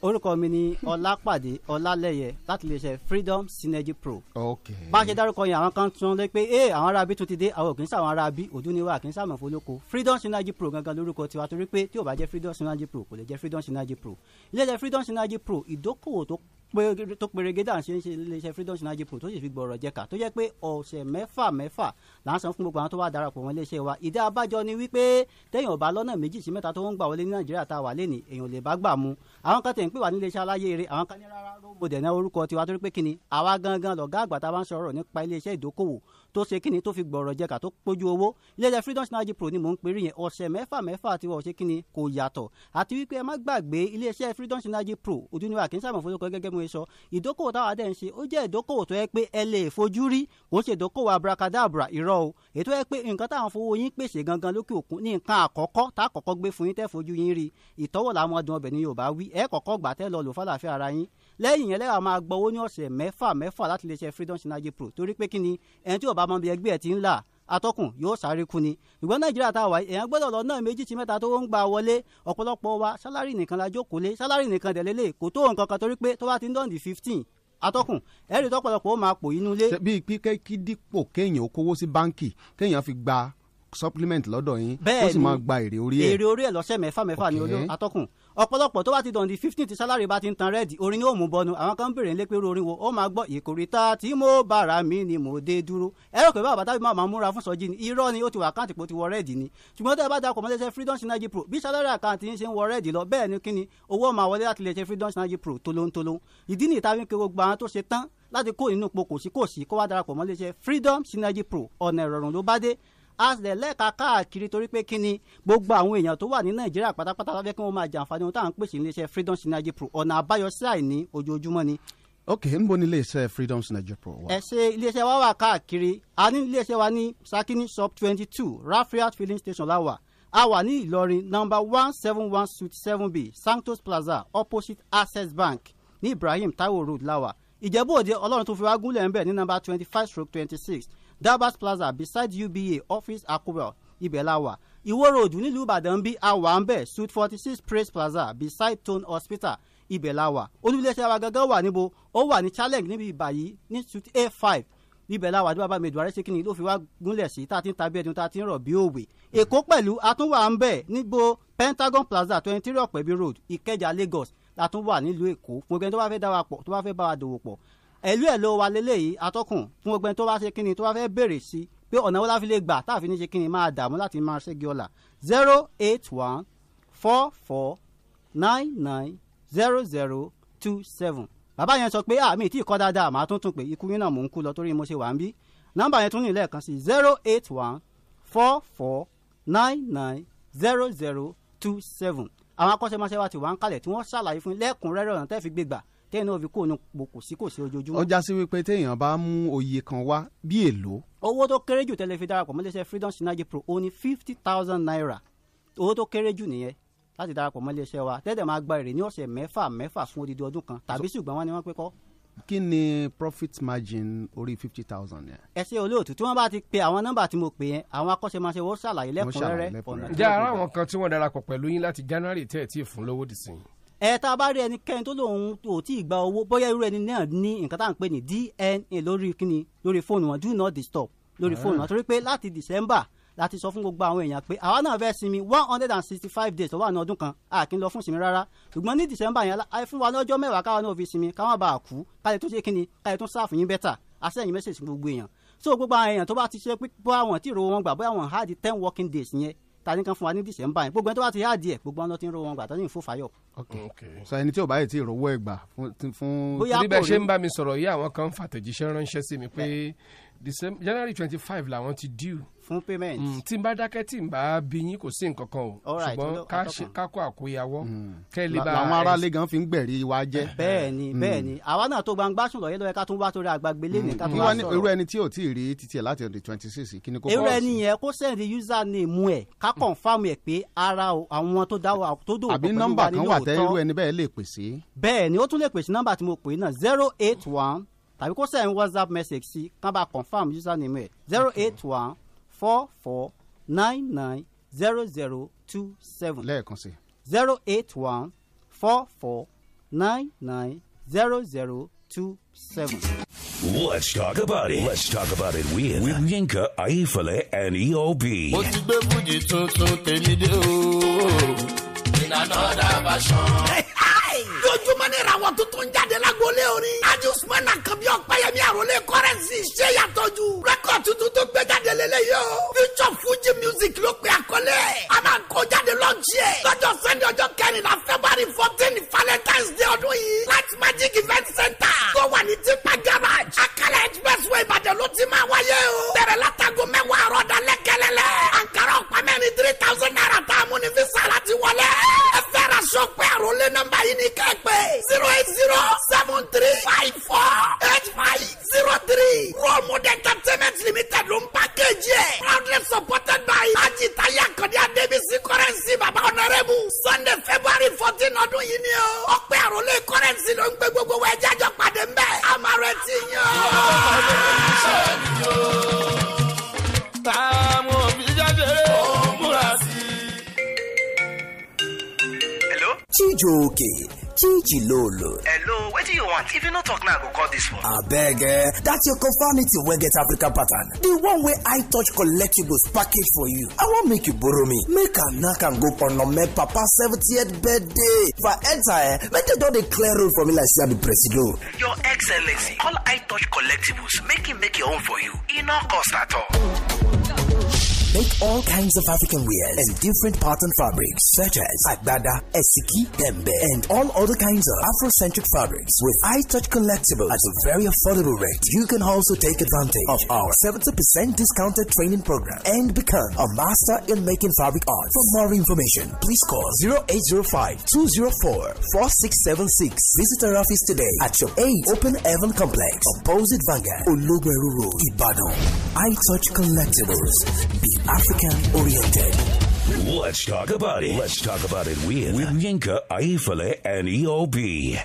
Speaker 20: orúkọ mi ni ọlápàdé ọlálẹyẹ láti iléeṣẹ freedom synergy pro.
Speaker 16: ok
Speaker 20: bá a ṣe dárúkọ yẹn àwọn kan tún lé pé ee àwọn aráabí tún ti dé àwọn òkè ń sàwọn aráabí òdú ni wà kì í sàmọ̀ fọlọ́kọ freedom synergy pro gangan lórúkọ tiwa torí pé tí ò bá jẹ́ freedom synergy pro kò lè jẹ́ freedom synergy pro iléeṣẹ́ freedom synergy pro ìdókòwò tó pé- tó perege dà ń ṣe ń ṣe iléeṣẹ́ freedom synergy pro tó sì fi gbọ̀rọ̀ jẹ́ka tó jẹ́ pé ọ̀sẹ̀ mẹ́fà mẹ́fà là ń san fún gbogbo àwọn tó wà darapọ̀ wọn iléeṣẹ́ wa ìdá abájọ ni wípé téèyàn ò bá lọ́nà méjì sí mẹ́ta tó ń gbà wọlé ní nàìjíríà tá a wà lénìí èèyàn ò lè bá gbà mu àwọn kan tẹ̀ ń pè wá níléeṣẹ́ aláyé eré àwọn kan ní rárá mo dẹ̀ ní orúkọ tiwa torí pé kíni àwa gangan lọ̀gá àgbà tá a bá ń sọ̀rọ̀ nípa iléeṣẹ́ ìdókòwò tó ṣe kíni tó fi gbọ̀rọ̀ jẹ̀ka tó pójú owó iléeṣẹ́ freedom synergy pro ni mò ń perí yẹn ọ̀sẹ̀ mẹ́fà mẹ́fà tiwa ò ṣe kíni kò yàtọ̀ àti wípé ẹ má gbàgbé iléeṣẹ́ freedom synergy pro òdúnìwà kì í sábà fojú kan gẹ́gẹ́ bí mo ṣe sọ ìdókòwò táwa dẹ̀ ń ṣe ó jẹ́ ìdókòwò tó yẹ pé ẹ lè fojú rí kò ń ṣe ìdókòwò abracadabra irọ́ o ètò yẹ pé nǹkan táwọn fowó yín pèsè gangan lókè òkun ní nǹkan àkọ́kọ́ tá àkọ́kọ́ gbé fún yín tẹ́ fojú yín rí ìtọ́wò làwọn ọdún ọbẹ̀ ni yorùbá wí ẹ kọ́kọ́ gbà tẹ́ lọ lò fàlàfẹ́ ara yín lẹ́yìn yẹn lẹ́wà máa gbọ́ owó ní ọ̀sẹ̀ mẹ́fà mẹ́fà láti lè ṣe freedom synergy pro torí pé kí ni ẹni tí ò bá mọ bí ẹgbẹ́ ẹ̀ ti ń là atọ́kùn yóò sáré kú ni ìgbọ́n nàìjíríà tá a wà yìí, èèyàn gbọ́dọ̀ lọ náà méjì tí mẹ́ta tó ń gba wọlé ọ̀pọ̀lọpọ̀ wa sálárì nìkan la jókòó lé sálárì nìkan dẹ̀ lélẹ̀ kò tó nǹkan kan torí pé tó bá ti ń dọ̀ǹdì fifteen atọ́kùn ẹ̀rí tọ́pọ̀lọpọ̀ ó máa pò inú ilé
Speaker 18: ṣe bíi pípẹ́ kí dípò kéèyàn ó kówó sí báǹkì kéèyàn fi gba supplement lọ́dọ̀ yín ó
Speaker 20: Bẹ́ẹ̀
Speaker 18: sì
Speaker 20: ni.
Speaker 18: máa gba èrè orí ẹ̀
Speaker 20: èrè orí ẹ̀ lọ́sẹ̀ mẹ́fà mẹ́fà ni
Speaker 18: Ok.
Speaker 20: olú atọ́kùn ọ̀pọ̀lọpọ̀ tó bá ti dọ̀ndì fifteen ti sálárì bá ti ń tan rẹ́ẹ̀dì orin yóò mú bọnu àwọn kan ń bèrè ńlẹ́ pé irú orin wo ó máa gbọ́ ìkórìtà tí mo bára mi ni mo dé dúró ẹ̀rọ pé bàbá tábí máa múra fún sọ́jí ni irọ́ ni ó ti wà àkáǹtì pé ó ti wọ rẹ́ẹ̀dì ni ṣùgbọ́n tẹ́ ẹ bá dakọ̀ mọ́lẹ́sẹ̀ freedom synergy pro bí sálárì àkáǹtì ń ṣe ń wọ rẹ́ẹ̀dì lọ bẹ́ẹ̀ ni kíni owó máa wọlé láti lè ṣe freedom synergy pro tolóńtolóń ìdí nìyí táwọn kí gbogbo àwọn tó ṣe tán láti kó nínú po kòsíkòsí kó wá darapọ̀ mọ́lẹ́sẹ̀ freedom synergy pro ọ̀nà ìrọ̀rùn ló bá dé àṣẹ lẹ́ka káàkiri torí pé kíni gbogbo àwọn èèyàn tó wà ní nàìjíríà pátápátá lábẹ́ kí wọ́n máa jàǹfààní ohun tá à ń pèsè iléeṣẹ́ freedom synergy pro ọ̀nà àbáyọ sí àìní ojoojúmọ́ ni.
Speaker 18: ok níbo ni iléeṣẹ́ freedom synergy pro wà.
Speaker 20: ẹ ṣe iléeṣẹ́ wa wà káàkiri a ní iléeṣẹ́ wa ní sakini shop twenty two rafriat filling station láwà a wà ní ìlọrin number one seven one suite seven b santos plaza opposite access bank ní ibrahim taiwo road láwà ìjẹ́bú òde ọlọ́run tó fi wá gúnlẹ̀ ń bẹ̀ ní number twenty five stroke twenty six dabas plaza beside uba office akubel ibẹ̀ la wà ìwó road nílùú ìbàdàn bí a wà ń bẹ̀ suite forty six praise plaza beside tone hospital ibẹ̀ la wà olùléṣẹ́ wa gangan wà níbo ó wà ní challenge níbi ìbàyí ní suite a five ibẹ̀ la wà ní bàbá mi ìdúrà ṣe kíni ló fi wá gúnlẹ̀ sí tá a ti ń ta bí ẹni tá a ti ń rọ̀ bí òwe èkó pẹ̀lú atúnwà ń bẹ̀ níbo pentagon plaza twenty three ọ̀pẹ̀bí road ìkẹjà lagos la tún wà nílùú èkó fún ẹgbẹ́ tó bá fẹ́ dá wa pọ̀ tó bá fẹ́ bá wa dòwò pọ̀ ẹ̀lú ẹ̀ ló wa lélẹ́yìí atọ́kùn fún ọgbẹ́ni tó bá ṣe kínni tó bá fẹ́ béèrè sí pé ọ̀nà wọn láfi lè gbà táàfin ní ṣe kínni máa dààmú láti máa ṣẹ́gi ọ̀la zero eight one four four nine nine zero zero two seven. bàbá yẹn sọ pé àmì tí ìkọ́ dáadáa màá tún tún pé ikú yín náà mò ń kú lọ torí mo ṣe wà ń bí nọ́mbà yẹn tún ní lẹ́ẹ̀kan sí zero eight one four four nine nine zero zero two seven. àwọn akọ́ṣẹ́mọṣẹ́ wa ti wá ń kalẹ̀ tí wọ́n ṣàlàyé fún yín lẹ́kùnrẹ́rẹ́ ọ̀nà tẹ́ fi gbégbà tẹ́yìn náà fi kó òun pokò sí kò sí ojoojúmọ́
Speaker 18: ó já sí wípé téèyàn bá mú oyè kan wá bí èlò
Speaker 20: owó tó kéré jù tẹ́lẹ̀ fi darapọ̀ mọ́lẹ́sẹ̀ freedom synergy pro ó ní fifty thousand naira owó tó kéré jù nìyẹn láti darapọ̀ mọ́lẹ́sẹ̀ wa tẹ́tẹ̀ máa gba èrè ní ọ̀sẹ̀ mẹ́fà mẹ́fà fún odidi ọdún kan tàbí ṣùgbọ́n wọn ni wọ́n pé kọ́
Speaker 18: kí ni profit margin orí fifty thousand yẹn.
Speaker 20: ẹ ṣe olóòtú tí wọ́n bá ti pe àwọn nọ́mbà tí mo pè yẹn àwọn akọ́ṣẹ́mọṣẹ́ wo ṣàlàyé
Speaker 18: ṣàlàyé
Speaker 20: lẹ́kùnrẹ́rẹ́ ọ̀nà
Speaker 18: lẹ́kùnrẹ́rẹ́.
Speaker 20: tí
Speaker 15: ǹjẹ́
Speaker 20: wọ́n
Speaker 15: ara
Speaker 20: fi
Speaker 15: àwọn kan tí wọ́n darapọ̀ pẹ̀lú yín láti january tẹ́ ẹ̀ tí ì fún lówó dì sí yín.
Speaker 20: ẹ tá a bá rí ẹnikẹ́ni tó lóun ò tí ì gba owó bóyá irú ẹni náà ní nǹkan tá à ń pè ní dna lórí kíni lórí fóònù wọn do not disturb lórí
Speaker 34: Ah.
Speaker 20: fóònù wọn torí pé láti december láti sọ fún gbogbo àwọn èèyàn pé àwa náà fẹ́ sinmi one hundred and sixty five days tó wà ní ọdún kan a kì í lọ fún sinmi rárá ṣùgbọ́n ní december yẹn á fún wa lọ́jọ́ mẹ́wàá káwa náà fi sinmi káwa bá a kú káyọ̀ tó ṣe kíni káyọ̀ tó sáàfù yín bẹ́tà àṣẹyìn mẹ́sẹ̀sì gbogbo èèyàn so gbogbo àwọn èèyàn tó bá ti ṣe pé bóyá wọn tí ì rówó wọn gbà bóyá wọn háàdì ten working days yẹn tani kan fún wa ní december yẹn gbogbo ẹni tó bá ti háàdì ẹ̀ gbogbo wọn lọ ti ń rówó wọn gbà tani ìfowópamọ́
Speaker 18: sọ ẹni tí ò báyìí tí ìrówó ẹ̀ gbà fún- tí- fún.
Speaker 20: Bóyá
Speaker 15: bí bẹ́ẹ̀ ṣe ń bá mi sọ̀rọ̀ yìí àwọn kan ń fàtẹ̀jíṣẹ́ ránṣẹ́ sí mi pé December- january twenty five làwọn ti due. Hmm,
Speaker 20: fún payment.
Speaker 15: tí n bá dákẹ́ tí n bá bí yín kò sí nǹkan kan o
Speaker 18: All right,
Speaker 15: ṣùgbọ́n
Speaker 18: ló-
Speaker 15: ká
Speaker 18: àtọ́kùn.
Speaker 15: ṣe- ká kó àkóyawọ́
Speaker 18: Mm.
Speaker 20: Hmm.
Speaker 15: kẹ́lí
Speaker 18: La-
Speaker 15: bá
Speaker 18: làwọn aráalé gan fi ń gbẹ̀rí wa
Speaker 20: [laughs]
Speaker 18: jẹ́.
Speaker 20: bẹ́ẹ̀ ni
Speaker 18: Mm.
Speaker 16: Hmm.
Speaker 20: bẹ́ẹ̀ ni àwa náà tó gbangba sùn lọ́yẹ́ lọ́yẹ́ ká tún wá torí àgbàgbé lé ní ká tún
Speaker 18: kí wá
Speaker 20: wá
Speaker 18: ní Mm. irú
Speaker 20: sọ̀rọ̀
Speaker 18: ẹni tí ò tí ì rí títí ẹ̀ láti ọ̀dẹ̀ twenty six kí ni kò
Speaker 20: irú ẹni yẹn kó sẹ́ndì user name ẹ̀ ká confam ẹ̀ pé ara o- àwọn tó dá wa tó dòwò
Speaker 18: àbí
Speaker 20: pẹ̀lú
Speaker 18: nọ́mbà
Speaker 20: wa ní
Speaker 18: kan wà tẹ́ irú
Speaker 20: lóòótọ́.
Speaker 18: ẹni bẹ́ẹ̀ lè pèsè.
Speaker 20: bẹ́ẹ̀ ni ó tún lè pèsè nọ́mbà tí mo pè é náà zero eight one tàbí kó sẹ́yìn whatsapp message sí ká bá confam user name ẹ̀ zero eight one four four nine nine zero zero two seven.
Speaker 38: lẹ́ẹ̀kan sí i.
Speaker 20: zero eight one four four nine nine zero zero two seven.
Speaker 14: Let's talk about it. Let's talk about it with, with Yinka, Aifale, and E EOB.
Speaker 2: mo ti gbé fújì tuntun tèmi dé o. in another version.
Speaker 39: lójúmọ́ ní ìràwọ̀ tuntun jáde lágboolé orin ájú sùmọ́nà kan bí ọ̀pẹ́yẹmí àròlé kọ́rẹ́nsì ṣe yàtọ̀ ju rẹ́kọ̀d tuntun tó gbé jáde lélẹ́yìí o future fuji music ló pe àkọlé a máa kó jáde lọ́ọ̀jì ẹ̀ lọ́jọ́ sẹ́ni ọjọ́ kẹrìnlá february fourteen valentine's day ọdún yìí light magic event center tó wà ní tipa garage akala expressway ìbàdàn ló ti máa wáyé o bẹ̀rẹ̀ látago mẹ́wàá àrọ̀dà lẹ́kẹ́lẹ́lẹ́ ankara ọ̀pamẹ́rin three thousand naira tá a mú ní fisa láti wọlé ẹ fẹ́ ra sọ́pẹ́ àròlé nọ́mbà yìí ní kẹ́pẹ́ zero eight zero seven three five four eight five zero three raw model entertainment limited ló ń pàkéjì ẹ̀ proudly supported by ajitaya kọ́dí adébísí kọ́rẹ́nsì baba ọ̀nàrẹ́bù sunday february fourteen ọdún yìí ni o ọ̀pẹ́ àròlé kọ́rẹ́nsì ló ń gbé gbogbo wa ẹja jọ pàdé ń bẹ̀ àmàrẹ̀ ti yàn.
Speaker 2: táwọn òbí jáde ó múra sí i.
Speaker 25: Chijoke, Chijilolo.
Speaker 30: Hello, what do you want? If you no talk now, I go call this phone.
Speaker 25: Abeg, eh, that your conformity wey get Africa pattern. The one wey I touch collectibles package for you. I wan make you borrow me. Make I knack am go Onome Papa 70th birthday. If I enter, eh, make dem don dey clear road for me like say I be presido.
Speaker 30: Your Excellency, call iTouch Collectibles. Make him make your own for you. E no cost at all.
Speaker 25: Make all kinds of African wears and different pattern fabrics such as agbada, esiki, dembe, and all other kinds of Afrocentric fabrics with eye touch collectibles at a very affordable rate. You can also take advantage of our 70% discounted training program and become a master in making fabric art. For more information, please call 0805 204 4676. Visit our office today at your 8 Open Heaven Complex, opposite Vanguard, Olugberu Road, Ibadan. Eye touch collectibles. Be African oriented.
Speaker 14: Let's talk about it. Let's talk about it with, with Yinka, Aifale, and E EOB.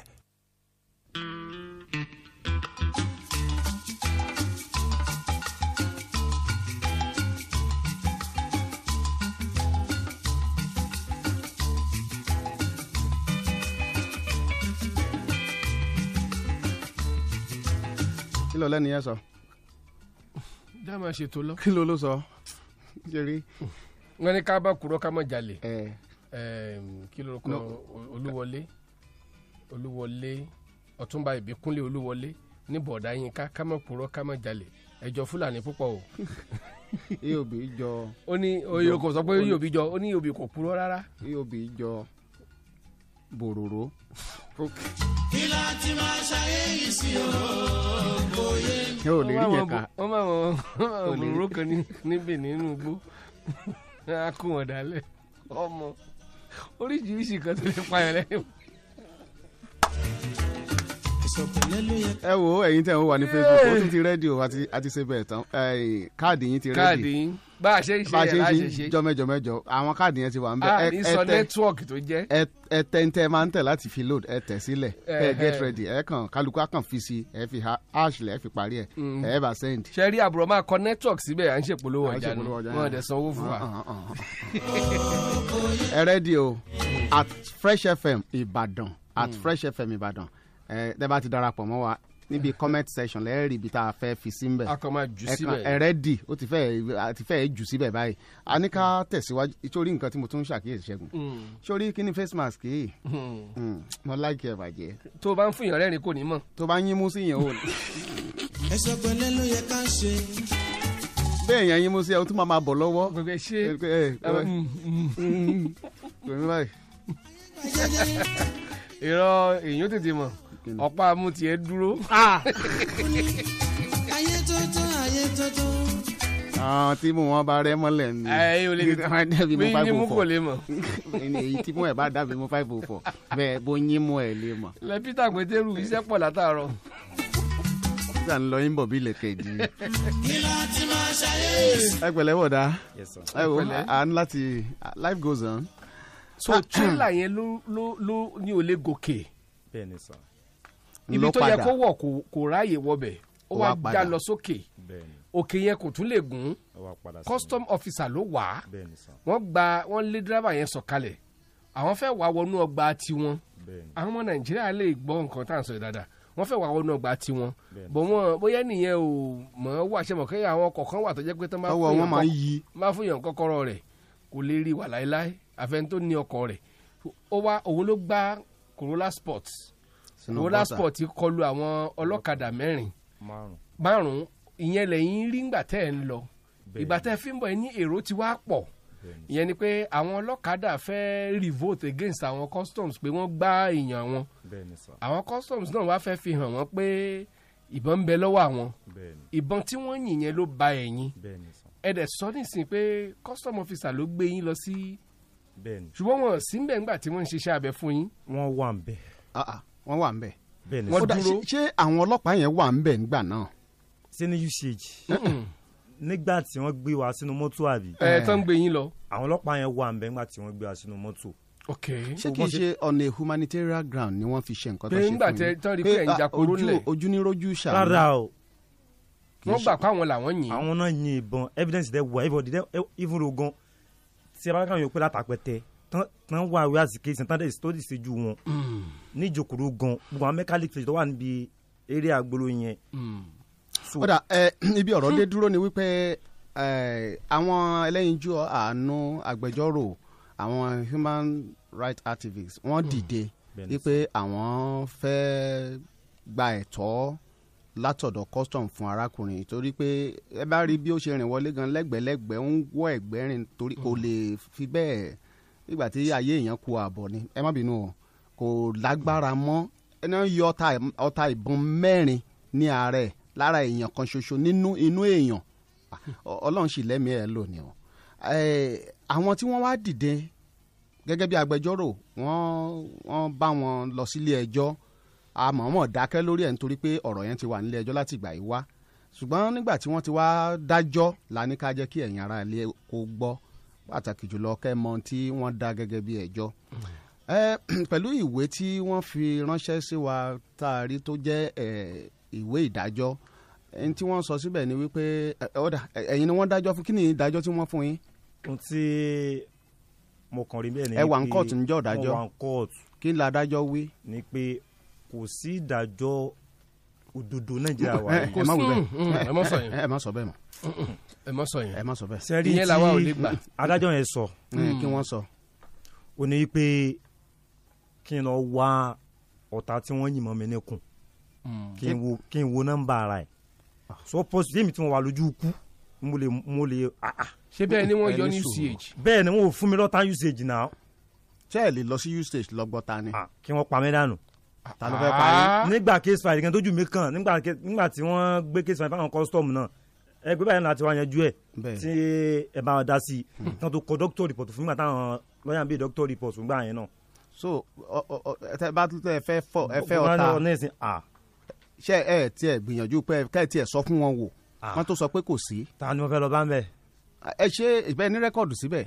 Speaker 16: kí ló lẹ́nu yẹn sọ
Speaker 15: dá máa ṣètò lọ.
Speaker 16: kí ló ló sọ jerry
Speaker 15: wọn ní ká bá kúrọ ká má jalè.
Speaker 16: ẹ
Speaker 15: Em, kí ló kọ
Speaker 16: No.
Speaker 15: olúwọlé olúwọlé ọtúnba ìbíkúnlé olúwọlé ní bọ̀dá yínká ká má purọ́ ká má jalè ẹjọ́ fúlàní púpọ̀ o.
Speaker 16: eob jọ
Speaker 15: ó ní oyè kò sọ pé yóò bí jọ ó ní yóò bí kò purọ́ rárá.
Speaker 16: eob jọ bòròró
Speaker 39: kí la ti máa ṣayé yìí sí o kò yé mi.
Speaker 16: ẹ ò lè rí yẹn ká
Speaker 15: wọ́n máa wọ́n
Speaker 16: Ò lè rí.
Speaker 15: òmùrú kan ní- níbì nínú igbó á kó wọn dálẹ̀ ọmọ oríṣiríṣi kan tó lè payàn lẹ́yìn.
Speaker 16: ẹ wo ẹyin tẹ ń wà ní facebook ó
Speaker 15: Yay.
Speaker 16: tún ti rẹ́díò àti àti ṣe bẹ́ẹ̀ tán Ẹ, káàdì yín ti rẹ́díò
Speaker 15: káàdì yín bá a ṣe ń ṣe ẹ̀ láṣẹ ṣe.
Speaker 16: jọmẹjọmẹjọ àwọn káàdì yẹn ti wà ń bẹ
Speaker 15: a ní sọ nẹ́tíwọ̀kì tó jẹ́.
Speaker 16: ẹ ẹ tẹ ń tẹ máa ń tẹ láti fi load ẹ tẹ sílẹ̀ ẹ
Speaker 15: Ẹhẹ́.
Speaker 16: get ready ẹ kàn kálukú á kàn fi si ẹ fi ha- hash lẹ ẹ fi parí ẹ
Speaker 15: Mm.
Speaker 16: ẹ bá send.
Speaker 15: ṣe rí àbúrò máa kọ network síbẹ̀ à ń ṣèpolówó
Speaker 16: À ń
Speaker 15: ọjà ni
Speaker 16: ṣèpolówó ọjà Ah,
Speaker 15: wọn ò
Speaker 16: yẹn.
Speaker 15: dẹ̀ sanwó fún wa.
Speaker 2: [laughs]
Speaker 16: ẹ rẹ́dí o at fresh fm ìbàdàn at
Speaker 15: Mm.
Speaker 16: fresh fm ìbàdàn ẹ tẹ bá ti darapọ̀ mọ́ wa níbi comment section lẹ́ẹ̀rì ibi tá a fẹ́ fi sí mbẹ̀.
Speaker 15: A kàn máa jù
Speaker 16: Ẹ kàn-
Speaker 15: síbẹ̀.
Speaker 16: ẹ rẹ́dí ó ti fẹ́ a ti fẹ́ jù síbẹ̀ báyìí a ní ká tẹ̀síwájú ìtorí nǹkan tí mo tún ń ṣàkíyèsí ṣẹ́gun
Speaker 2: Hmm.
Speaker 15: Mm.
Speaker 16: sórí kí ni face mask yìí
Speaker 15: Mm.
Speaker 16: Mm, mo láìkí ẹ̀ bàjẹ́
Speaker 15: tó o bá ń fún yàn rẹ́rìn kò ní mọ̀.
Speaker 16: tó bá ń yín mú sí yẹn o
Speaker 15: [laughs]
Speaker 39: ẹsọ pẹ̀lẹ́ ló yẹ ká ṣe.
Speaker 16: bẹ́ẹ̀ yẹn yín mú sí ẹ o tún máa máa bọ̀ lọ́wọ́.
Speaker 15: gbẹgbẹ ṣe Hmm,
Speaker 16: tòmí báyìí
Speaker 15: irọ́ èèyàn tètè mọ̀ ọ̀pá amú tiẹ̀ dúró.
Speaker 16: Ah.
Speaker 39: ayé tuntun ayé tuntun.
Speaker 16: àwọn tí mo wọn bá rẹ mọ́lẹ̀ ni
Speaker 15: Ẹ, o lè tètè-
Speaker 16: Wọn dàbí mo
Speaker 15: bí
Speaker 16: five
Speaker 15: yín mú
Speaker 16: oh four.
Speaker 15: kò lè mọ̀.
Speaker 16: Ẹni èyí tí mo ẹ̀ bá dàbí mo five oh four bẹ́ẹ̀ bó yín mú ẹ̀ lè mọ̀
Speaker 15: lẹ peter gbẹdẹrù iṣẹ́ pọ̀
Speaker 16: [laughs]
Speaker 15: látàárọ̀.
Speaker 16: sísà ń lọ yín bọ̀ bí ilẹ̀kẹ̀ dì í.
Speaker 39: kí la ti máa ṣayé yìí sí.
Speaker 16: ẹ pẹ̀lẹ́ bọ̀dá
Speaker 15: Yes, sir.
Speaker 16: ẹ wo
Speaker 15: Ẹ pẹ̀lẹ́.
Speaker 16: à ń láti life goes on. Ah,
Speaker 15: so tírélà yẹn ló ló ló ní ò lè gòkè.
Speaker 32: bẹ́ẹ̀ni sàn.
Speaker 15: ibi
Speaker 16: Ló
Speaker 15: tó yẹ
Speaker 16: padà.
Speaker 15: kó wọ̀ kò- kò ráàyè wọbẹ̀ ó
Speaker 16: Ó
Speaker 15: wá
Speaker 16: wá padà.
Speaker 15: já lọ sókè. òkè yẹn kò tún lè gùn custom officer ló wà á wọ́n gba wọ́n lé dírábà yẹn sọ̀kalẹ̀ àwọn fẹ́ wà wọnú ọgbà tiwọn àwọn ọmọ nàìjíríà lè gbọ́ nǹkan tá à ń sọ yìí dáadáa wọ́n fẹ́ wà wọnú ọgbà tiwọn bọ̀ wọ́n bóyá nìyẹn ò mọ̀ ọ́ wà ṣe mọ̀ kẹ́yà àwọn kọ̀ọ̀kan wà tó jẹ́ pé tán bá
Speaker 16: Ọwọ́
Speaker 15: fún
Speaker 16: wọn
Speaker 15: yàn
Speaker 16: máa ń
Speaker 15: kọ́-
Speaker 16: yí.
Speaker 15: máa fún yàn kọ́kọ́rọ́ rẹ̀ kò lè rí wà láéláé àfẹn tó ní ọkọ̀ rẹ̀ ó wá òun ló gbá corolla sport
Speaker 16: Sínú
Speaker 15: corolla
Speaker 16: gọ́tà.
Speaker 15: sport kọlu àwọn ọlọ́kadà mẹ́rin
Speaker 32: márùn
Speaker 15: márùn ìyẹn lẹ́yìn rí ńgbà tẹ́ ẹ̀ ń lọ
Speaker 32: Bẹ́ẹ̀ni.
Speaker 15: ìgbà tẹ́ ẹ fi ń bọ̀ ẹ ní èrò ti wá pọ̀ ìyẹn ni pé àwọn ọlọ́kadà fẹ́ revolt against àwọn customs pé wọ́n gbá èèyàn wọn
Speaker 32: bẹ́ẹ̀ni sà
Speaker 15: àwọn customs náà wá fẹ́ fi hàn wọ́n pé ìbọn ń bẹ lọ́wọ́ àwọn
Speaker 32: bẹ́ẹ̀ni
Speaker 15: ìbọn tí wọ́n yìn yẹn ló ba ẹ̀yìn
Speaker 32: bẹ́ẹ̀ni sà
Speaker 15: ẹ dẹ̀ sọ nísìnyí pé custom officer ló gbé yín lọ sí
Speaker 32: bẹ́ẹ̀ni.
Speaker 15: ṣùgbọ́n wọn ò sí ń bẹ̀ ńgbà tí wọ́n ń ṣiṣẹ́ abẹ fún yín.
Speaker 32: wọ́n wà ń bẹ̀.
Speaker 16: Ah, wọ́n wà ń bẹ̀.
Speaker 32: bẹ́ẹ̀ni
Speaker 16: Ó dà, ṣé- ṣé àwọn ọlọ́pàá yẹn wà ń bẹ̀ nígbà náà. Hmm.
Speaker 32: ṣé ní usage. nígbà tí wọ́n gbé wa sínú mọ́tò àbí.
Speaker 15: Ẹ, tán gbé yín lọ.
Speaker 32: àwọn ọlọ́pàá yẹn wà ń bẹ̀ nígbà tí wọ́n gbé wa sínú mọ́tò.
Speaker 15: ok
Speaker 16: ṣé kìí ṣe ọ̀nà humanitarian ground ni wọ́n fi ṣe nǹkan tó
Speaker 32: Pé
Speaker 16: ṣe
Speaker 32: ńgbà tẹ- tán rí pé ẹ̀ ń
Speaker 16: ah,
Speaker 32: jakoro
Speaker 16: ojú-
Speaker 32: lẹ̀.
Speaker 16: ojú ní rojú ṣàánú.
Speaker 32: rárá o.
Speaker 16: Wọ́n gbà
Speaker 15: pé àwọn làwọn yìn.
Speaker 32: àwọn náà yin ìbọn evidence dẹ wà everybody dẹ even ro gan tí a bá kàn yóò pé látàpẹtẹ tán tán wà wíwá sí kéésì tán dẹ tó dì síjú wọn
Speaker 15: Hmm.
Speaker 32: ní ìjòkòrò gan gbogbo àwọn mẹkáníkì tó wà níbi eré àgbòrò yẹn.
Speaker 15: Hmm.
Speaker 32: So-
Speaker 16: ó dà ẹ [clears throat] ibi
Speaker 32: Hmm.
Speaker 16: ọ̀rọ̀ dé dúró ni wípé ẹ, àwọn ẹlẹ́yinjú àánú agbẹjọ́rò àwọn human rights activists wọ́n dìde
Speaker 32: Bẹ́ẹ̀ni
Speaker 16: wípé àwọn fẹ́ gba ẹ̀tọ́ látọ̀dọ̀ custom fún arákùnrin torí pé ẹ bá rí bí ó ṣe rìn wọlé gan lẹ́gbẹ̀lẹ́gbẹ̀ẹ́ ń wọ́ ẹ̀gbẹ́ rìn torí kò lè fi bẹ́ẹ̀ nígbà tí ayé èèyàn ku ààbọ̀ ni ẹ má bínú o kò lágbára mọ́ ẹni wọ́n yọ ọta ì- ọta ìbọn mẹ́rin ní ààrẹ lára èèyàn kan ṣoṣo nínú inú èèyàn Ọ- ọlọ́run sì lẹ́mìí ẹ̀ lónìí o Ẹ, àwọn tí wọ́n wá dìde gẹ́gẹ́ bí agbẹjọ́rò wọ́n wọ́n bá wọn lọ sílé ẹjọ́ àmọ́mọ́ dákẹ́ lórí ẹ̀ nítorí pé ọ̀rọ̀ yẹn ti wà nílé ẹjọ́ láti ìgbà yìí wá ṣùgbọ́n nígbà tí wọ́n ti wá dájọ́ la ní ká jẹ́ kí ẹ̀yin ara ilé kó gbọ́ pàtàkì jùlọ kẹ́ mọ ohun tí wọ́n dá gẹ́gẹ́ bí ẹjọ́ ẹ [clears throat] pẹ̀lú ìwé tí wọ́n fi ránṣẹ́ sí wa tá a rí tó jẹ́ ẹ, ìwé ìdájọ́ ẹni tí wọ́n sọ síbẹ̀ ni wípé ẹ, ọ̀dà ẹ, ẹ̀yin ni wọ́n dájọ́ fún kí ni ìdájọ́ tí wọ́n fún yín.
Speaker 32: ohun tí mo kàn rí [coughs] bẹ́ẹ̀ ni
Speaker 16: ẹ wà ń
Speaker 32: pé
Speaker 16: kóòtù níjọ́ ìdájọ́.
Speaker 32: mo wà ń kóòtù.
Speaker 16: kí ni adájọ́ wí.
Speaker 32: ni pé kò sí ìdájọ́ òdodo nàìjíríà wa
Speaker 16: [laughs] ẹ má wí bẹ́ẹ̀.
Speaker 15: Hmm, ẹ má sọ yẹn. Hmm,
Speaker 16: ẹ má sọ bẹ́ẹ̀ mọ́.
Speaker 15: ẹ má sọ yẹn.
Speaker 16: ẹ má sọ bẹ́ẹ̀.
Speaker 32: sẹ́rí tí adájọ́ yẹn sọ.
Speaker 16: Mm, kí wọ́n sọ.
Speaker 32: ó ní pé kí n lọ wá ọ̀tá tí wọ́n yìnbọn mi níkùn kí n wo kí n wo nọ́mbà ara ẹ̀ so pọ́sì yémi tí wọ́n wà lójú ikú mo lè mo lè ah, ah.
Speaker 15: ṣé bẹ́ẹ̀ ni wọ́n yọ ní
Speaker 32: Ẹni sùúrù.
Speaker 15: UCH?
Speaker 32: bẹ́ẹ̀ ni wọ́n ò fún mi lọ́ta usage náà. Ah,
Speaker 16: ṣé ẹ lè lọ sí usage lọ́gbọ́ta ni.
Speaker 32: kí wọ́n pa mí dànù
Speaker 16: ta ló fẹ́ pa
Speaker 15: Ah.
Speaker 16: yín.
Speaker 32: nígbà case file kan tójú mi kàn nígbà ke- nígbà tí wọ́n gbé case file fáwọn custom náà ẹgbẹ́ báyìí láti wá yanjú ẹ̀
Speaker 16: Bẹ́ẹ̀. Hmm.
Speaker 32: tí ẹ bá wọn dá sí i náà tó kọ doctor report fún ìgbà táwọn lọ́yà ń bí doctor report fún ìgbà yẹn náà.
Speaker 16: so ọ- ọ- ọ- ẹ tẹ- bá tún tẹ ẹ fẹ́ fọ ẹ fẹ́
Speaker 32: Wọ́n á
Speaker 16: ọ̀tá.
Speaker 32: ní ọ̀nà ẹ̀sìn, ah,
Speaker 16: ṣé ẹ tiẹ̀ gbìyànjú pé ẹ- kẹ́ ẹ tiẹ̀ sọ fún wọn wò. wọ́n tó sọ pé kò sí.
Speaker 32: ta ni wọ́n fẹ́ lọ bá ń bẹ̀.
Speaker 16: ẹ ṣe ìbẹ́ ní rẹ́kọ̀dù síbẹ̀.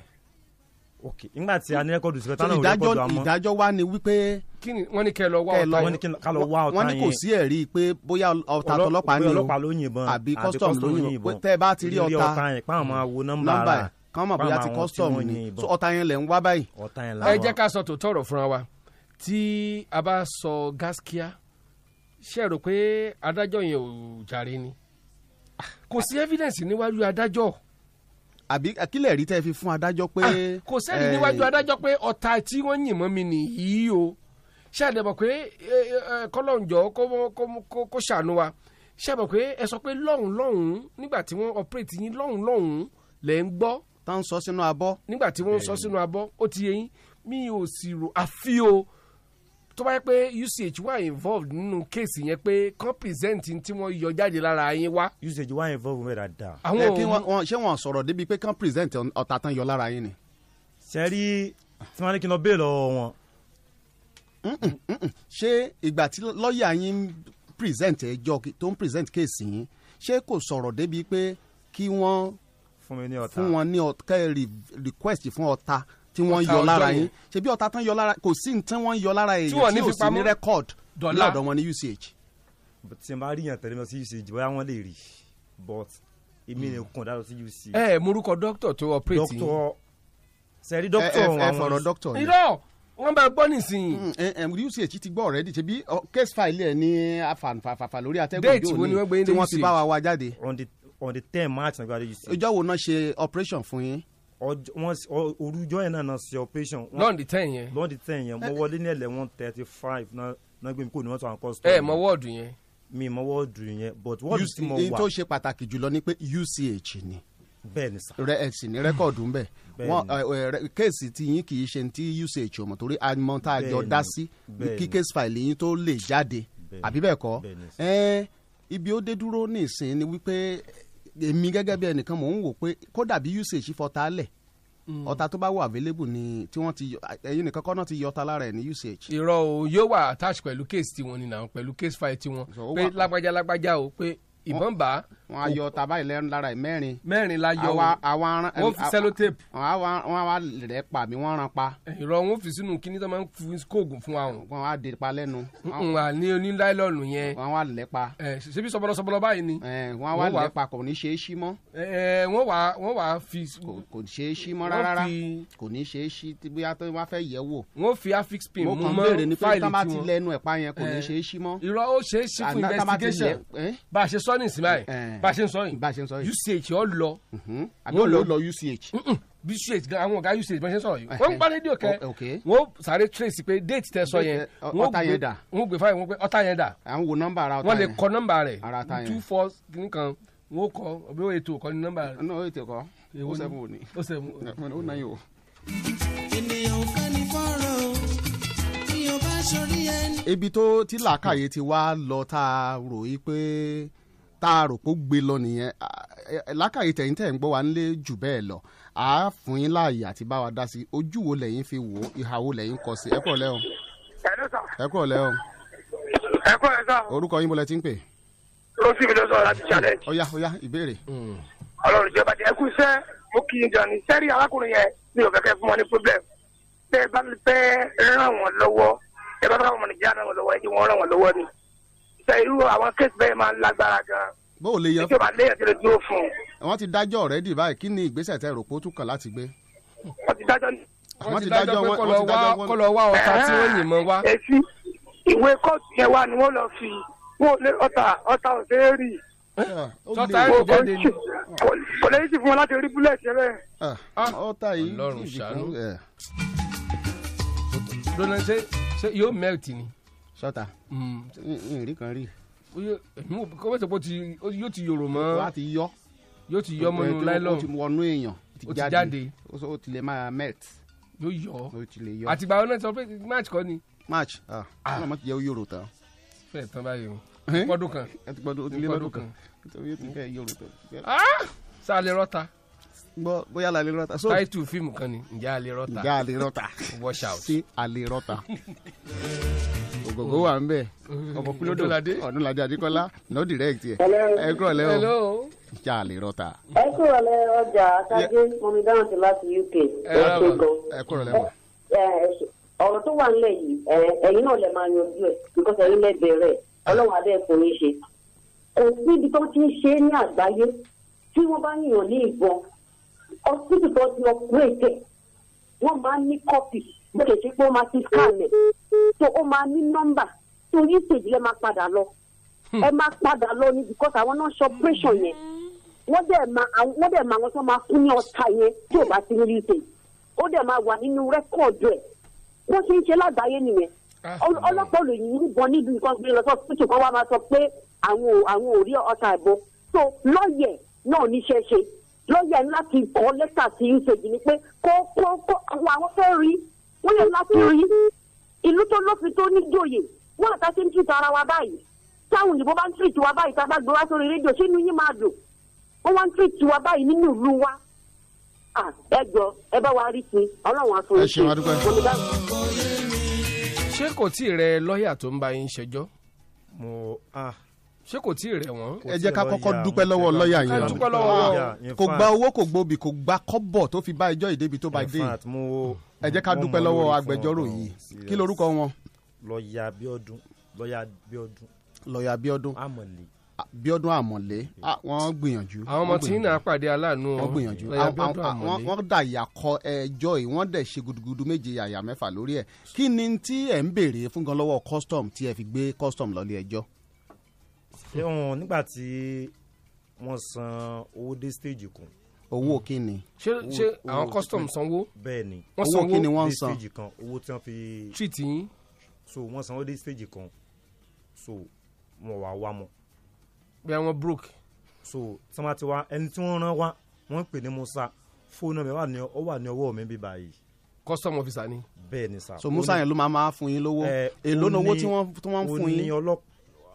Speaker 32: ok nígbà tí a ní rẹ́kọ̀dù síbẹ̀ táwọn ò
Speaker 16: ìdájọ́
Speaker 32: rẹ́kọ̀dù àmọ́
Speaker 16: ìdájọ́ wa ni wípé.
Speaker 15: kí ni wọ́n ní kẹ́ ẹ lọ wá
Speaker 16: kẹ́ ẹ
Speaker 15: ọ̀tá
Speaker 16: lọ-
Speaker 15: yẹn.
Speaker 16: wọ́n ní kò sí ẹ̀rí pé bóyá ọ̀tá
Speaker 32: Ọlọ́-
Speaker 16: tọlọ́pàá ni
Speaker 32: bóyá
Speaker 16: o
Speaker 32: ọlọ́pàá ló yìnbọn
Speaker 16: àbí custom ló yìnbọn pé tẹ́ ẹ bá ti rí
Speaker 32: Ìrírí
Speaker 16: ọ̀tá
Speaker 32: yẹn páwọn máa wo nọ́mbà
Speaker 16: nọ́mbà
Speaker 32: ara
Speaker 16: ẹ̀ kán mọ̀ bóyá
Speaker 32: páwọn
Speaker 16: ti
Speaker 32: àwọn tí
Speaker 16: custom
Speaker 32: wọ́n
Speaker 16: ni
Speaker 32: yìnbọn.
Speaker 16: so ọ̀tá yẹn lẹ̀ ń wá báyìí.
Speaker 32: ọ̀tá yẹn
Speaker 15: ẹ jẹ́ ká sọ tòótọ́ ọ̀rọ̀ fúnra wa tí a bá sọ gaskiya ṣe rò pé adájọ́ yẹn ò jàre ni kò sí evidence níwájú adájọ́ Ah,
Speaker 16: àbí kílẹ̀ rí tẹ́ fi fún adájọ́ pé. eh,
Speaker 15: kò sẹ́ni níwájú adájọ́ pé ọ̀tá tí wọ́n yìn mọ́ mi nìyí o ṣe àdẹ̀bọ̀ pé eh, ẹ, ẹ, kọ́lọ́njọ́ kó mọ́- kó mọ́- kó- kó ṣàánú wa ṣe àbọ̀ pé ẹ sọ pé lọ́hùn lọ́hùn nígbà tí wọ́n operate yín lọ́hùn lọ́hùn lẹ́ ń gbọ́.
Speaker 16: tá ń sọ sínú abọ́. Eh.
Speaker 15: nígbà tí wọ́n ń sọ sínú abọ́ ó ti yé yín mi ò sì rò àfi o tó bá yẹ pé uch wà involved nínú kéèsì yẹn pé kan present tí wọ́n yọ jáde lára yín wá.
Speaker 32: usage wà involve mẹ́ta dáa.
Speaker 16: ẹ kí wọ́n- wọ́n- ṣé wọ́n sọ̀rọ̀ débi pé kán present ọ̀tá tán yọ lára yín ni.
Speaker 32: sẹ́rí tí wọ́n ní kí n lọ bẹ́ẹ̀ lọ́wọ́ wọn
Speaker 16: ṣé ìgbà tí lọ́ọ̀yà yín ń present ẹjọ́ kí- tó ń present case yín ṣé kò sọ̀rọ̀ débi pé kí wọ́n
Speaker 32: fún mi ní ọ̀tá.
Speaker 16: fún wọn ní ọ̀tá request fún ọ̀tá tí wọ́n
Speaker 32: Ọ̀tá
Speaker 16: yọ lára
Speaker 32: ọjọ́
Speaker 16: yín
Speaker 32: yẹn.
Speaker 16: ṣé bí ọ̀tá tán yọ lára kò sí ní tí wọ́n yọ lára èyí tí
Speaker 32: wọ́n ní
Speaker 16: ò
Speaker 32: fi
Speaker 16: sí ní
Speaker 32: pamọ́.
Speaker 16: record
Speaker 32: Dọ́là.
Speaker 16: lọ́dọ̀ wọn ní uch.
Speaker 32: tí n bá rí yàn tẹ̀lé mi lọ sí usage bóyá wọ́n lè rí but èmi
Speaker 16: Hmm.
Speaker 32: nìkan dá lọ sí uc.
Speaker 15: ẹ
Speaker 16: Eh,
Speaker 15: ẹ morúkọ dókítà tó ọpẹrẹtì yín.
Speaker 32: Dókítà- sẹ́rí dókítà
Speaker 16: ẹ-
Speaker 32: ọ̀hún
Speaker 16: ẹ
Speaker 32: àwọn-
Speaker 16: fọ̀rọ̀ dókítà yẹn. Mm, eh,
Speaker 15: irọ́ wọ́n bá gbọ́ nísìnyí.
Speaker 16: uch ti gbọ́ ọ̀rẹ́dì ṣe bí ọ, case file ẹ̀ ní àfàǹfàfà lórí atẹ́gùn
Speaker 32: Date
Speaker 16: òde
Speaker 32: wo
Speaker 16: òní
Speaker 32: ni wọ́n gbé yín
Speaker 16: tí
Speaker 32: dé
Speaker 16: wọ́n ti
Speaker 32: UCH?
Speaker 16: bá wa wá jáde.
Speaker 32: on the on the ten march nígbà tó uc.
Speaker 16: ìjọ wo náà ṣe operation fún yín.
Speaker 32: ọjọ́ wọn orújọ yẹn náà náà ṣe operation. wọn-
Speaker 15: Lọ́n di 10 yẹn.
Speaker 32: lọ́n di ten yẹn mo
Speaker 15: Eh.
Speaker 32: wọlé ní ẹ̀lẹ́ one thirty five náà gbé mi kó ní wọ́n sọ àwọn custom.
Speaker 15: ẹ mọ wọ́ọ̀dù yẹn.
Speaker 32: mi mọ wọ́ọ̀dù yẹn but wọ́ọ̀dù tí mo
Speaker 16: èyí
Speaker 32: wà
Speaker 16: tó ṣe pàtàkì jùlọ ni pé uch ni.
Speaker 32: bẹ́ẹ̀ni sá.
Speaker 16: rẹ ẹsìn ní rẹkọọdù ń bẹ
Speaker 32: Bẹ́ẹ̀ni.
Speaker 16: wọn ẹ, ẹ, kéèsì tí yín kì í ṣe ti uch ọmọ torí àmọ tá a jọ
Speaker 32: Bẹ́ẹ̀ni.
Speaker 16: dá sí
Speaker 32: Bẹ́ẹ̀ni.
Speaker 16: kí case file yín tó lè jáde
Speaker 32: Bẹ́ẹ̀ni.
Speaker 16: àbí bẹ́ẹ̀ kọ́
Speaker 32: Bẹ́ẹ̀ni.
Speaker 16: ẹ ibi ó dé dúró ní ìsìn ni wípé èmi gẹ́gẹ́ bí ẹnìkan mò ń wò pé kódà bí uch fọta lẹ̀
Speaker 15: Mm.
Speaker 16: ọta tó bá wà available ni tí wọ́n ti yọ ẹ̀yin nìkan kọ́ náà ti yọ ọta lára ẹ̀ ní uch.
Speaker 15: irọ́ o yóò wà attached pẹ̀lú case tiwọn ni náà pẹ̀lú case file tiwọn pé
Speaker 16: wà-
Speaker 15: lágbájá lágbájá o pé ìbọn bá
Speaker 16: wọn á yọ tàbá ìlẹ́rìn lára ẹ̀ mẹ́rin
Speaker 15: mẹ́rin la yọ
Speaker 16: Àwa- àwa aran-
Speaker 15: wọ́n fi
Speaker 16: àwa-
Speaker 15: sellotape.
Speaker 16: wọ́n á wá rẹ̀ pa mi wọ́n ran pa.
Speaker 15: irọ́ wọn fi sínú kíní tó máa ń fi kóògùn fún wa o.
Speaker 16: wọn á de pa lẹ́nu.
Speaker 15: n à ní oníláìlọ́ọ̀nù yẹn.
Speaker 16: wọn á wá lẹ́pa.
Speaker 15: ẹ ṣebí sọpọlọsọpọlọ báyìí ni.
Speaker 16: ẹ wọn á wá lẹ̀ pa kò ní ṣe é ṣí mọ́.
Speaker 15: ẹ wọ́n wá wọ́n wá fi.
Speaker 16: kò ṣe é ṣí
Speaker 15: Wọ́n
Speaker 16: mọ́ rárá
Speaker 15: fi-
Speaker 16: kò ní ṣe é ṣí tí bóyá tó bá fẹ́ yẹ̀ wò.
Speaker 15: wọ́n fi affix pin
Speaker 16: mo
Speaker 15: mú
Speaker 16: kàn
Speaker 15: mọ́
Speaker 16: béèrè ni pé
Speaker 15: fáìlì
Speaker 16: tá bá ti
Speaker 15: tiwọn.
Speaker 16: lẹ́nu ẹ̀ pa yẹn kò ní
Speaker 15: Ẹ.
Speaker 16: ṣe é ṣí mọ́.
Speaker 15: irọ́ ó ṣeé ṣí fún
Speaker 16: Àná tá bá ti
Speaker 15: investigation
Speaker 16: lẹ̀- ẹ́?
Speaker 15: bá a ṣe sọ ní ìsinmi báyìí bá a ṣe ń sọ yìí
Speaker 16: Eh, bá a ṣe ń sọ yìí. Mm-hmm.
Speaker 15: uch ọ lọ
Speaker 16: àbí ó lọ lọ uch.
Speaker 15: bí uch gan àwọn ọ̀gá uch bá ṣe ń sọ̀rọ̀
Speaker 16: Eh,
Speaker 15: yìí wọ́n ń gbá rédíò
Speaker 16: O- okay.
Speaker 15: kẹ́ wọ́n ó sáré trace pé date tẹ sọ yẹn
Speaker 16: Date, ọ-
Speaker 15: wọ́n ó
Speaker 16: ọta
Speaker 15: gbé-
Speaker 16: yẹn dà.
Speaker 15: wọ́n ó gbé fáyọ̀ wọ́n pé ọ̀tá yẹn dà
Speaker 16: à ń wo nọ́mbà ara ọ̀tá
Speaker 15: wọ́n lè
Speaker 16: yẹn.
Speaker 15: kọ nọ́mbà rẹ̀
Speaker 16: Ara ọ̀tá yẹn.
Speaker 15: two four nìkan wọ́n ó kọ ọ̀bí ó ètò ọ̀kọ́ ní nọ́mbà rẹ̀.
Speaker 16: ọ̀nà ètò ọkọ
Speaker 15: Èwo
Speaker 16: ó
Speaker 15: ni?
Speaker 16: sẹ́fún òní.
Speaker 15: ó sẹ́fún
Speaker 16: ó náà yóò.
Speaker 2: ènìyàn ò fẹ́ ní fọ́rọ̀ o bí o bá ṣorí ẹni.
Speaker 16: ibi tó tí làákàyè ti wá lọ tá a rò yí pé tá a rò pé ó gbé lọ nìyẹn À- ẹ- làákàyè tẹ̀yìn tẹ̀ ń gbọ́ wa ń lé jù bẹ́ẹ̀ lọ à á fún yín láàyè àti bá wa dá sí i. ojú wo lẹ́yìn fi wò ó ìhà wo lẹ́yìn kọ sí i. ẹ kúrò lẹ́ o ẹ kúrò lẹ́ o
Speaker 4: ẹ kọ́ ẹ sá
Speaker 16: orúkọ yín bọ́lẹ̀ tí ń pè
Speaker 4: ló sì mi lọ sọ̀rọ̀ láti ṣàlẹ̀.
Speaker 16: ọ̀yá ọ̀yá ìbéèrè.
Speaker 15: Hmm.
Speaker 4: ọlọ́run ìjọba ti ẹkú iṣẹ́ mo kì í jọni sẹ́rí arákùnrin yẹn mi ò kẹ́kẹ́ fún wọn ní problem tẹ́ ẹ bá fẹ́ ràn wọ́n lọ́wọ́ tẹ́ ẹ bá fẹ́ ràn wọ́n nìjà ràn wọ́n lọ́wọ́ ẹ jẹ́ wọ́n ràn wọ́n lọ́wọ́ ni. sẹ́ irú àwọn kéésì bẹ́ẹ̀ máa ń lágbára gan-an
Speaker 16: bó o lè yẹ
Speaker 4: ìjọba léèyàn ti lè dúró fún un
Speaker 16: wọ́n ti dájọ́ ọ̀rẹ́dì báyìí kí ni ìgbésẹ̀ tẹ rò pé ó tún kàn láti gbé.
Speaker 4: wọ́n ti dájọ́ ní.
Speaker 16: Wọ́n ti dájọ́ pé kọ́ lọ wá- kọ́ lọ
Speaker 15: wá ọ̀tá tí wọ́n yìnbọn wá.
Speaker 4: èsì ìwé kóòtù yẹn wá ni wọ́n lọ fi wọ́n ò lé ọ̀tá ọ̀tá òṣèré
Speaker 16: Ah, Tọ́ta ẹ̀rù jáde ni.
Speaker 4: kò lè sí fún wọn láti rí búlẹ̀tì rẹ̀.
Speaker 16: Ah, ọ̀tá yìí
Speaker 15: Ọlọ́run
Speaker 16: ìdí
Speaker 15: ṣàánú.
Speaker 16: fún- ẹ.
Speaker 15: lọ́nà ṣe ṣe yóò melt ni. Mm.
Speaker 16: sọta ìrìn kan rí.
Speaker 15: kọ́mọ̀ sọ pé ó ti- ó- yóò ti yòrò mọ́.
Speaker 16: wọ́n á ti yọ.
Speaker 15: yóò ti yọ
Speaker 16: Ọ̀pẹ
Speaker 15: mọ́nú
Speaker 16: tí
Speaker 15: láìlọ́ọ̀.
Speaker 16: ó ti wọnú èèyàn
Speaker 15: Ó ti jáde.
Speaker 16: ó sọ- ó ti lè máa melt.
Speaker 15: yóò yọ.
Speaker 16: ó ti lè yọ.
Speaker 15: àtìgbà ọ̀nà sọ pé match kọ́ ni.
Speaker 16: march ah ọlọmọ ti yẹ yòrò tán.
Speaker 15: fẹ́ẹ̀ tán báyìí o.
Speaker 16: Ẹ́?
Speaker 15: pọ́dún kan.
Speaker 16: ẹ ti gbọdọ ó ti lé
Speaker 15: Pọ́dún
Speaker 16: lọdún
Speaker 15: kan.
Speaker 16: kan nítorí ó ti fẹ yòrò
Speaker 15: [laughs]
Speaker 16: tán.
Speaker 15: Ah! sáà lè rọ́ta.
Speaker 16: gbọ́ bóyá la lè rọta.
Speaker 15: táìtù fíìmù kan ni ǹjẹ́ a lè rọ́ta.
Speaker 16: ǹjẹ́ a lè rọta.
Speaker 15: wash out.
Speaker 16: sí a lè
Speaker 15: [laughs]
Speaker 16: rọta. ògògó wà ń bẹ̀ ọmọ kúlódò
Speaker 15: Ọdúnladé.
Speaker 16: ọdúnladé adékọ́lá no direct yẹ
Speaker 34: Hello.
Speaker 16: ẹ kúrọ̀ lẹ́
Speaker 34: Hello.
Speaker 16: o ǹjẹ́ a lè rọta.
Speaker 34: ẹ kúrò lẹ ọjà ṣáájú mọmi dáhùn sí láti uk ẹ ṣe gan
Speaker 16: ẹ kúrọ̀ lẹ́ mọ̀.
Speaker 34: ẹ ẹ, ọ̀rọ̀ tó wà nílẹ̀ yìí ẹ, ẹ̀yin náà lè máa yanjú ẹ̀ because ẹ̀yin lè bẹ̀rẹ̀ ọlọ́run adé ẹ̀kọ́ yín ṣe. kò síbi tó ti ń ṣe é ní àgbáyé tí wọ́n bá yàn ní ìbọn ọsibítù tó ti ọ̀pẹ̀rẹ̀tẹ̀ wọ́n máa ń ní kọ́pì bó ṣe ṣe pé ó máa ti scan ẹ̀ tó ó máa ní nọ́mbà tó yí stage lẹ́ máa padà lọ ẹ máa padà lọ ni because àwọn náà ṣe operation yẹn wọ́n dẹ̀ máa àwọn- wọ́n dẹ̀ máa wọn tó máa kú ní ọ̀tá yẹn tí ò bá ti ní stage ó dẹ̀ máa wà nínú rẹ́kọ̀dù ẹ̀ bó ṣe ń ṣe lágbàáyé nìyẹn Ọl- ọlọ́pàá olóyìn níbọn níbi nǹkan gbé lọ sọ pé ṣùgbọ́n wàá máa sọ pé àwọn ò- àwọn ò rí ọta ìbọn so lọ́ọ̀yẹ̀ náà níṣẹ́ ṣe lọ́ọ̀yẹ̀ ní láti kọ́ lẹ́tà sí ìṣèjì ni pé kó kó kó àwọn àwọn fẹ́ rí wọ́n yẹ láti rí ìlú tó lófin tó níjòyè wọ́n àtàṣe ń tìta ara wa báyìí táwọn òyìnbó bá ń tìtì wa báyìí tá a bá gbé wá sórí rédíò ṣé inú yín máa dùn wọ́n wá ń tìtì wa báyìí nínú ìlú wa Ah, ẹ jọ ẹ bá wa rí sí ọlọ́run àfọwọ́sí.
Speaker 15: Ẹ ṣeun, a dúpẹ́.
Speaker 34: Mo ní bá-
Speaker 15: ṣé kò tí ì rẹ lọ́ọ̀yà tó ń bá yín ṣẹjọ́.
Speaker 32: mo ah.
Speaker 15: ṣé kò tí ì rẹ wọ́n.
Speaker 16: ẹ jẹ́ ká kọ́kọ́ dúpẹ́ lọ́wọ́ lọ́ọ̀yà yẹn
Speaker 15: ká
Speaker 16: o.
Speaker 15: dúpẹ́ lọ́wọ́ wọn.
Speaker 16: Ah, kò gba owó kò gbòbí kò gba kọ́bọ̀ tó fi bá ẹjọ́ ìdébi tó bá
Speaker 32: In
Speaker 16: dé
Speaker 32: fact, mo-
Speaker 16: ẹ jẹ́ ká
Speaker 32: mo
Speaker 16: dúpẹ́
Speaker 32: mọ
Speaker 16: lọ́wọ́
Speaker 32: lórí fún
Speaker 16: agbẹjọ́rò
Speaker 32: ọ̀rọ̀
Speaker 16: yìí
Speaker 32: serious.
Speaker 16: kí lorúkọ wọn
Speaker 32: lọ́ọ̀yà bíọ́dún lọ́ọ̀yà bíọ́dún
Speaker 16: lọ́ọ̀yà bíọ́dún
Speaker 32: àmọ̀lé
Speaker 16: bíọ́dún àmọ̀lé ah, wọ́n gbìyànjú.
Speaker 15: àwọn ọmọ
Speaker 16: wọ́n
Speaker 15: tí ń
Speaker 16: gbìyànjú
Speaker 15: nà pàdé aláàánú o.
Speaker 16: wọ́n gbìyànjú
Speaker 15: Ọ̀yá
Speaker 16: Àwọn-
Speaker 15: Bíọ́dún
Speaker 16: àwọn-
Speaker 15: Àmọ̀lé.
Speaker 16: àwọn- wọ́n dà yàkọ ẹjọ́ yìí wọ́n dẹ̀ ṣe gudugudu méje yàyà mẹ́fà lórí ẹ̀ kí ni tí ẹ̀ ń béèrè fún gan lọ́wọ́ custom tí ẹ fi gbé custom lọ́lé ẹjọ́.
Speaker 32: ṣé wọn nígbà tí wọ́n san owó dé stage kan.
Speaker 16: owó kí ni.
Speaker 15: ṣé ṣé àwọn custom sanwó.
Speaker 32: bẹ́ẹ̀ ni
Speaker 15: wọ́n sanwó
Speaker 32: dé stage kan owó tí wọ́n fi.
Speaker 15: treat yín.
Speaker 32: so wọ́n sanwó dé stage kan so wọ́n wà wá mọ́.
Speaker 15: bí àwọn broke.
Speaker 32: so tí wọ́n bá ti wá ẹni tí wọ́n rán wá wọ́n ń pè ní musa fóònù mi wà ní ọ wà ní ọwọ́ mi bí báyìí.
Speaker 15: custom officer ni.
Speaker 32: bẹ́ẹ̀ ni sà.
Speaker 16: so musa yẹn ló máa máa fún yín lówó èló ni owó tí wọ́n tí wọ́n ń fún yín.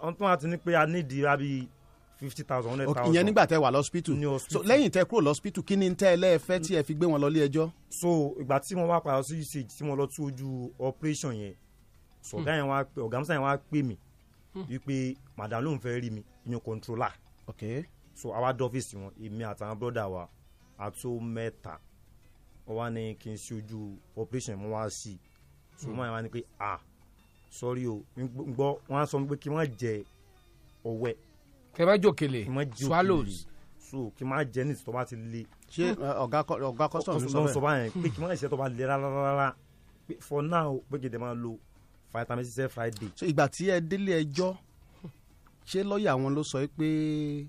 Speaker 32: wọ́n tún wá ti ní pé a ní ìdíra bíi fifty thousand hundred
Speaker 16: Ok,
Speaker 32: thousand.
Speaker 16: ìyẹn nígbà tẹ wà lọ́spítù so lẹ́yìn tẹ kúrò lọ́spítù kí ni tẹ ẹ lẹ́ẹ̀fẹ́ tí ẹ fi gbé wọn lọ ilé ẹjọ́.
Speaker 32: so ìgbà tí wọn wá padà sí usage tí wọn lọ tú ojú operation yẹn so ọgá yẹn wá pè ọgá musa yẹn wá pè mí
Speaker 16: Hmm.
Speaker 32: wípé madam ló ń fẹ́ rí mi ìyẹn controller
Speaker 16: okay.
Speaker 32: so àwa dé ọ́fíìsì wọn èmi àtàwọn brọ́dà wa àtó mẹ́ta wọn wá ní kí n ṣe ojú operation yẹn mo wá sí i so
Speaker 16: Hmm.
Speaker 32: wọn yẹn wá ní pé ah sorry o n gbọ́- n gbọ́ wọn á sọ pé kí wọ́n jẹ ọwẹ́
Speaker 15: kí wọ́n jòkèlè
Speaker 32: swallows so kí wọ́n jẹ ní ìsìtọ́ bá ti le
Speaker 16: ṣé ọ̀gá kọ- ọ̀gá custom ló
Speaker 32: ló ń sọ
Speaker 16: sọ
Speaker 32: báyẹn
Speaker 16: bẹ́ẹ̀.
Speaker 32: pé kí wọ́n ṣe tó bá le rárá pé for now pé gèdè máa lo vitamin c friday.
Speaker 16: so ìgbà tí ẹ délé ẹjọ́ ṣé lọ́ọ̀yà wọn ló sọ pé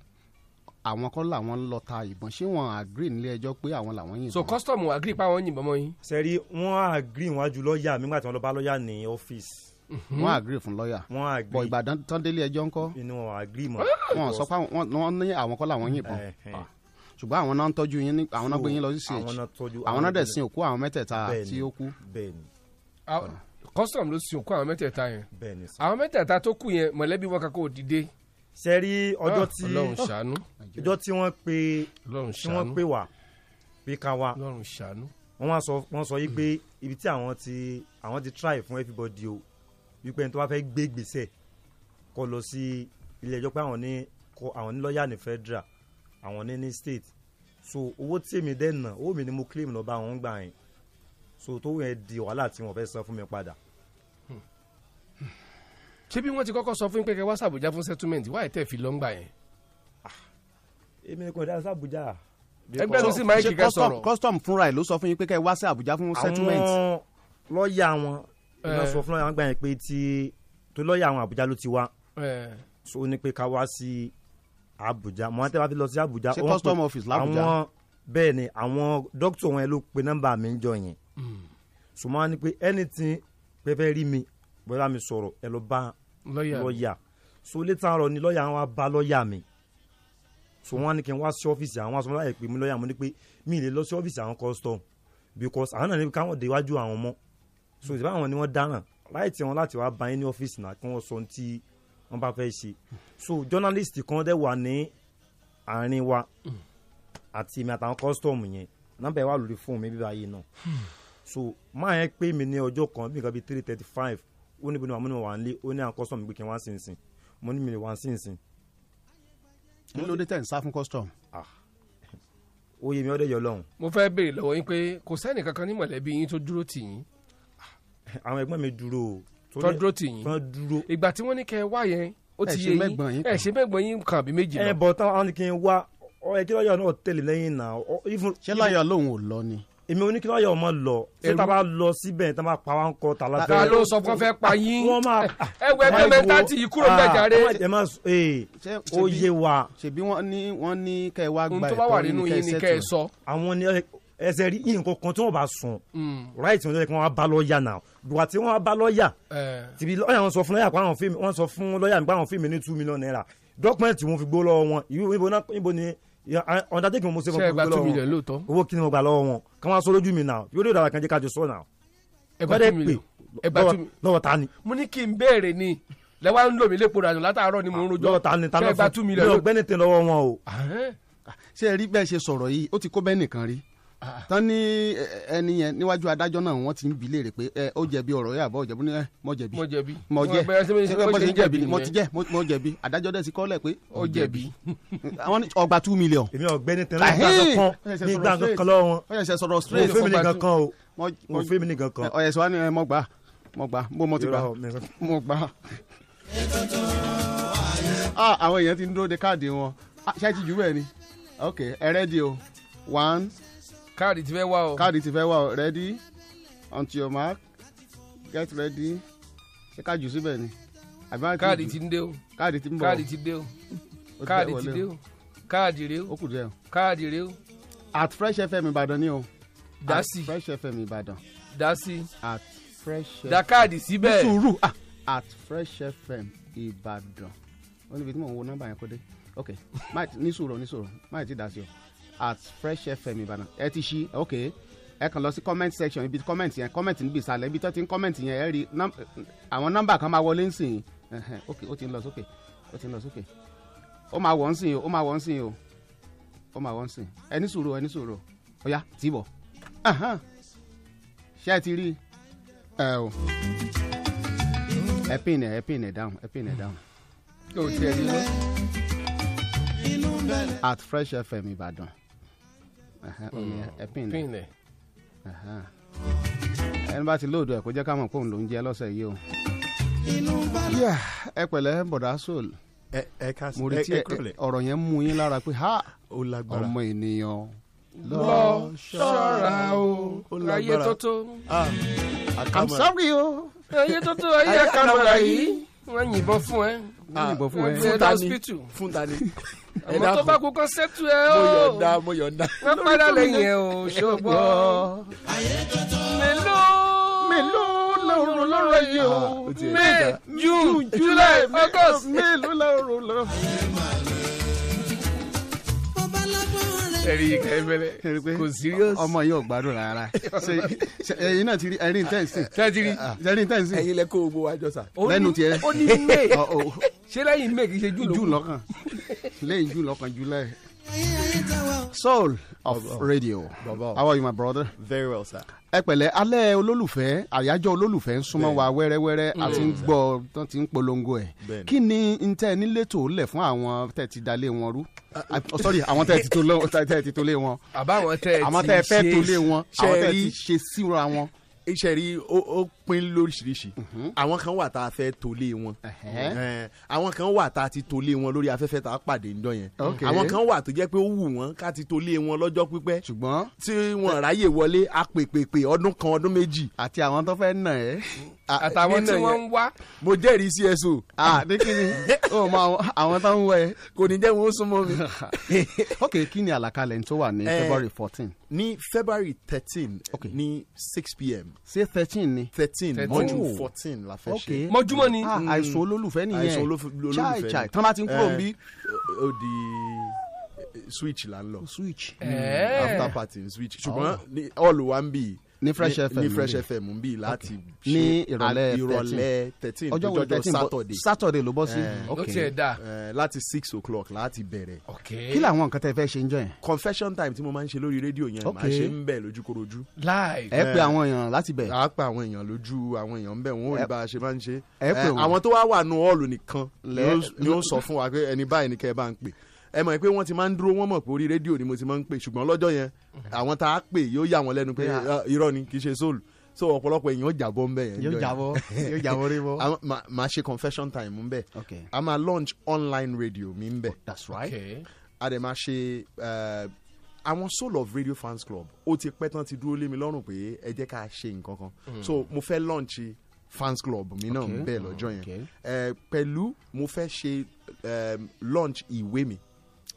Speaker 16: àwọn kọ́ làwọn lọ ta ìbọn ṣé wọn agree nílé ẹjọ́ pé àwọn làwọn yìnbọn.
Speaker 15: so custom wà agree pa àwọn yìnbọn mọ́ yín.
Speaker 32: sẹ́rí wọ́n agree wájú lọ́ọ̀yà mi nígbà tí wọ́n lọ bá lọ́ọ̀yà ní ọ́fíìsì.
Speaker 16: wọn agree fún lọ́ọ̀yà
Speaker 32: wọ́n agree.
Speaker 16: bọ̀ ìgbàdàn tán délé ẹjọ́ ńkọ́.
Speaker 32: inú wọn agree mọ́. Eh.
Speaker 16: wọn sọ pé àwọn- wọn wọn ní àwọn kọ́ làwọn yìnbọn Ah. ṣùgbọ́n àwọn náà ń tọ́jú yín ní àwọn náà gbé yín lọ sí
Speaker 32: So,
Speaker 16: ch
Speaker 32: àwọn náà tọ́jú
Speaker 16: àwọn náà
Speaker 32: àwọn
Speaker 16: dẹ̀
Speaker 32: náà-
Speaker 16: sin òkú àwọn mẹ́tẹ̀ẹ̀ta
Speaker 32: Bẹ́ẹ̀ni,
Speaker 16: tí ó kú.
Speaker 32: bẹ́ẹ̀ni
Speaker 15: Àwọn- custom ló sin òkú àwọn mẹ́tẹ̀ẹ̀ta yẹn.
Speaker 32: bẹ́ẹ̀ni sà.
Speaker 15: àwọn mẹ́tẹ̀ẹ̀ta tó kù yẹn mọ̀lẹ́bí wọn kankan ò dìde.
Speaker 32: sẹ́rí ọjọ́
Speaker 15: Ah,
Speaker 32: tí
Speaker 15: Ọlọ́run ṣàánú.
Speaker 32: [laughs] ọjọ́ tí wọ́n pe tí
Speaker 15: ṣàánú.
Speaker 32: wọ́n pe wá pé ká wá
Speaker 15: Ọlọ́run ṣàánú.
Speaker 32: wọ́n wá sọ wọ́n sọ yìí pé ibi tí àwọn ti àwọn ti try fún everybody o wípé ẹni tó bá fẹ́ gbé gbèsè kó lọ sí ilé ẹjọ́ pé àwọn ní kọ àwọn ní lọ́ọ̀yà ní federal àwọn ní ní state so owó tí èmi dẹ̀ nà owó mi ni mo claim lọ bá àwọn gbà yẹn so tó yẹn di wàhálà tí wọ́n fẹ́ san fún mi padà
Speaker 15: ṣé bí wọ́n ti kọ́kọ́ sọ fún yín pé kẹ́ wá sàbújá fún settlement wáyé tẹ̀ fi lọ́ngbà yẹn.
Speaker 32: èmi ni kò dá sábùjá.
Speaker 15: Ẹgbẹ́ ló sì máa ń kíkẹ́ sọ̀rọ̀.
Speaker 16: custom fúnra ẹ̀ ló sọ fún yín pé kẹ́ ẹ wá sí àbújá fún settlement.
Speaker 32: àwọn lọ́ọ̀yà wọn iná
Speaker 16: Eh.
Speaker 32: sọ fún lọ́ọ̀yà wọn gbà yẹn pé tí tó lọ́ọ̀yà àwọn àbújá ló ti wá
Speaker 15: Eh.
Speaker 32: so ó ní pé ká wá sí àbújá mọ̀ àti wá fi lọ sí àbújá.
Speaker 16: Ṣé
Speaker 32: ó wọ́n
Speaker 16: custom
Speaker 32: pè-
Speaker 16: office l'Àbújá?
Speaker 32: àwọn bẹ́ẹ̀ ni àwọn dókítà wọn ló pe nọ́mbà mi ń jọ yẹn
Speaker 16: Hmm,
Speaker 32: so mo wá ní pé anything pé fẹ́ rí mi bóyá mi sọ̀rọ̀ ẹ lọ bá
Speaker 15: Lọ́ọ̀yà mi.
Speaker 32: lọ́ọ̀yà so létà ọ̀rọ̀ ni lọ́ọ̀yà wọn wá bá lọ́ọ̀yà mi so wọn ní kí n wá sí ọ́fíìsì àwọn aṣọ láyè pé mi lọ́ọ̀yà mo ní pé mi ì lè lọ sí ọ́fíìsì àwọn custom because àwọn náà ní káwọn dé iwájú àwọn mọ́ so ìdí báwọn ni wọ́n dáràn láì tí wọn láti wá bá yín ní ọ́fíìsì náà kí wọ́n sọ ohun tí wọ́n bá fẹ́ ṣe so journalist kan dẹ̀ wà ní àárín wa àti èmi àtàwọn custom yẹn nọ́mbà ẹ̀ wà lórí fóònù mi bíbá yìí náà so máa yẹn pé mi ní ọjọ́ kan bí nǹkan bíi three thirty five ó ní bí mo ní mo wà nílé ó ní àwọn custom gbé kí n wá sínsìn mo ní mi lè wá sínsìn
Speaker 16: kí ló dé tẹ̀ ń sá fún custom.
Speaker 32: ó yẹ Ah. mi ọdẹ yọ lọhùn
Speaker 15: mo fẹ́ béèrè lọ́wọ́ yín pé kò sẹ́ni kankan ní mọ̀lẹ́bí yín tó dúró tì yín.
Speaker 32: Ah, àwọn ẹgbẹ́ mi dúró o.
Speaker 15: tó dúró tì yín.
Speaker 32: tán dúró.
Speaker 15: ìgbà tí wọ́n ní kẹ́ ẹ wá yẹn ó
Speaker 32: Ẹ
Speaker 15: ti
Speaker 32: ṣe
Speaker 15: yé
Speaker 32: mẹ́gbọ̀n yín
Speaker 15: yín ẹ ṣe mẹ́gbọ̀n yín kan àbí méjì
Speaker 32: ẹ
Speaker 15: lọ.
Speaker 32: bọ̀ tán àwọn ni kí n wá ọ ẹ kí lọ́yọ̀ náà tẹ̀lé lẹ́yìn náà. ṣé
Speaker 16: lọ́yọ̀ lòun ò lọ ni.
Speaker 32: èmi oní kí lọ́yọ̀ ọmọ lọ ṣé
Speaker 16: Ẹrú.
Speaker 32: tá a bá lọ síbẹ̀ tá a bá pa wá ń kọ́ tà lábẹ́.
Speaker 15: ta ló sọ fún ọ fẹ́ pa yín
Speaker 32: wọ́n máa.
Speaker 15: ẹ wọ ẹgbẹ́ mẹ́ta tì í kúrò ń bẹ̀ jàre.
Speaker 32: Ah, ẹ má sọ ee ó yé wa.
Speaker 16: ṣèbí wọn ní wọn ní kẹ́ ẹ wá gba
Speaker 15: tó bá wà
Speaker 16: ẹ̀tọ́ yín
Speaker 15: nínú
Speaker 16: kẹ́
Speaker 15: yín ni kẹ́ ẹ
Speaker 16: settle.
Speaker 15: sọ.
Speaker 32: àwọn ni ẹsẹ̀ rí nǹkan kan tí wọ́n bá sùn
Speaker 16: hmm,
Speaker 15: Mm.
Speaker 32: right wọn jẹ́ kí wọ́n wá bá lọ́ọ̀yà náà bùwà tí wọ́n wá bá lọ́ọ̀yà
Speaker 15: Eh.
Speaker 32: tìbí lọ́ọ̀yà wọn sọ fún lọ́ọ̀yà pé àwọn fíìmù wọn sọ fún lọ́ọ̀yà nípa àwọn fíìmù ní two million naira dọ́kúmẹ̀ntì wọn fi gbó lọ́wọ́ wọn ìwé ibo náà ibo ni ọ̀dàdékì wọn mo ṣe fún
Speaker 15: Ṣé ẹ
Speaker 32: wọn
Speaker 15: gba
Speaker 32: fi gbó
Speaker 15: two
Speaker 32: lọ́wọ́
Speaker 15: million
Speaker 32: wọn.
Speaker 15: lóòótọ́?
Speaker 32: owó kí ni mo gbà lọ́wọ́ wọn kí wọ́n á sọ lójú mi náà yóò dé ìdàgbà kan jẹ́ kájọ sọ náà
Speaker 15: Ẹ gba
Speaker 32: Wọ́n dẹ̀
Speaker 15: two million.
Speaker 32: pè
Speaker 15: Ẹ gba
Speaker 32: lọ́wọ́-
Speaker 15: two mi-
Speaker 32: lọ́wọ́ ta ni
Speaker 15: mo ní kí n béèrè ni lẹ́wà ń lò mí lépo dànù látàárọ̀ ni mo ń rojọ́.
Speaker 32: lọ́wọ́ ta ni ta
Speaker 15: Ṣé ẹ
Speaker 32: ló
Speaker 15: gba two
Speaker 32: fún mi
Speaker 15: million lóòótọ́?
Speaker 32: ọgbẹ́ni tẹ lọ́wọ́ wọn o.
Speaker 16: ṣé ẹ rí bẹ́ẹ̀ ṣe sọ̀rọ̀ yìí ó ti kó bẹ́ẹ̀ nìkan rí
Speaker 15: Ah.
Speaker 16: tán ní ẹ- ẹ- ẹni yẹn níwájú adájọ́ náà wọ́n ti ń bi léèrè pé ẹ ó jẹ̀bi ọ̀rọ̀ yà bọ́ jẹ̀bi ní ẹ mọ jẹ̀bi
Speaker 15: Mo jẹ̀bi.
Speaker 16: mọ jẹ
Speaker 15: Mo bẹ̀rẹ̀ sí bí-
Speaker 16: ṣé
Speaker 15: bó
Speaker 16: bó
Speaker 15: ṣe
Speaker 16: ṣe
Speaker 15: ń
Speaker 16: ń jẹ̀bi
Speaker 15: jẹ̀bi
Speaker 16: ni mo
Speaker 15: nìyẹn.
Speaker 16: ti jẹ́ mo mo jẹ̀bi adájọ́ dẹ̀ sí kọ́lẹ̀ pé ó
Speaker 15: Ó jẹ̀bi.
Speaker 16: àwọn ní ọgbà two million.
Speaker 32: èmi ọ̀gbẹ́ni tẹ lọ́wọ́ kan ní gbà kan lọ́wọ́ wọn
Speaker 16: ó yẹ ṣe sọ̀rọ̀
Speaker 32: mo
Speaker 16: straight.
Speaker 32: fẹ́ mi nìkan kan o
Speaker 16: Mo-
Speaker 32: mo fẹ́ mi nìkan kan.
Speaker 16: ọ̀yẹ̀sọ̀ wa ni eh, ẹ mọ gbà mọ gbà bó mo ti gbà
Speaker 32: Irọ́ mi-
Speaker 16: mo gbà.
Speaker 40: ayé
Speaker 16: Ah, àwọn èèyàn ti ń dúró de káàdì wọn Ah, ṣé ẹ ti jù bẹ́ẹ̀ ni ok ẹ rẹ́dí o one.
Speaker 15: káàdì ti fẹ́ wá o.
Speaker 16: káàdì ti fẹ́ wá o ready on your mark get ready ṣé ká jù síbẹ̀ ni. àbí wọ́n á
Speaker 15: káàdì
Speaker 16: jù?
Speaker 15: ti ń dé o.
Speaker 16: káàdì ti ń bọ̀
Speaker 15: káàdì ti dé o.
Speaker 16: Ó ti
Speaker 15: káàdì
Speaker 16: bẹ̀
Speaker 15: ti
Speaker 16: wọlé
Speaker 15: dé
Speaker 16: o.
Speaker 15: o. káàdì rè o.
Speaker 16: ó kù díẹ̀ o.
Speaker 15: káàdì rè o.
Speaker 16: at fresh fm ìbàdàn ni o.
Speaker 15: Dásì.
Speaker 16: at fresh fm ìbàdàn.
Speaker 15: dasi.
Speaker 16: at fresh.
Speaker 15: Da káàdì síbẹ̀.
Speaker 16: Ní sùúrù ah, at fresh fm ìbàdàn. ó níbi tí mò ń wo nọ́mbà yẹn kó dé. ok má ní sùúrù ní sùúrù má ti dà sí o. at fresh fm ìbàdàn ẹ ti ṣí ok ẹ kàn lọ sí comment section ibi comment yẹn comment níbi ìsàlẹ̀ ibi tó ti ń comment yẹn ẹ rí nọ́m- àwọn nọ́mbà kan máa wọlé ń sìn ẹhẹn, ok ó ti ń lọ sókè ó ti ń lọ sókè ó máa wọ̀ ń sìn o ó máa wọ̀ ń sìn o ó máa wọ́n sìn ẹ ní sùúrù ẹ ní sùúrù ó yá tí bọ̀ Ahan. ṣé ẹ ti rí i? ẹ o ẹ pin ẹ ẹ pin ẹ down ẹ pin ẹ down
Speaker 15: o tiẹ̀ ní.
Speaker 16: at fresh fm ìbàdàn Ahan, ó ní ẹ pin ẹ
Speaker 15: pin ẹ.
Speaker 16: Ahan. ẹni bá ti lóòdù ẹ kó jẹ́ ká mọ̀ pé òun ló ń jẹ lọ́sẹ̀ yìí o. Yeah, ẹ pẹ̀lẹ́ bọ̀dá soul
Speaker 33: ẹ ẹ ká
Speaker 16: mo rí tí
Speaker 33: ẹ kúrọ̀lẹ́.
Speaker 16: ọ̀rọ̀ yẹn mú yín lára pé ha
Speaker 33: lágbára.
Speaker 16: ọmọ ènìyàn
Speaker 15: lọ ṣọ́ra o ayé
Speaker 16: lágbára. Ah,
Speaker 15: tótó.
Speaker 16: i'm sorry o.
Speaker 15: ayé tótó ayé
Speaker 16: Ayé
Speaker 15: àkàmọ̀ra
Speaker 16: àkàmọ̀ra
Speaker 15: yìí wọ́n yìnbọn fún ẹ.
Speaker 33: Ah,
Speaker 16: yìnbọn fún ẹ.
Speaker 33: fún
Speaker 15: ẹ
Speaker 33: ta
Speaker 15: lọ
Speaker 33: ni?
Speaker 15: hospital.
Speaker 33: fún ta ni. Ẹ
Speaker 15: àwọn tó
Speaker 33: dákun.
Speaker 15: bá kú kán sẹ́tù ẹ
Speaker 33: mo
Speaker 15: o.
Speaker 33: yọ̀ǹda mo yọ̀ǹda.
Speaker 15: wọ́n padà lẹ́yìn ẹ o ṣùgbọ́n. mélòó
Speaker 16: mélòó lọ́rùn lọ́rọ̀ yìí o.
Speaker 33: ó ti ẹ̀
Speaker 15: May,
Speaker 33: dáa.
Speaker 15: June, July, August.
Speaker 16: mélòó lọ́rùn lọ́rọ̀.
Speaker 15: ẹ̀rí kẹ́mẹ́lẹ́
Speaker 16: kò serious. ọmọ yìí ò gbádùn rárá Ṣé- ṣé- ẹ̀yin náà ti rí ẹ̀yin tẹ́ǹsì.
Speaker 15: tẹ́tìrì.
Speaker 16: Ah, ẹ̀yin tẹ́ǹsì.
Speaker 33: ẹ̀yin lẹ kó gbogbo wa jọ sà. Oh,
Speaker 15: Ó ní-
Speaker 16: lẹ́nu tiẹ̀.
Speaker 15: ó ní
Speaker 33: [laughs]
Speaker 15: May.
Speaker 16: Ọ̀, ọ̀,
Speaker 15: ṣé lẹ́yìn may kì í ṣe jù
Speaker 16: jù lọ́kàn lẹ́yìn jù lọ́kàn july. soul of radio.
Speaker 33: Baba.
Speaker 16: how are you my brother.
Speaker 33: very well sir.
Speaker 16: ẹ pẹ̀lẹ́ alẹ́ olólùfẹ́ àyájọ́ olólùfẹ́ ń súnmọ́ wa wẹ́rẹ́wẹ́rẹ́
Speaker 33: Mm.
Speaker 16: àti ń gbọ́ tán ti ń polongo ẹ̀
Speaker 33: Bẹ́ẹ̀ni.
Speaker 16: kí ni n tẹ́ ẹ nílé tó lẹ̀ fún àwọn tẹ́ ẹ ti dalé wọn rú Ah, oh, sorry àwọn tẹ́ ẹ ti tó lọ- tẹ́ ẹ ti tó lé wọn
Speaker 15: àbáwọn tẹ́ ẹ ti
Speaker 16: àwọn tẹ́ ẹ fẹ́
Speaker 33: ṣe-
Speaker 16: tó lé wọn àwọn tẹ́ ẹ ti
Speaker 33: ṣe-
Speaker 16: ṣe síra wọn. Mhm.
Speaker 33: iṣẹ́ rí ó ó pín lóríṣiríṣi àwọn kan wà tá a fẹ́ tolé wọn Eh, àwọn kan wà tá a ti tolé wọn lórí afẹ́fẹ́ tá a pàdé ńjọ yẹn
Speaker 16: Ok.
Speaker 33: àwọn kan wà tó jẹ́ pé ó wù wọ́n ká ti tolé wọn lọ́jọ́ pípẹ́
Speaker 16: ṣùgbọ́n
Speaker 33: tí wọ́n ráyè wọlé apèpèpè ọdún kan ọdún méjì.
Speaker 16: àti àwọn tó fẹ́ nà ẹ́.
Speaker 15: àtàwọn tí wọ́n ń wá.
Speaker 33: mo jẹ́rìí sí ẹ̀sùn.
Speaker 16: ah ní kí ni o mọ àwọn tó ń wọ ẹ.
Speaker 33: kò ní jẹ́ wọn ó súnmọ́
Speaker 16: [laughs]
Speaker 33: mi.
Speaker 16: ok kí ni àlàkalẹ̀ tó wà ní
Speaker 33: Eh,
Speaker 16: february fourteen.
Speaker 33: ní february thirteen ní six pm.
Speaker 16: ṣé thirteen ni.
Speaker 33: thirteen mọ́jú
Speaker 16: Oh.
Speaker 33: fourteen la fẹ́
Speaker 16: Okay.
Speaker 33: ṣe.
Speaker 15: Mọ́júmọ́ ni.
Speaker 16: Ah, àìsàn olólùfẹ́ nìyẹn.
Speaker 33: Hmm. àìsàn olóf- olólùfẹ́
Speaker 16: Chai,
Speaker 33: ni.
Speaker 16: chai. tán bá ti ń kúrò
Speaker 33: Eh,
Speaker 16: ń bí.
Speaker 33: ó di eh, switch là ń lọ.
Speaker 16: Oh,
Speaker 33: Hmm,
Speaker 16: switch.
Speaker 15: Eh.
Speaker 33: after party ni switch ṣùgbọ́n
Speaker 16: Oh.
Speaker 33: ní all wa ń bì.
Speaker 16: Ní Fresh FM
Speaker 33: ní
Speaker 16: ń
Speaker 33: fresh
Speaker 16: bì.
Speaker 33: fm ń bì láti ṣe
Speaker 16: ní
Speaker 33: al-
Speaker 16: ìrọ̀lẹ́
Speaker 33: ìrọ̀lẹ́ thirteen
Speaker 16: ọjọ́ wo
Speaker 33: lójọ́jọ́
Speaker 16: thirteen
Speaker 33: saturday.
Speaker 16: saturday ló bọ́ sí.
Speaker 33: Eh,
Speaker 16: Ok.
Speaker 33: eh, láti six o'clock láti bẹ̀rẹ̀.
Speaker 16: kí làwọn nǹkan tẹ fẹ́ ṣe ń jọ yẹn.
Speaker 33: Eh. confession time tí mo máa ń ṣe lórí rédíò yẹn
Speaker 16: Ok.
Speaker 33: màá ṣe ń bẹ̀ lójúkorojú.
Speaker 15: live.
Speaker 16: ẹ pe
Speaker 33: Eh.
Speaker 16: àwọn èèyàn láti bẹ̀.
Speaker 33: a pa àwọn èèyàn lójú àwọn èèyàn ń bẹ̀ wọ́n ò rí
Speaker 16: Ẹ-
Speaker 33: bá a ṣe máa ń ṣe.
Speaker 16: ẹ pè
Speaker 33: Eh,
Speaker 16: wọ́n.
Speaker 33: àwọn tó wá wà nù ọ́ọ̀lù nìkan ni
Speaker 16: Lẹ́-
Speaker 33: ó- ni ó sọ fún wa pé ẹni báyìí ni kẹ́ ẹ bá ń pè ẹ mọ̀ pé wọ́n ti máa ń dúró wọ́n mọ̀ pé orí rédíò ni mo ti máa ń pè ṣùgbọ́n lọ́jọ́ yẹn àwọn tá a pè yóò yà wọ́n lẹ́nu pé
Speaker 16: Yeah.
Speaker 33: "Ah, irọ́ ni kì í ṣe soul so ọ̀pọ̀lọpọ̀ èèyàn ó jàbọ́ ń bẹ̀ yẹn.
Speaker 16: Yóò
Speaker 33: níjọ́ yẹn.
Speaker 16: jábọ́, yóò jábọ́ rébọ́.
Speaker 33: [laughs] Àwọn- màá- màá ṣe confession time ń bẹ̀ a máa launch online radio mi ń bẹ̀.
Speaker 16: Oh, that's right.
Speaker 15: Okay.
Speaker 33: a dẹ̀ máa ṣe eh, àwọn soul of radio fans club ó ti pẹ́ tán ti dúró lé mi lọ́rùn pé ẹ jẹ́ ká ṣe nǹkan kan
Speaker 16: Mm.
Speaker 33: so mo fẹ́ launch fans club mi náà ń
Speaker 16: Okay.
Speaker 33: bẹ̀
Speaker 16: Mm,
Speaker 33: lọ́jọ́ yẹn
Speaker 16: okay.
Speaker 33: Eh, pẹ̀lú mo fẹ́ ṣe em, launch ìwé mi.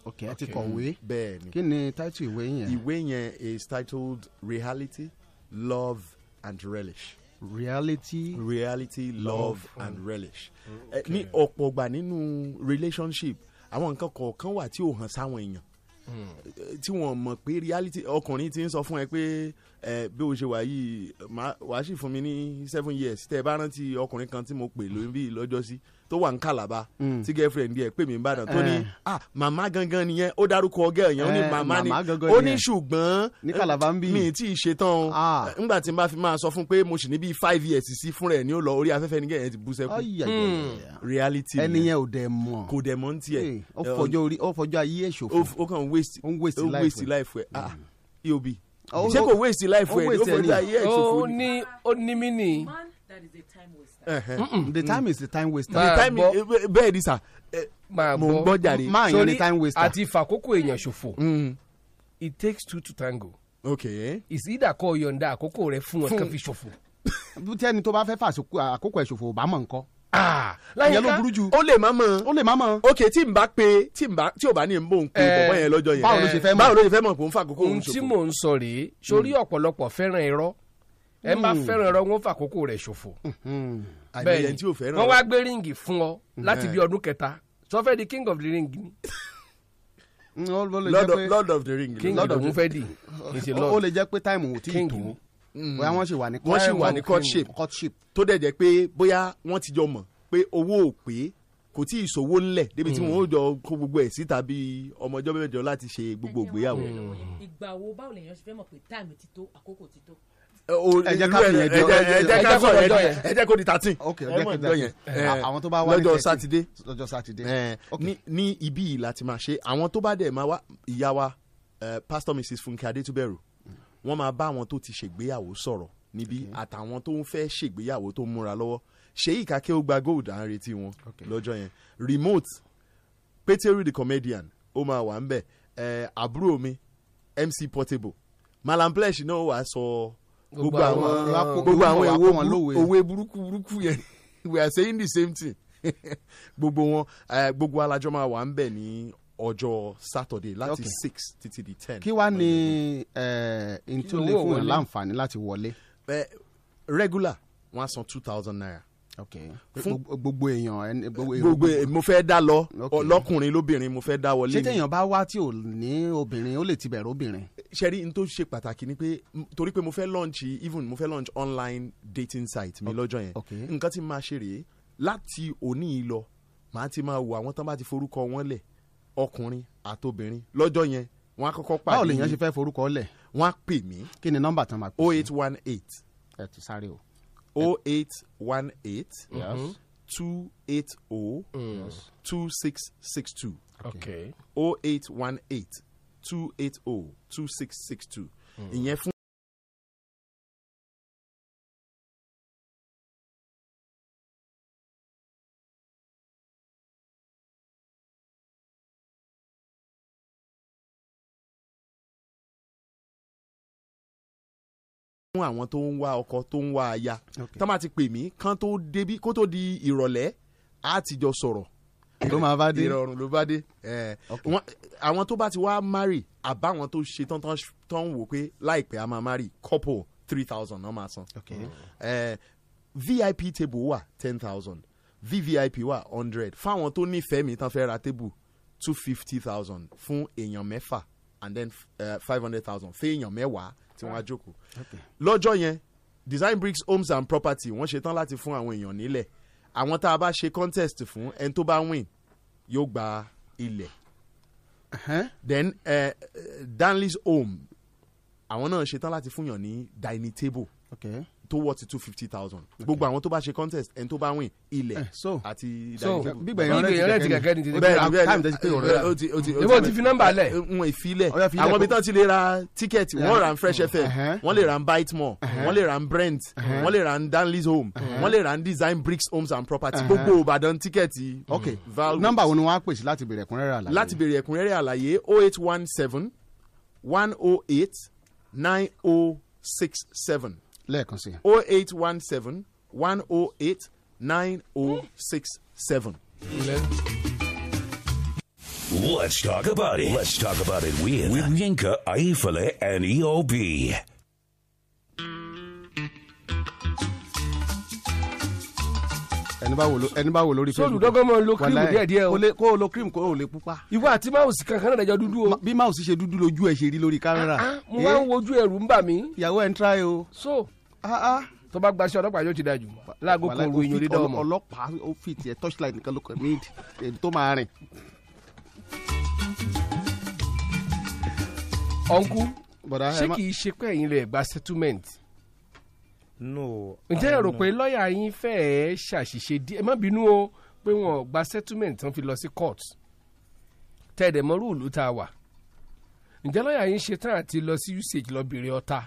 Speaker 16: ok ẹ ti kọ̀wé.
Speaker 33: bẹ́ẹ̀ ni
Speaker 16: kí ni title ìwé yẹn.
Speaker 33: ìwé yẹn is titled reality love and relish.
Speaker 16: reality.
Speaker 33: reality love and relish.
Speaker 16: Okay.
Speaker 33: Eh, ní ọ̀pọ̀ ọgbà nínú relationship àwọn nǹkan kọ̀ọ̀kan wà tí ò hàn sáwọn èèyàn eh, tí wọn mọ̀ pé reality ọkùnrin ti ń sọ fún ẹ pé ẹ bí o ṣe wà yìí máa- wàá sì fún mi ní seven years tẹ ẹ bá rántí ọkùnrin kan tí mo pè lóbi lọ́jọ́ sí tó wà ní Calabar
Speaker 16: Mm.
Speaker 33: tí girlfriend yẹ pè mí Ìbàdàn tó ní
Speaker 16: Eh.
Speaker 33: ah màmá gangan nìyẹn ó dárúkọ ọgẹ èèyàn ó ní
Speaker 16: Eh,
Speaker 33: màmá ni
Speaker 16: màmá gangan
Speaker 33: ó ní
Speaker 16: nìyẹn.
Speaker 33: ṣùgbọ́n
Speaker 16: Ní Calabar ń bí.
Speaker 33: mi tí ì ṣe tán o nígbà tí n bá fi máa sọ fún pé mo sì ní bíi five years sí fún rẹ̀ ní ó lọ orí afẹ́fẹ́ ní kẹ́hìn ti bú sẹ́kù Hmm.
Speaker 16: Ayayaya.
Speaker 33: reality
Speaker 16: ẹni
Speaker 33: nìyẹn.
Speaker 16: yẹn ò dẹ̀ mọ̀.
Speaker 33: kò dẹ̀ mọ́ ń tiẹ̀
Speaker 16: Eh, ó fọjọ́ orí ó fọjọ́ ayé ẹ̀
Speaker 33: ó
Speaker 16: ṣòfò.
Speaker 33: f- ó kàn waste
Speaker 16: ó ń waste life ẹ̀.
Speaker 33: life ẹ̀ ah eob
Speaker 16: Ó-
Speaker 33: ṣé
Speaker 16: ó-
Speaker 33: kò waste life
Speaker 16: ó
Speaker 33: ẹ̀ ni ó
Speaker 16: waste ẹ̀ ni.
Speaker 33: fọjọ́ ayé ẹ̀ ṣòfò
Speaker 15: ó ní ó ní mí nì.
Speaker 31: that is a time waster.
Speaker 16: Mm-mm.
Speaker 18: the time is the time waster.
Speaker 15: The time is-
Speaker 33: eh,
Speaker 18: bẹ́ẹ̀ ni sà
Speaker 15: máa
Speaker 18: mo ń gbọ́ jàre. máa yan ni time waster.
Speaker 15: àti ìfàkókò èèyàn ṣòfò
Speaker 33: Mm.
Speaker 15: it takes two to tango.
Speaker 33: okay.
Speaker 15: ìsídà kọ yọ̀ǹda àkókò rẹ fún
Speaker 16: Fún-
Speaker 15: ọ̀kan fi ṣòfò.
Speaker 16: tí ẹni tó bá fẹ́ fàṣokò àkókò ẹ̀ ṣòfò ò bá mọ̀ nǹkan.
Speaker 33: láyé
Speaker 16: Ìyẹn ló
Speaker 33: ká
Speaker 16: burú jù.
Speaker 33: ó lè má mọ.
Speaker 16: ó lè má mọ.
Speaker 33: ok tí n bá pe tí n bá tí ò bá ní n bò ń pe
Speaker 15: Eh,
Speaker 33: bọ̀bọ̀ yẹn lọ́jọ́ yẹn.
Speaker 15: báwo ló ṣe fẹ́ mọ̀?
Speaker 33: báwo ló ṣe fẹ́ mọ̀ kó n fàkókò òun
Speaker 15: ohun tí
Speaker 33: ṣòfò.
Speaker 15: mò ń sọ rèé sórí ọ̀pọ̀lọpọ̀ fẹ́ràn irọ́ ẹ bá
Speaker 33: Mm.
Speaker 15: fẹ́ràn irọ́ wọn fàkókò rẹ̀ ṣòfò.
Speaker 16: Hmm.
Speaker 33: àìmọye
Speaker 15: bẹ́ẹ̀ni
Speaker 33: ẹni tí ò fẹ́ràn
Speaker 15: wọ́n
Speaker 33: irọ́.
Speaker 15: wá gbé ríǹgì fún ọ láti
Speaker 33: Eh.
Speaker 15: bí ọdún kẹta sọfẹ́ di king of the ring ni.
Speaker 16: Mm, lè
Speaker 33: Lord
Speaker 16: jẹ́
Speaker 33: of-
Speaker 16: pé-
Speaker 33: Lord of the Ring.
Speaker 15: King
Speaker 16: Lord of
Speaker 15: lòun
Speaker 16: the-
Speaker 15: fẹ́ dì, kì í ṣe Lord.
Speaker 16: ó lè jẹ́ pé táìmù ò tí ì
Speaker 15: King
Speaker 16: tó
Speaker 15: ni.
Speaker 16: bóyá wọ́n ṣì wà ní
Speaker 33: Mm. wọ́n sì wà ní courtship
Speaker 16: courtship
Speaker 33: tó dẹ̀ jẹ́ pé bóyá wọ́n ti jọ mọ̀ pé owó ò pé kò tí ì sówó ńlẹ̀ débi tí
Speaker 15: Mm.
Speaker 33: wọ́n ó jọ kó gbogbo ẹ̀ síta bí ọmọ ọjọ́ mẹ́jọ láti ṣe gbogbo ìgbéyàwó.
Speaker 35: ìgbà wo báwo lèèyàn ṣe fẹ́ mọ̀ pé táìmù ti tó àkókò ti tó.
Speaker 33: o-
Speaker 16: ẹ jẹ́ ká
Speaker 33: eh, oh, irú ẹ̀-
Speaker 16: fi yẹn di-
Speaker 33: ẹ jẹ́- ẹ jẹ́ ká
Speaker 16: ẹ jẹ́ kó
Speaker 33: sọ̀rọ̀
Speaker 16: lọ́jọ́
Speaker 33: yẹn
Speaker 16: yẹn.
Speaker 33: di- ẹ jẹ́ kó di thirteen.
Speaker 16: ok ẹ
Speaker 33: Ẹ mọ̀
Speaker 16: jẹ́ kó
Speaker 33: ọjọ́
Speaker 16: lọ́jọ́
Speaker 33: yẹn.
Speaker 16: yẹn
Speaker 33: Eh,
Speaker 16: àwọn tó bá wá ní
Speaker 33: lọ́jọ́
Speaker 16: 13.
Speaker 33: sátidé
Speaker 16: lọ́jọ́ sátidé
Speaker 33: ẹ ní ní ibí yìí láti máa ṣe àwọn tó bá dẹ̀ máa wá ìyá wa eh, pastor mrs funke adétúbẹ̀rù wọ́n máa bá àwọn tó ti ṣègbéyàwó sọ̀rọ̀ níbí àtàwọn tó ń fẹ́ ṣègbéyàwó tó ń múra lọ́wọ́ ṣèyí kàkẹ́ ó gba gold à ń retí wọn lọ́jọ́ yẹn remote pétérù the comedian ó máa wà ń bẹ̀ eh, àbúrò mi mc portable malam plesh náà wàá sọ
Speaker 16: Gbogbo
Speaker 33: gbogbo
Speaker 16: àwọn-
Speaker 33: àwọn gbogbo àwọn
Speaker 16: wàá kó wọn lówe.
Speaker 33: èwo òwe burúkú burúkú yẹn [laughs] we are saying the same thing [laughs] gbogbo wọn eh, gbogbo alájọ máa wà ń bẹ̀ ní ọjọ́ saturday láti
Speaker 16: Okay.
Speaker 33: six títí di ten.
Speaker 16: kí wàá ní
Speaker 33: Hmm.
Speaker 16: n tó lè fún yàn láǹfààní láti wọlé.
Speaker 33: Eh, regular wọn á san two thousand naira. Fún-
Speaker 16: Gbogbo- gbogbo èèyàn ẹni- gbogbo èèyàn-
Speaker 33: gbogbo ẹ- mo fẹ́ dá lọ
Speaker 16: Okay.
Speaker 33: ọlọ́kùnrin lóbìnrin mo fẹ́ dá wọlé mi.
Speaker 16: ṣé téèyàn bá wá tí ò ní obìnrin ó lè ti bẹ̀rẹ̀ obìnrin.
Speaker 33: sẹ́rí n tó ṣe pàtàkì ni pé m- torí pé mo fẹ́ launch even mo fẹ́ launch online dating site mi lọ́jọ́ yẹn nǹkan tí máa ṣe rèé láti òní yìí lọ màá ti máa wo àwọn tán bá ti forúkọ wọn lẹ̀ ọkùnrin àtobìnrin lọ́jọ́ yẹn wọ́n á kọ́kọ́ pàdé
Speaker 16: báwo lèèyàn
Speaker 33: mi.
Speaker 16: ṣe fẹ́ forúkọ lẹ̀.
Speaker 33: wọ́n á pè mí.
Speaker 16: kí ni nọ́mbà tán máa pè.
Speaker 33: o eight one eight.
Speaker 16: ẹ ti sáré o.
Speaker 33: o eight one eight. Mhm.
Speaker 16: Yes.
Speaker 33: two eight o. two six six two.
Speaker 15: okay.
Speaker 33: o eight one eight two eight o two six six two. ìyẹn fún. fún àwọn tó ń wá ọkọ tó ń wá aya tó máa ti pè mí kán tó débi kó tó di ìrọ̀lẹ́ á ti jọ sọ̀rọ̀
Speaker 16: ló máa bá dé.
Speaker 33: ìrọ̀rùn ló bá dé Eh, wọn- àwọn tó bá ti wá marry àbáwọn tó ṣe tán tán- tán ń wò pé láìpẹ́ a máa marry couple three thousand náà máa san Eh, vip table wà ten thousand vvip wà hundred fáwọn tó nífẹ̀ẹ́ mi tán fẹ́ ra table two fifty thousand fún èèyàn mẹ́fà and then five hundred thousand fún èèyàn mẹ́wàá tí wọ́n á jókòó lọ́jọ́ yẹn design bricks homes and property wọ́n ṣe tán láti fún àwọn èèyàn nílẹ̀ àwọn tá a bá ṣe contest fún ẹni tó bá win yóò gba ilẹ̀ then uh, danley's home àwọn náà ṣe tán láti fún yàn ní dining table
Speaker 16: Okay.
Speaker 33: tó wọ́ ti two fifty thousand gbogbo àwọn tó bá ṣe contest ẹni tó bá win ilẹ̀ àti
Speaker 15: so,
Speaker 33: dining table.
Speaker 15: gbígbà ìyọrẹ ti Ìyọrẹ ti kẹ̀kẹ́ ni. kẹ̀kẹ́ ni ti-
Speaker 33: Bẹ́ẹ̀ni, bẹ́ẹ̀ni.
Speaker 15: time tẹ́ ti pé òun rẹ̀.
Speaker 33: Ó ti- ó ti- ó
Speaker 15: Níbo ti fi nọ́mbà lẹ̀?
Speaker 33: n ò ìfilẹ̀
Speaker 15: Ó yá, fi ilẹ̀
Speaker 33: àwọn ibi
Speaker 15: kó-
Speaker 33: tán ti lè ra tíkẹ́ẹ̀tì
Speaker 15: Yeah.
Speaker 33: wọ́n ra n fresh
Speaker 15: Mhm.
Speaker 33: fm wọ́n lè ra n bitemore
Speaker 15: Mhm.
Speaker 33: wọ́n lè ra n brent
Speaker 15: Mhm.
Speaker 33: wọ́n lè ra n danley's home
Speaker 16: Mhm.
Speaker 33: wọ́n lè ra n design bricks homes and property
Speaker 16: Mhm.
Speaker 33: gbogbo ìbàdàn tíkẹ́ẹ̀tì
Speaker 16: ok
Speaker 33: value
Speaker 16: Mm. nọ́mbà wo ni wọ́n á pèsè láti bèrè ẹ̀kúnrẹ́rẹ́ àlàyé.
Speaker 33: láti béèrè ẹ̀kúnrẹ́rẹ́ àlàyé oh eight one seven one oh eight nine oh six seven
Speaker 16: lẹ́ẹ̀kan sí i.
Speaker 33: oh eight one seven one oh eight nine oh six seven.
Speaker 14: Let's talk about it. Let's talk about it with, with Yinka, Aifale, and E EOB.
Speaker 16: ẹni bá wò ló- ẹni bá wò lórí
Speaker 15: Sóòlù dọ́gán máa ń lo cream
Speaker 16: Wàláhì,
Speaker 15: díẹ̀díẹ̀ o.
Speaker 16: kó lè- kó o lo cream kó o lè pupa.
Speaker 15: ìwọ àti mouse kankan náà dẹjọ dúdú o. Ah,
Speaker 16: bí mouse ṣe dúdú lójú ẹ ṣe rí lórí kámẹ́rà. Eh?
Speaker 15: mo wá ń wojú ẹrù ń bà mí.
Speaker 16: ìyàwó ẹ̀ ń try o.
Speaker 15: so tó bá gbaṣẹ́ ọlọ́pàá yóò ti dájú láago kan ru ìyọ̀lẹ́ dá ọmọ.
Speaker 16: ọlọ́pàá ó fi tiẹ̀ torchlight nìkan ló kàn ní èyí tó máa rìn.
Speaker 15: ọ̀nkú
Speaker 16: Bọ̀dá, ẹ
Speaker 15: ṣé
Speaker 16: má-
Speaker 15: kì í ṣe pé ẹ̀yin lè gba settlement.
Speaker 32: no.
Speaker 15: ǹjẹ́ ẹ rò
Speaker 32: no.
Speaker 15: pé lọ́ọ̀yà yín fẹ́ẹ́ ṣàṣìṣe díẹ̀ ẹ má bínú o pé wọn ò gba settlement tán fi lọ sí court tẹ̀dẹ̀ mọ́rú ìlú tá a wà ǹjẹ́ lọ́ọ̀yà yín ṣe tán àti lọ sí usage lọ bèrè ọ̀tá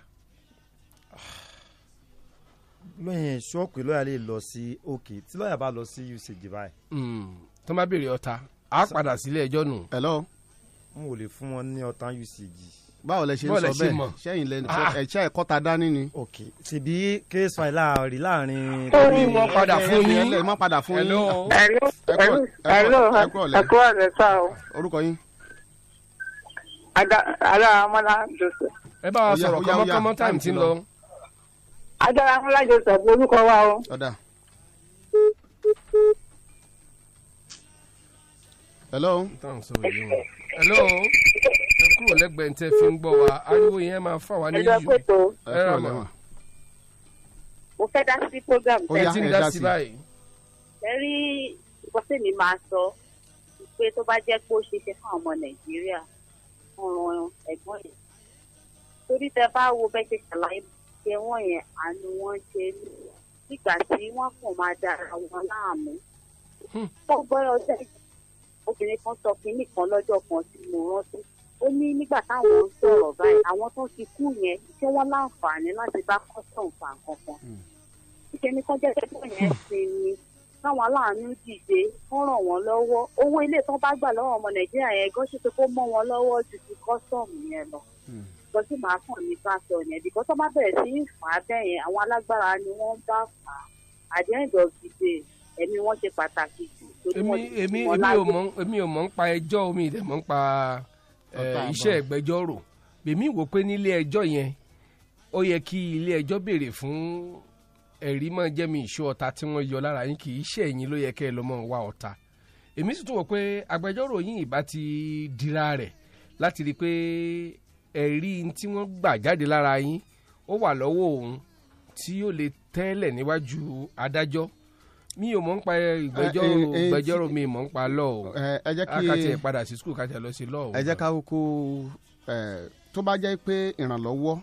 Speaker 32: lóyìn sọ pé lọ́ọ̀yà lè lọ sí òkè tí lọ́ọ̀yà bá lọ sí usage báyìí.
Speaker 15: tó má béèrè ọ̀tá á padà sílé ẹjọ́ nù.
Speaker 16: hello.
Speaker 32: n ò lè fún wọn ní ọ̀tá usage.
Speaker 16: báwo lẹ ṣe ń sọ bẹ́ẹ̀ sẹ́yìn lẹ
Speaker 15: Ah.
Speaker 16: ẹ̀ṣẹ́ ẹ̀kọ́ ta dání ni.
Speaker 32: ok ṣèbí case file láàrin láàrin.
Speaker 16: ẹ má padà fún yín.
Speaker 41: hello hello ẹkú ọ̀rẹ́ sá o
Speaker 16: orúkọ yín.
Speaker 41: adáramọ́lá joseph.
Speaker 15: ẹ bá wa sọ̀rọ̀ kọ́mọ́kọ́mọ́ táìmù ti ń lọ.
Speaker 41: adáramọ́lá joseph orúkọ wa o.
Speaker 16: ọ̀dà. hello.
Speaker 15: hello ẹ kúrò lẹ́gbẹ̀ẹ́ tẹ́ fi ń gbọ́ wa ariwo yẹn máa fà wá ní
Speaker 41: ẹ lọ kótó
Speaker 15: ẹ rà mọ́
Speaker 41: mo fẹ́ dá sí program
Speaker 15: ẹ ti ń dá sí báyìí.
Speaker 41: ẹ rí nǹkan tí mi máa sọ pé tó bá jẹ́ pé ó ṣe ṣe fún ọmọ nàìjíríà ọ̀ràn ẹ̀gbọ́n yẹn torí tẹ bá wo bẹ́ẹ̀ ṣe ṣàlàyé ṣe wọ́n yẹn àánú wọn ṣe ní nígbà tí wọ́n kàn máa dára wọn láàmú. ó gbọ́dọ̀ jẹ́ obìnrin kan sọ kínní kan lọ́jọ́ kan tí mo rántí ó ní nígbà táwọn ń sọ̀rọ̀ báyìí àwọn tó ti kú yẹn ṣé wọ́n láǹfààní láti bá custom fa nǹkan kan ṣe ní kán jẹ́jẹ́ tó yẹn sinmi káwọn aláàánú dìde kán ràn wọ́n lọ́wọ́ owó ilé tán bá gbà lọ́wọ́ ọmọ nàìjíríà yẹn gan ṣe pé kó mọ́ wọn lọ́wọ́ ju ti custom yẹn lọ
Speaker 15: Hmm.
Speaker 41: nǹkan tí màá kàn ní bá sọ yẹn bìkọ́ tó bá bẹ̀rẹ̀ sí í fà á bẹ́ẹ̀ yẹn àwọn alágbára ni wọ́n ń bá fà á àdéhùn ìdọ̀gídé ẹ̀mí wọn ṣe pàtàkì jù torí
Speaker 15: èmi
Speaker 41: wọ́n ti
Speaker 15: èmi
Speaker 41: fún wọn
Speaker 15: èmi ò
Speaker 41: láàyè.
Speaker 15: mọ̀ èmi ò mọ̀ ń pa ẹjọ́ omi ìdẹ̀ mọ̀ ń pa eh,
Speaker 41: Ọ̀tá àbọ̀.
Speaker 15: iṣẹ́ ìgbẹ́jọ́rò bèmí wò pé nílé ẹjọ́ yẹn ó yẹ kí ilé ẹjọ́ béèrè fún ẹ̀rí máa jẹ́ mi ìṣó ọ̀tá tí wọ́n yọ lára yín kì í ṣe ẹ̀yin ló yẹ kẹ́ ẹ lọ́ mọ́ wá ọ̀tá èmi sì tún wò pé agbẹjọ́rò yín ìbá ti dira rẹ̀ láti rí i pé ẹ̀rí tí wọ́n gbà jáde lára yín ó wà lọ́wọ́ òun tí yóò lè tẹ́lẹ̀ níwájú adájọ́ mi ò mọ̀ ń pa ìgbẹ́jọ́rò
Speaker 16: Eh, eh, eh,
Speaker 15: ìgbẹ́jọ́rò mi mọ̀ ń pa lọ́ọ̀ o
Speaker 16: Eh, ẹ jẹ́ kí-
Speaker 15: akátì ẹ̀ padà sí skul kátì ẹ̀ lọ sí lọ́ọ̀ o
Speaker 16: ẹ jẹ́ ká kó tó bá jẹ́ pé ìrànlọ́wọ́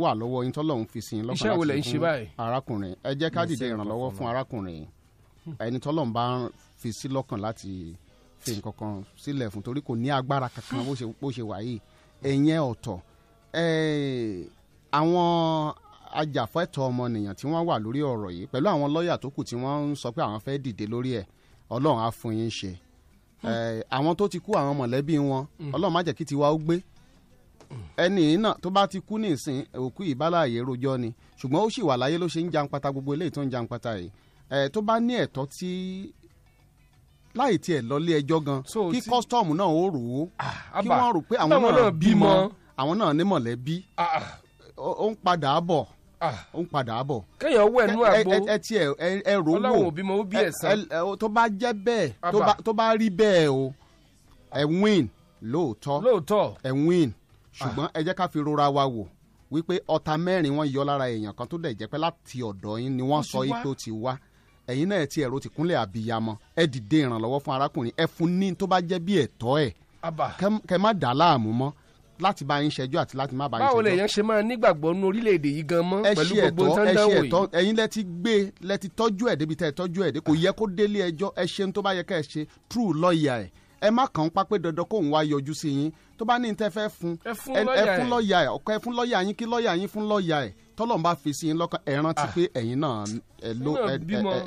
Speaker 16: wà lọ́wọ́ yín tọ́lọ́hún fi sin lọ́kàn
Speaker 15: Iṣẹ́ wo lẹ̀ ń
Speaker 16: fún
Speaker 15: ṣe báyìí?
Speaker 16: arákùnrin ẹ jẹ́ ká
Speaker 15: Mo
Speaker 16: dìde
Speaker 15: ṣe
Speaker 16: ìrànlọ́wọ́
Speaker 15: nǹkan
Speaker 16: fún
Speaker 15: kan.
Speaker 16: arákùnrin ẹni tọ́lọ́hún bá fi sí lọ́kàn láti fi nǹkan kan sílẹ̀ fún torí kò ní agbára kankan bó ṣe bó ṣe wà yìí ẹ̀yẹn ọ̀tọ̀ Eh, àwọn ajàfẹ́tọ̀ ọmọnìyàn tí wọ́n wà lórí ọ̀rọ̀ yìí pẹ̀lú àwọn lọ́ọ̀yà tó kù tí wọ́n ń sọ pé àwọn fẹ́ dìde lórí ẹ̀ ọlọ́run á fún yín ṣe Eh, àwọn tó ti kú àwọn mọ̀lẹ́bí wọn
Speaker 15: Mm.
Speaker 16: ọlọ́run má jẹ́ kí tiwa ó gbé ẹni yìí náà tó bá ti kú nísìn òkú ìbálàyé rojọ́ ni ṣùgbọ́n ó sì wà láyé ló ṣe ń jàǹpátá gbogbo eléyìí tó ń jàǹpátá yìí Eh, tó bá ní ẹ̀tọ́ tí láì tiẹ̀ lọlé ẹjọ́ gan kí kọ́sítọ́ọ̀mù náà ó rò ó kí
Speaker 15: àbà,
Speaker 16: wọ́n rò pé àwọn
Speaker 15: báwọn
Speaker 16: náà
Speaker 15: náà bímọ.
Speaker 16: bímọ àwọn náà ní mọ̀lẹ́bí ó ó ń padà bọ̀ ó ń padà bọ̀
Speaker 15: kéèyàn wẹ̀ nú
Speaker 16: Ẹ-
Speaker 15: àgbo
Speaker 16: ẹ- ẹ tiẹ̀ ẹ- ẹ rò ó wò
Speaker 15: Ọlọ́run ò bímọ, ó bí
Speaker 16: Ẹ-
Speaker 15: ẹ̀san.
Speaker 16: ẹ- ẹ- tó bá jẹ́ bẹ́ẹ̀ tó
Speaker 15: Àbà.
Speaker 16: bá- tó bá rí bẹ́ẹ̀ o ẹ win lóòótọ́
Speaker 15: lóòótọ́
Speaker 16: ẹ win ṣùgbọ́n ẹ jẹ́ ká fi rora wa wò wípé ọta mẹ́rin wọ́n yọ lára èèyàn kan tó dẹ̀ jẹ́ pé láti ọ̀dọ̀ yín ni wọ́n
Speaker 15: Ó ti
Speaker 16: sọ yìí
Speaker 15: wá.
Speaker 16: pé ó ti wá ẹ̀yin náà ti ẹ̀rọ ti kúnlẹ̀ àbíyamọ ẹ dìde ìrànlọ́wọ́ fún arákùnrin ẹ fún ní tó bá jẹ́ bí ẹ̀tọ́ ẹ̀
Speaker 15: àbà
Speaker 16: kẹ- kẹ má dà á láàmú mọ́ láti bá yín ṣẹjọ́ àti láti má bá yín ṣẹjọ́
Speaker 15: báwo lèèyàn ṣe máa nígbàgbọ́ nú orílẹ̀-èdè yìí gan mọ́
Speaker 16: ẹ
Speaker 15: pẹ̀lú
Speaker 16: ṣe
Speaker 15: gbogbo
Speaker 16: ẹ̀tọ́ ẹ ṣe
Speaker 15: tọ́ndánwò yìí
Speaker 16: ẹ̀tọ́ ẹ̀yin lẹ ti gbé lẹ ti tọ́jú ẹ̀ débi tẹ́ ẹ tọ́jú ẹ̀ dé kò yẹ kó délé ẹjọ́ ẹ ṣe ń tó bá yẹ ká ẹ ṣe true lọ́ọ̀yà ẹ̀ ẹ má kàn ń pa pé dandan kóun wá yọjú sí yín tó bá ní tẹ́ fẹ́ fún
Speaker 15: Ẹ fún
Speaker 16: ẹ-
Speaker 15: lọ́ọ̀yà
Speaker 16: ẹ fún
Speaker 15: ẹ̀.
Speaker 16: lọ́ọ̀yà ẹ̀ ọkọ ẹ fún lọ́ọ̀yà yín kí lọ́ọ̀yà yín fún lọ́ọ̀yà ẹ̀ tọ́lọ́run bá fi sí yín lọ́kàn ẹ rántí pé ẹ̀yin náà ẹ ló
Speaker 15: Ah. náà
Speaker 16: ẹ
Speaker 15: bímọ.
Speaker 16: ẹ-